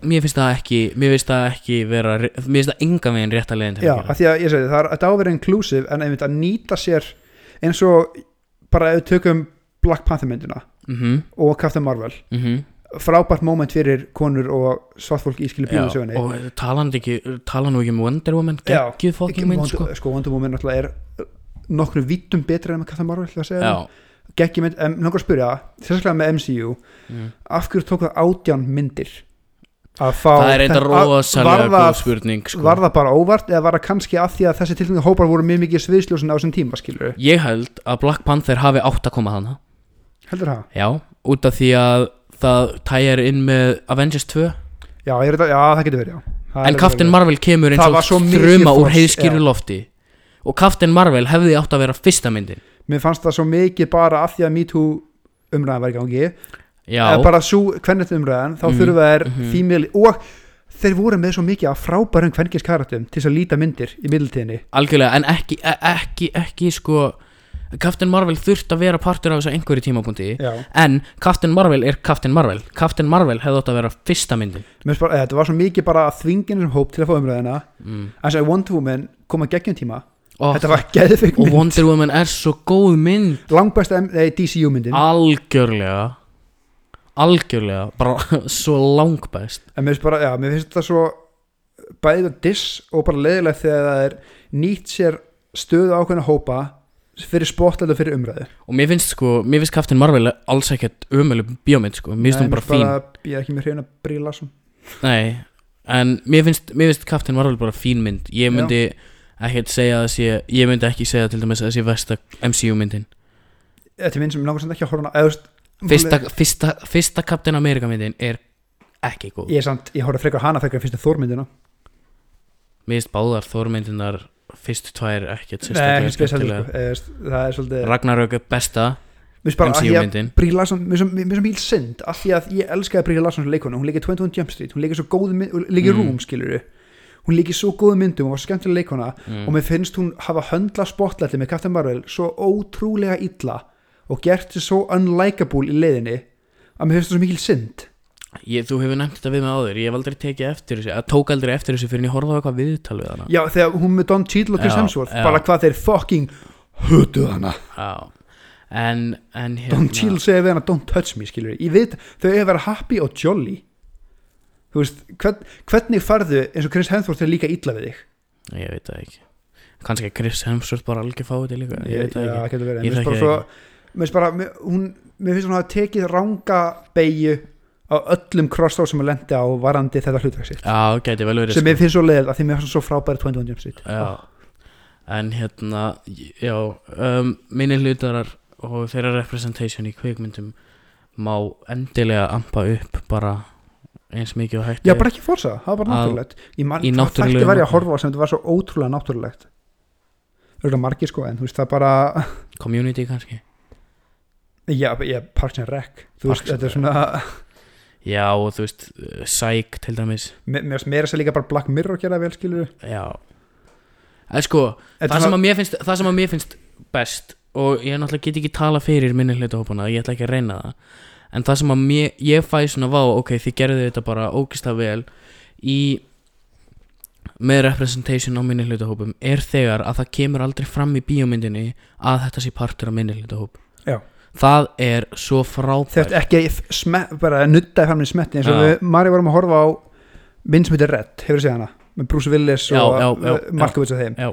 Speaker 1: mér finnst það ekki mér finnst það ekki vera mér finnst það engan veginn rétt að leiðin til
Speaker 2: Já,
Speaker 1: að gera
Speaker 2: af því að ég segi það, það er þetta á að vera inclusive en einmitt að nýta sér eins og bara ef við tökum Black Panther myndina
Speaker 1: mm -hmm.
Speaker 2: og Captain Marvel
Speaker 1: mhm.
Speaker 2: frábært moment fyrir konur og svartfólk í skilu bílum sögunni
Speaker 1: og talan ekki tala nú ekki um Wonder Woman
Speaker 2: Já,
Speaker 1: geggjuð fokkin mynd sko
Speaker 2: Wonder- sko Wonder Woman náttúrulega er uh, nokkru vittum betra enn Captain Marvel ætla að segja
Speaker 1: já,
Speaker 2: það. Geggjuð mynd, en nokkur að spyrja sérstaklega með MCU,
Speaker 1: Mm.
Speaker 2: af hverju tók það átján myndir að fá
Speaker 1: það er eitthvað
Speaker 2: þetta- að-
Speaker 1: rosalega
Speaker 2: var það-
Speaker 1: góð spurning sko.
Speaker 2: Var það bara óvart eða var það kannski af því að þessi tilfengi hópar voru mjög mikið sviðsljósin á þessum tíma skilur
Speaker 1: ég held að Black Panther hafi átt að koma þannig
Speaker 2: heldur það?
Speaker 1: já, út af því að það tæjar inn með Avengers 2
Speaker 2: Já, ég er, þetta- já það getur verið já. Það
Speaker 1: en
Speaker 2: er
Speaker 1: Captain
Speaker 2: alveg-
Speaker 1: Marvel kemur eins
Speaker 2: Það var
Speaker 1: og
Speaker 2: svo mikið
Speaker 1: þruma úr
Speaker 2: frost,
Speaker 1: heiðskýru
Speaker 2: já.
Speaker 1: lofti og Captain Marvel hefði átt að vera fyrsta myndin
Speaker 2: Mér fannst það svo mikið bara af því að MeToo umræðan var í gangi
Speaker 1: já,
Speaker 2: eða bara svo hvernig umræðan þá
Speaker 1: Mhm,
Speaker 2: þurfa þær
Speaker 1: mhm.
Speaker 2: female og þeir voru með svo mikið af frábærum hvernig karakterum til þess að líta myndir í middeltíðinni
Speaker 1: algjörlega en ekki, e- ekki, ekki sko Captain Marvel þurft að vera partur af þessu á einhverju tímapunkti
Speaker 2: Já.
Speaker 1: En Captain Marvel er Captain Marvel Captain Marvel hefði átt að vera fyrsta myndin
Speaker 2: Mér fannst bara, eða, þetta var svo mikið bara að þvingin sem hóp til að fá umræðina
Speaker 1: mm.
Speaker 2: en svo að Wonder Woman kom að geggjum tíma
Speaker 1: og,
Speaker 2: þetta var geðfeng
Speaker 1: og
Speaker 2: mynd
Speaker 1: Wonder Woman er svo góð mynd
Speaker 2: langbæsta M- nei, DCU myndin
Speaker 1: Algjörlega Algjörlega Bara svo langbæst
Speaker 2: en mér finnst bara, já, mér finnst þetta svo bæðið að diss og bara leiðilegt þegar það er nýtt sér stöðu ákveðna hópa fyrir spotlæt og fyrir umræðu
Speaker 1: Og mér finnst sko, mér finnst Captain Marvel alls ekkert umölu bíómynd sko Mér finnst hún
Speaker 2: Nei,
Speaker 1: bara fín
Speaker 2: ég er ekki með hreina bríla sem
Speaker 1: Nei, en mér finnst, mér finnst Captain Marvel bara fín mynd Ég myndi ekkert segja að það sé Ég myndi ekki segja til dæmis að það sé versta MCU myndin
Speaker 2: þetta er minn sem mig langar sem ekki að horfa á hana eða, þú veist,
Speaker 1: Fyrsta, fyrsta, fyrsta Captain America myndin er ekki góð
Speaker 2: ég, er samt, ég horfa frekar á hana frekar en fyrstu þórmyndina
Speaker 1: mist báðar þórmyndunar fyrstu tvær ekkert
Speaker 2: Nei,
Speaker 1: sérstaklega
Speaker 2: ekki spesial
Speaker 1: skemmtilega
Speaker 2: sko. Eh, veist, það er svolítið
Speaker 1: Ragnarök er besta
Speaker 2: Mér finnst bara að ég
Speaker 1: MCU-myndin
Speaker 2: Bríla Larson, mér finnst- mér finnst mjög synd af því að ég elskaði Bríla Larson sem leikonu, hún leikir 21 Jump Street hún leikir svo góð, mynd- hún leikir
Speaker 1: Mm.
Speaker 2: Room skilur hún leikir svo góð myndum, hún var svo skemmtilega leikona
Speaker 1: Mm.
Speaker 2: og mér finnst hún hafa höndla spotlætti með Captain Marvel svo ótrúlega illa og gert þið svo unlikable í leiðinni að mér finnst það svo mikil synd
Speaker 1: ég, Þú hefur nefnt þetta við mig áður Ég hef aldrei tekið eftir þessu að tók aldrei eftir þessu fyrir en ég horfði á eitthvað viðtal við hana
Speaker 2: já, þegar hún með Don Cheadle og Chris
Speaker 1: Já,
Speaker 2: Hemsworth
Speaker 1: já.
Speaker 2: bara hvað þeir fucking hötuð hana
Speaker 1: Já. En, en hérna
Speaker 2: Don Cheadle segir við hana don't touch me skilur ég veit, þau hefur verið happy og jolly þú veist, hvern, hvernig farðu eins og Chris Hemsworth er líka illa við þig
Speaker 1: Ég veit það ekki Kannski að Chris Hemsworth bara algjör fáið til líka Ég veit það
Speaker 2: já,
Speaker 1: ekki
Speaker 2: getur verið,
Speaker 1: Ég
Speaker 2: mér finnst bara
Speaker 1: þekki það
Speaker 2: svo mér finnst bara, mér, hún, mér finnst hún hafa tekið ranga beigju á öllum crossroads sem hún lendi á varandi þetta hlutverk sitt
Speaker 1: Já, gæti vel verið sko.
Speaker 2: sem mér finnst svo leið að því mér finnst hún svo frábæri 21 Jump Street
Speaker 1: Já, en hérna, já, um, minni hlutarar og þeirra representation í kvikmyndum má endilega ampa upp bara eins mikið og hægt
Speaker 2: já,
Speaker 1: er.
Speaker 2: bara ekki fórsa, það var bara
Speaker 1: Að-
Speaker 2: náttúrulegt ég man,
Speaker 1: í
Speaker 2: það
Speaker 1: náttúrulegu
Speaker 2: þætti var ég
Speaker 1: magni.
Speaker 2: að horfa á sem þetta var svo ótrúlega náttúrulegt það eru margir sko en þú veist það bara
Speaker 1: Community kannski.
Speaker 2: já, já, Parks and Rec þú veist,
Speaker 1: Parks and
Speaker 2: þetta er svona
Speaker 1: Já, og þú veist, uh, Psych til dæmis,
Speaker 2: Mér mér finnst meira þess að líka bara Black Mirror gera vel skilur
Speaker 1: já. En sko, það sem, að mér finnst, það sem að mér finnst best og ég náttúrulega get ekki tala fyrir minni hlutahópana, ég ætla ekki að reyna það en það sem að mér, ég fæ svona vá ok, þið gerðu þetta bara ógist að vel í með representation á minni hlutahópum er þegar að það kemur aldrei fram í bíómyndinni að þetta sé partur af minni hlutahóp
Speaker 2: Já.
Speaker 1: það er svo frábært
Speaker 2: Þetta ekki f- sme- bara að nuddaði fram í smetti eins og
Speaker 1: Já.
Speaker 2: við, Mari vorum að horfa á minn sem heitir Red, hefur séð hana með Bruce Willis
Speaker 1: Já,
Speaker 2: og
Speaker 1: já, já,
Speaker 2: Markovits og þeim
Speaker 1: Já.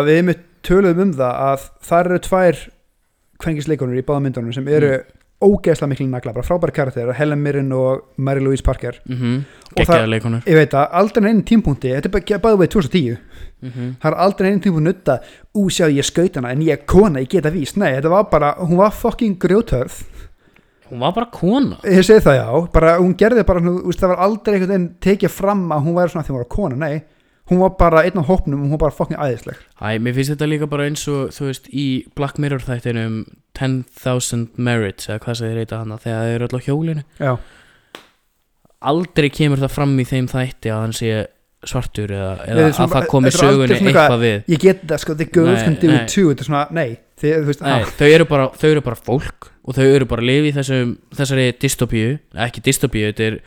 Speaker 2: að við með töluðum um það að þar eru tvær kvengisleikonur í báða myndunum sem eru mm. ógeðslega miklu nagla, bara frábæri karakter Helen Mirren og Mary-Louise Parker
Speaker 1: mm -hmm.
Speaker 2: Og það-
Speaker 1: geggjaða leikunar
Speaker 2: ég veit að aldrei einn tímpunkti, þetta er bara bæðið við 2010
Speaker 1: mm -hmm.
Speaker 2: það er aldrei einn tímpunkti nutta ú sjá ég skaut hana en ég er kona, ég geta víst nei, þetta var bara, hún var fucking grjóthörð
Speaker 1: hún var bara kona
Speaker 2: Ég segi það já, bara hún gerði bara, svona, þú veist, það var aldrei einhvern veginn tekið fram að hún væri svona því hún var kona, nei hún var bara einn á hópnum og hún var bara fokkin æðisleg
Speaker 1: Æ, mér finnst þetta líka bara eins og þú veist í Black Mirror þættinum 10.000 Merits eða hvað sem þið reyta hana þegar þið eru öll á hjólinu
Speaker 2: Já,
Speaker 1: aldrei kemur það fram í þeim þætti að hann sé svartur eða, eða
Speaker 2: Nei, svona-
Speaker 1: að það komi
Speaker 2: þetta er aldrei
Speaker 1: sögunni
Speaker 2: svona
Speaker 1: eitthvað,
Speaker 2: eitthvað-
Speaker 1: við
Speaker 2: ég get það sko, the girls
Speaker 1: Nei,
Speaker 2: can do
Speaker 1: nei.
Speaker 2: it too, þetta er svona, nei þið, þú veist,
Speaker 1: Nei,
Speaker 2: ah,
Speaker 1: þau, eru bara, þau eru bara fólk og þau eru bara að lifa í þessum, þessari dystopíu ekki dystopíu, þetta er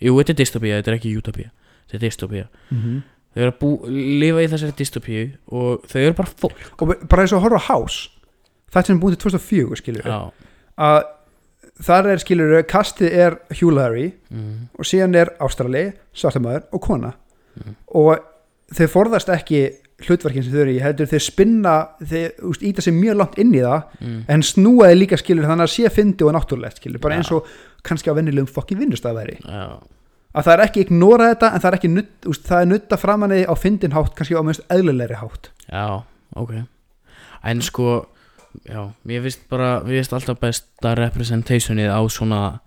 Speaker 1: jú, þetta er dystopíu, þetta er ekki utopíu þetta er dystopíu,
Speaker 2: mm
Speaker 1: þau eru að bú, lifa í þessari dystopíu og þau eru bara fólk
Speaker 2: og bara eins og að horfa á House þetta sem er búin til 2004 skilur
Speaker 1: Já,
Speaker 2: að þar er skilur kastið er Hugh Larry
Speaker 1: mm,
Speaker 2: og síðan er Ástrali, Svartamæður og kona
Speaker 1: Mhm.
Speaker 2: og þau forðast ekki hlutverkin sem þau eru í heldur þau spinna, þau úst, íta sig mjög langt inn í það
Speaker 1: mm.
Speaker 2: en snúaði líka skilur þannig að sé fyndi og náttúrulegt skilur bara
Speaker 1: Já.
Speaker 2: eins og kannski á vennilegum fokkin vinnustæð væri
Speaker 1: Já.
Speaker 2: að það er ekki ignora þetta en það er ekki nutt, úst, það er nutta framanni á fyndin hátt kannski á mjög eðlilegri hátt
Speaker 1: Já, ok En sko, já, mér finnst bara mér finnst alltaf besta representationið á svona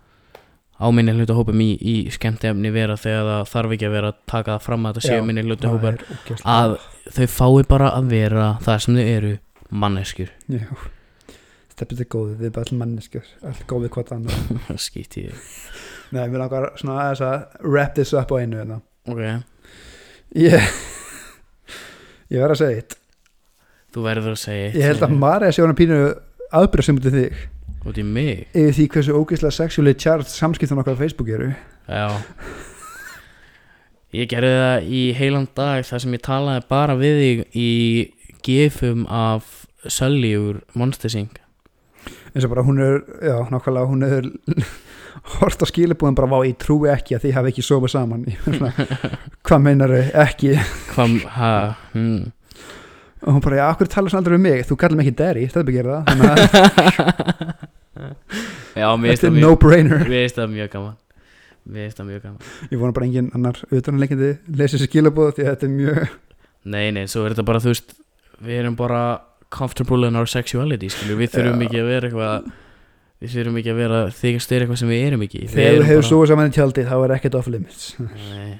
Speaker 1: á minni hlutahópum í, í skemmtefni vera þegar það þarf ekki að vera að taka það fram að þetta séu
Speaker 2: Já,
Speaker 1: minni
Speaker 2: Það
Speaker 1: hlutahópar
Speaker 2: er ógeðslega-
Speaker 1: að þau fái bara að vera það sem þau eru manneskjur
Speaker 2: Já. steppið er góð við erum bara all manneskjur all góð við hvað annað
Speaker 1: skýtt ég
Speaker 2: nei, mér langar svona aðeins að wrap this up á einu hérna.
Speaker 1: ok,
Speaker 2: ég ég verð að segja eitt
Speaker 1: þú verður að segja eitt
Speaker 2: ég held að Marja sé hana pínu aðbyrða sem til þig
Speaker 1: út í mig
Speaker 2: yfir því hversu ógeðslega sexually charged samskiptan okkar á Facebook eru
Speaker 1: já ég gerði það í heilan dag þar sem ég talaði bara við þig í gifum af Sölli úr Monster Sing
Speaker 2: eins og bara hún er, já, nákvæmlega hún er hort á skilabúðum bara vá, ég trúi ekki að þið hafi ekki sofað saman Ég var svona, hvað meinar þau, ekki
Speaker 1: Hvað, hæ, hmm
Speaker 2: og hún bara, já, akkur tala svona aldrei um mig þú kallar mig ekki Derry, þetta byggir það þannig að
Speaker 1: Já, mér finnst
Speaker 2: þetta
Speaker 1: það
Speaker 2: er
Speaker 1: mjög,
Speaker 2: no-brainer
Speaker 1: mér finnst það mjög gaman Mér finnst það mjög gaman
Speaker 2: ég vona bara engin annar utanleikindi lesi þessi skilabúð því að þetta er mjög
Speaker 1: Nei, nei, svo er þetta bara, þú veist Við erum bara comfortable in our sexuality, skilju Við þurfum
Speaker 2: Já.
Speaker 1: ekki að vera eitthvað Við þurfum ekki að vera þykast styrir eitthvað sem við erum ekki Við
Speaker 2: þegar
Speaker 1: erum
Speaker 2: þú hefur
Speaker 1: bara-
Speaker 2: sofað saman í tjaldi þá er ekkert off limits
Speaker 1: Nei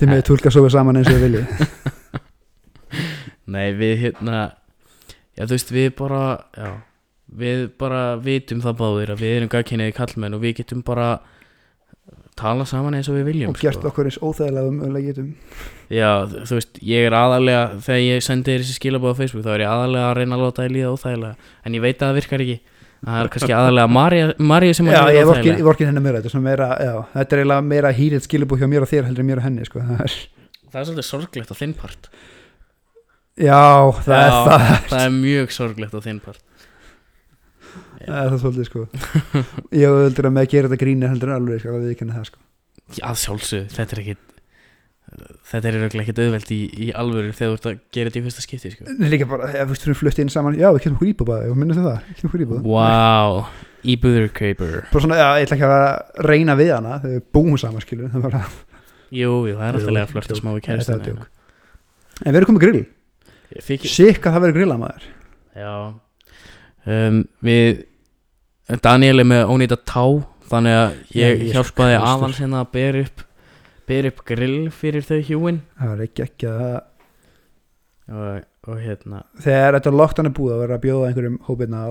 Speaker 2: Þið með tólka svo við saman eins og við viljið
Speaker 1: Nei, við hérna Já, þú veist, við bara já, Við bara vitum það báðir að við erum gagkinnið kallmenn og við getum bara tala saman eins og við viljum sko.
Speaker 2: og gert okkur eins óþægilega um öðlega getum
Speaker 1: Já, þú þú veist, ég er aðalega þegar ég sendi þér þessi skilabóð á Facebook þá er ég aðalega að reyna að láta þér líða óþægilega en ég veit að það virkar ekki það er kannski aðalega Marja, Marja sem er
Speaker 2: Já,
Speaker 1: að
Speaker 2: ég
Speaker 1: líða
Speaker 2: vorkin,
Speaker 1: óþægilega
Speaker 2: ég vorkin henni meira þetta er, svona meira, já, þetta er eiginlega meira hýrið skilubú hjá mér og þér heldur en mér og henni sko. það er,
Speaker 1: Það er svolítið sorglegt á þinn part
Speaker 2: Já, það er
Speaker 1: Já,
Speaker 2: það
Speaker 1: Það er mjög sorglegt á þinn part
Speaker 2: Það er það svolítið sko Ég heldur að með að gera þetta gríni heldur en alveg sko, að við það sko
Speaker 1: Já, að sjálfsög, þetta er ekkit Þetta er röglega ekkit auðvelt í, í alvöru þegar þú ert að gera þetta í fyrsta skipti sko.
Speaker 2: Nei, Líka bara, ef við erum flutt inn saman Já, við kemum hýpa bara, ég minnast það, við kemum hýpa
Speaker 1: Wow, íbúðurkaupur
Speaker 2: Bara svona, já, ég ætla ekki að vera að reyna við hana þegar við búum saman skilur það er bara,
Speaker 1: Jú, jú, það er
Speaker 2: Jú,
Speaker 1: alltaf lega að flörta
Speaker 2: djók.
Speaker 1: smá við
Speaker 2: Nei, þetta var
Speaker 1: kæristinu
Speaker 2: djók. En við erum komið grill,
Speaker 1: Ég þykir-
Speaker 2: sikk að það verið grilla maður
Speaker 1: Já um, Við Daniel er með ónýta tá Þannig að ég
Speaker 2: Jæja,
Speaker 1: hjálpaði
Speaker 2: Kristur.
Speaker 1: aðans hérna að bera upp bera upp grill fyrir þau hjúin
Speaker 2: Það var ekki ekki að
Speaker 1: og, og hérna
Speaker 2: Þegar þetta lockdown er búið að vera að bjóða einhverjum hópinna á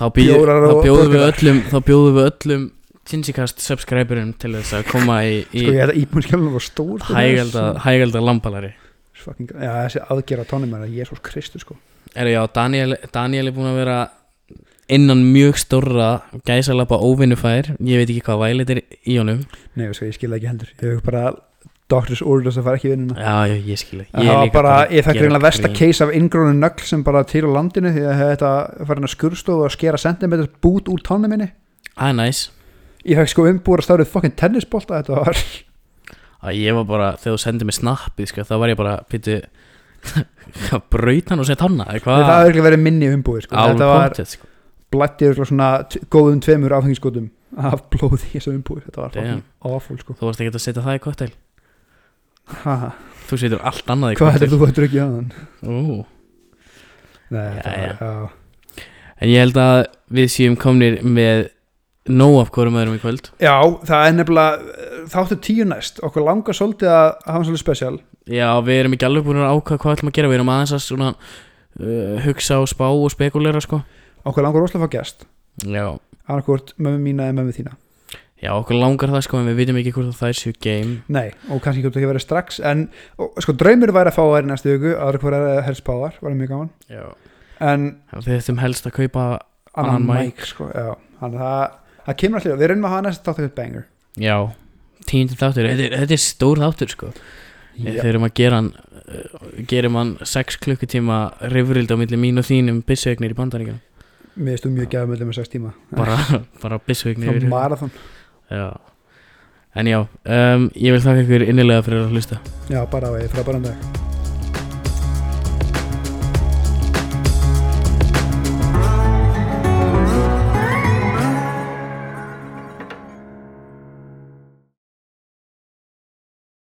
Speaker 1: þá, býð,
Speaker 2: Bjórar
Speaker 1: þá
Speaker 2: og
Speaker 1: bjóðum við
Speaker 2: bökular.
Speaker 1: öllum þá bjóðum við öllum Tinsikast subscriberum til þess að koma í, í
Speaker 2: Sko ég held að íbúinskjálunum var stór sko,
Speaker 1: hægelda, hægelda lambalari
Speaker 2: þessi- fucking- Já, þessi aðgera tónum er að Jésús Kristus sko
Speaker 1: Er já, Daniel, Daniel er búin að vera innan mjög stórra gæsalappa óvinnufær ég veit ekki hvað vælit er í honum
Speaker 2: Nei, sko, ég skil það ekki heldur Ég hef bara doctors orders að fara ekki í vinnuna
Speaker 1: Já, já, ég skil
Speaker 2: Það var bara, ég fekk
Speaker 1: gera
Speaker 2: reynilega versta
Speaker 1: grín.
Speaker 2: case af inngrónu nögl sem bara til á landinu því að þetta var hann að skurstofu að skera sentimeter bút úr tónum minni
Speaker 1: Það er næs
Speaker 2: Ég fekk sko umbúra stærðu fucking tennisbolta þetta var
Speaker 1: að ég var bara, þegar þú sendið mér snappið sko, þá var ég bara, pítu hvað braut hann og sett hanna eða
Speaker 2: Það
Speaker 1: hvað,
Speaker 2: hafði ekki verið minni umbúi sko.
Speaker 1: alveg
Speaker 2: Þetta var
Speaker 1: kontið sko.
Speaker 2: blætti örugglega svona t- góðum tveimur áfengiskotum af blóði í þessu umbúi Þetta var
Speaker 1: Damn.
Speaker 2: fucking awful sko
Speaker 1: þú varst ekki að setja það í koktel
Speaker 2: ha, ha.
Speaker 1: þú setur allt annað í
Speaker 2: Hvað heldur
Speaker 1: koktel
Speaker 2: þú að drukja á hann? Nei, þetta
Speaker 1: Jæja.
Speaker 2: var, já
Speaker 1: en ég held að við séum komnir með nóg af hverjum öðrum í kvöld
Speaker 2: Já, það er nefnilega þáttu tíu næst, okkur langar svolítið að hafa svolítið spesial
Speaker 1: já, við erum ekki alveg búin að ákvað hvað ætlum að gera við erum aðeins að svona uh, hugsa og spá og spekulera sko
Speaker 2: okkur langar rosalega að fá gest
Speaker 1: já,
Speaker 2: annarkvort mömmu mína eða mömmu þína
Speaker 1: já, okkur langar það sko en við vitum ekki hvort að það er séu game
Speaker 2: Nei, og kannski getur ekki verið strax en og, sko draumur væri að fá þær í næstu viku aðra er helst Power, var mjög gaman
Speaker 1: já,
Speaker 2: en
Speaker 1: við þurfum helst að kaupa
Speaker 2: annan
Speaker 1: Annan
Speaker 2: mæk, sko, já þannig að það, það kemur allir, við reynum að hafa næsta þáttu eitthvað banger
Speaker 1: já, tíundin þáttur þetta er, þetta er stór þáttur sko Yep. Þeir eru að gera hann uh, gerum hann 6 klukkutíma rifrild á milli mín og þín um byssuegnir í bandaríkjum
Speaker 2: Mér stum mjög gefið með með 6 tíma
Speaker 1: bara, bara byssuegnir
Speaker 2: Frá
Speaker 1: yfir höfuð.
Speaker 2: marathon,
Speaker 1: Já. En já, um, ég vil þakka ykkur innilega fyrir að hlusta
Speaker 2: já bara að við frábæran dag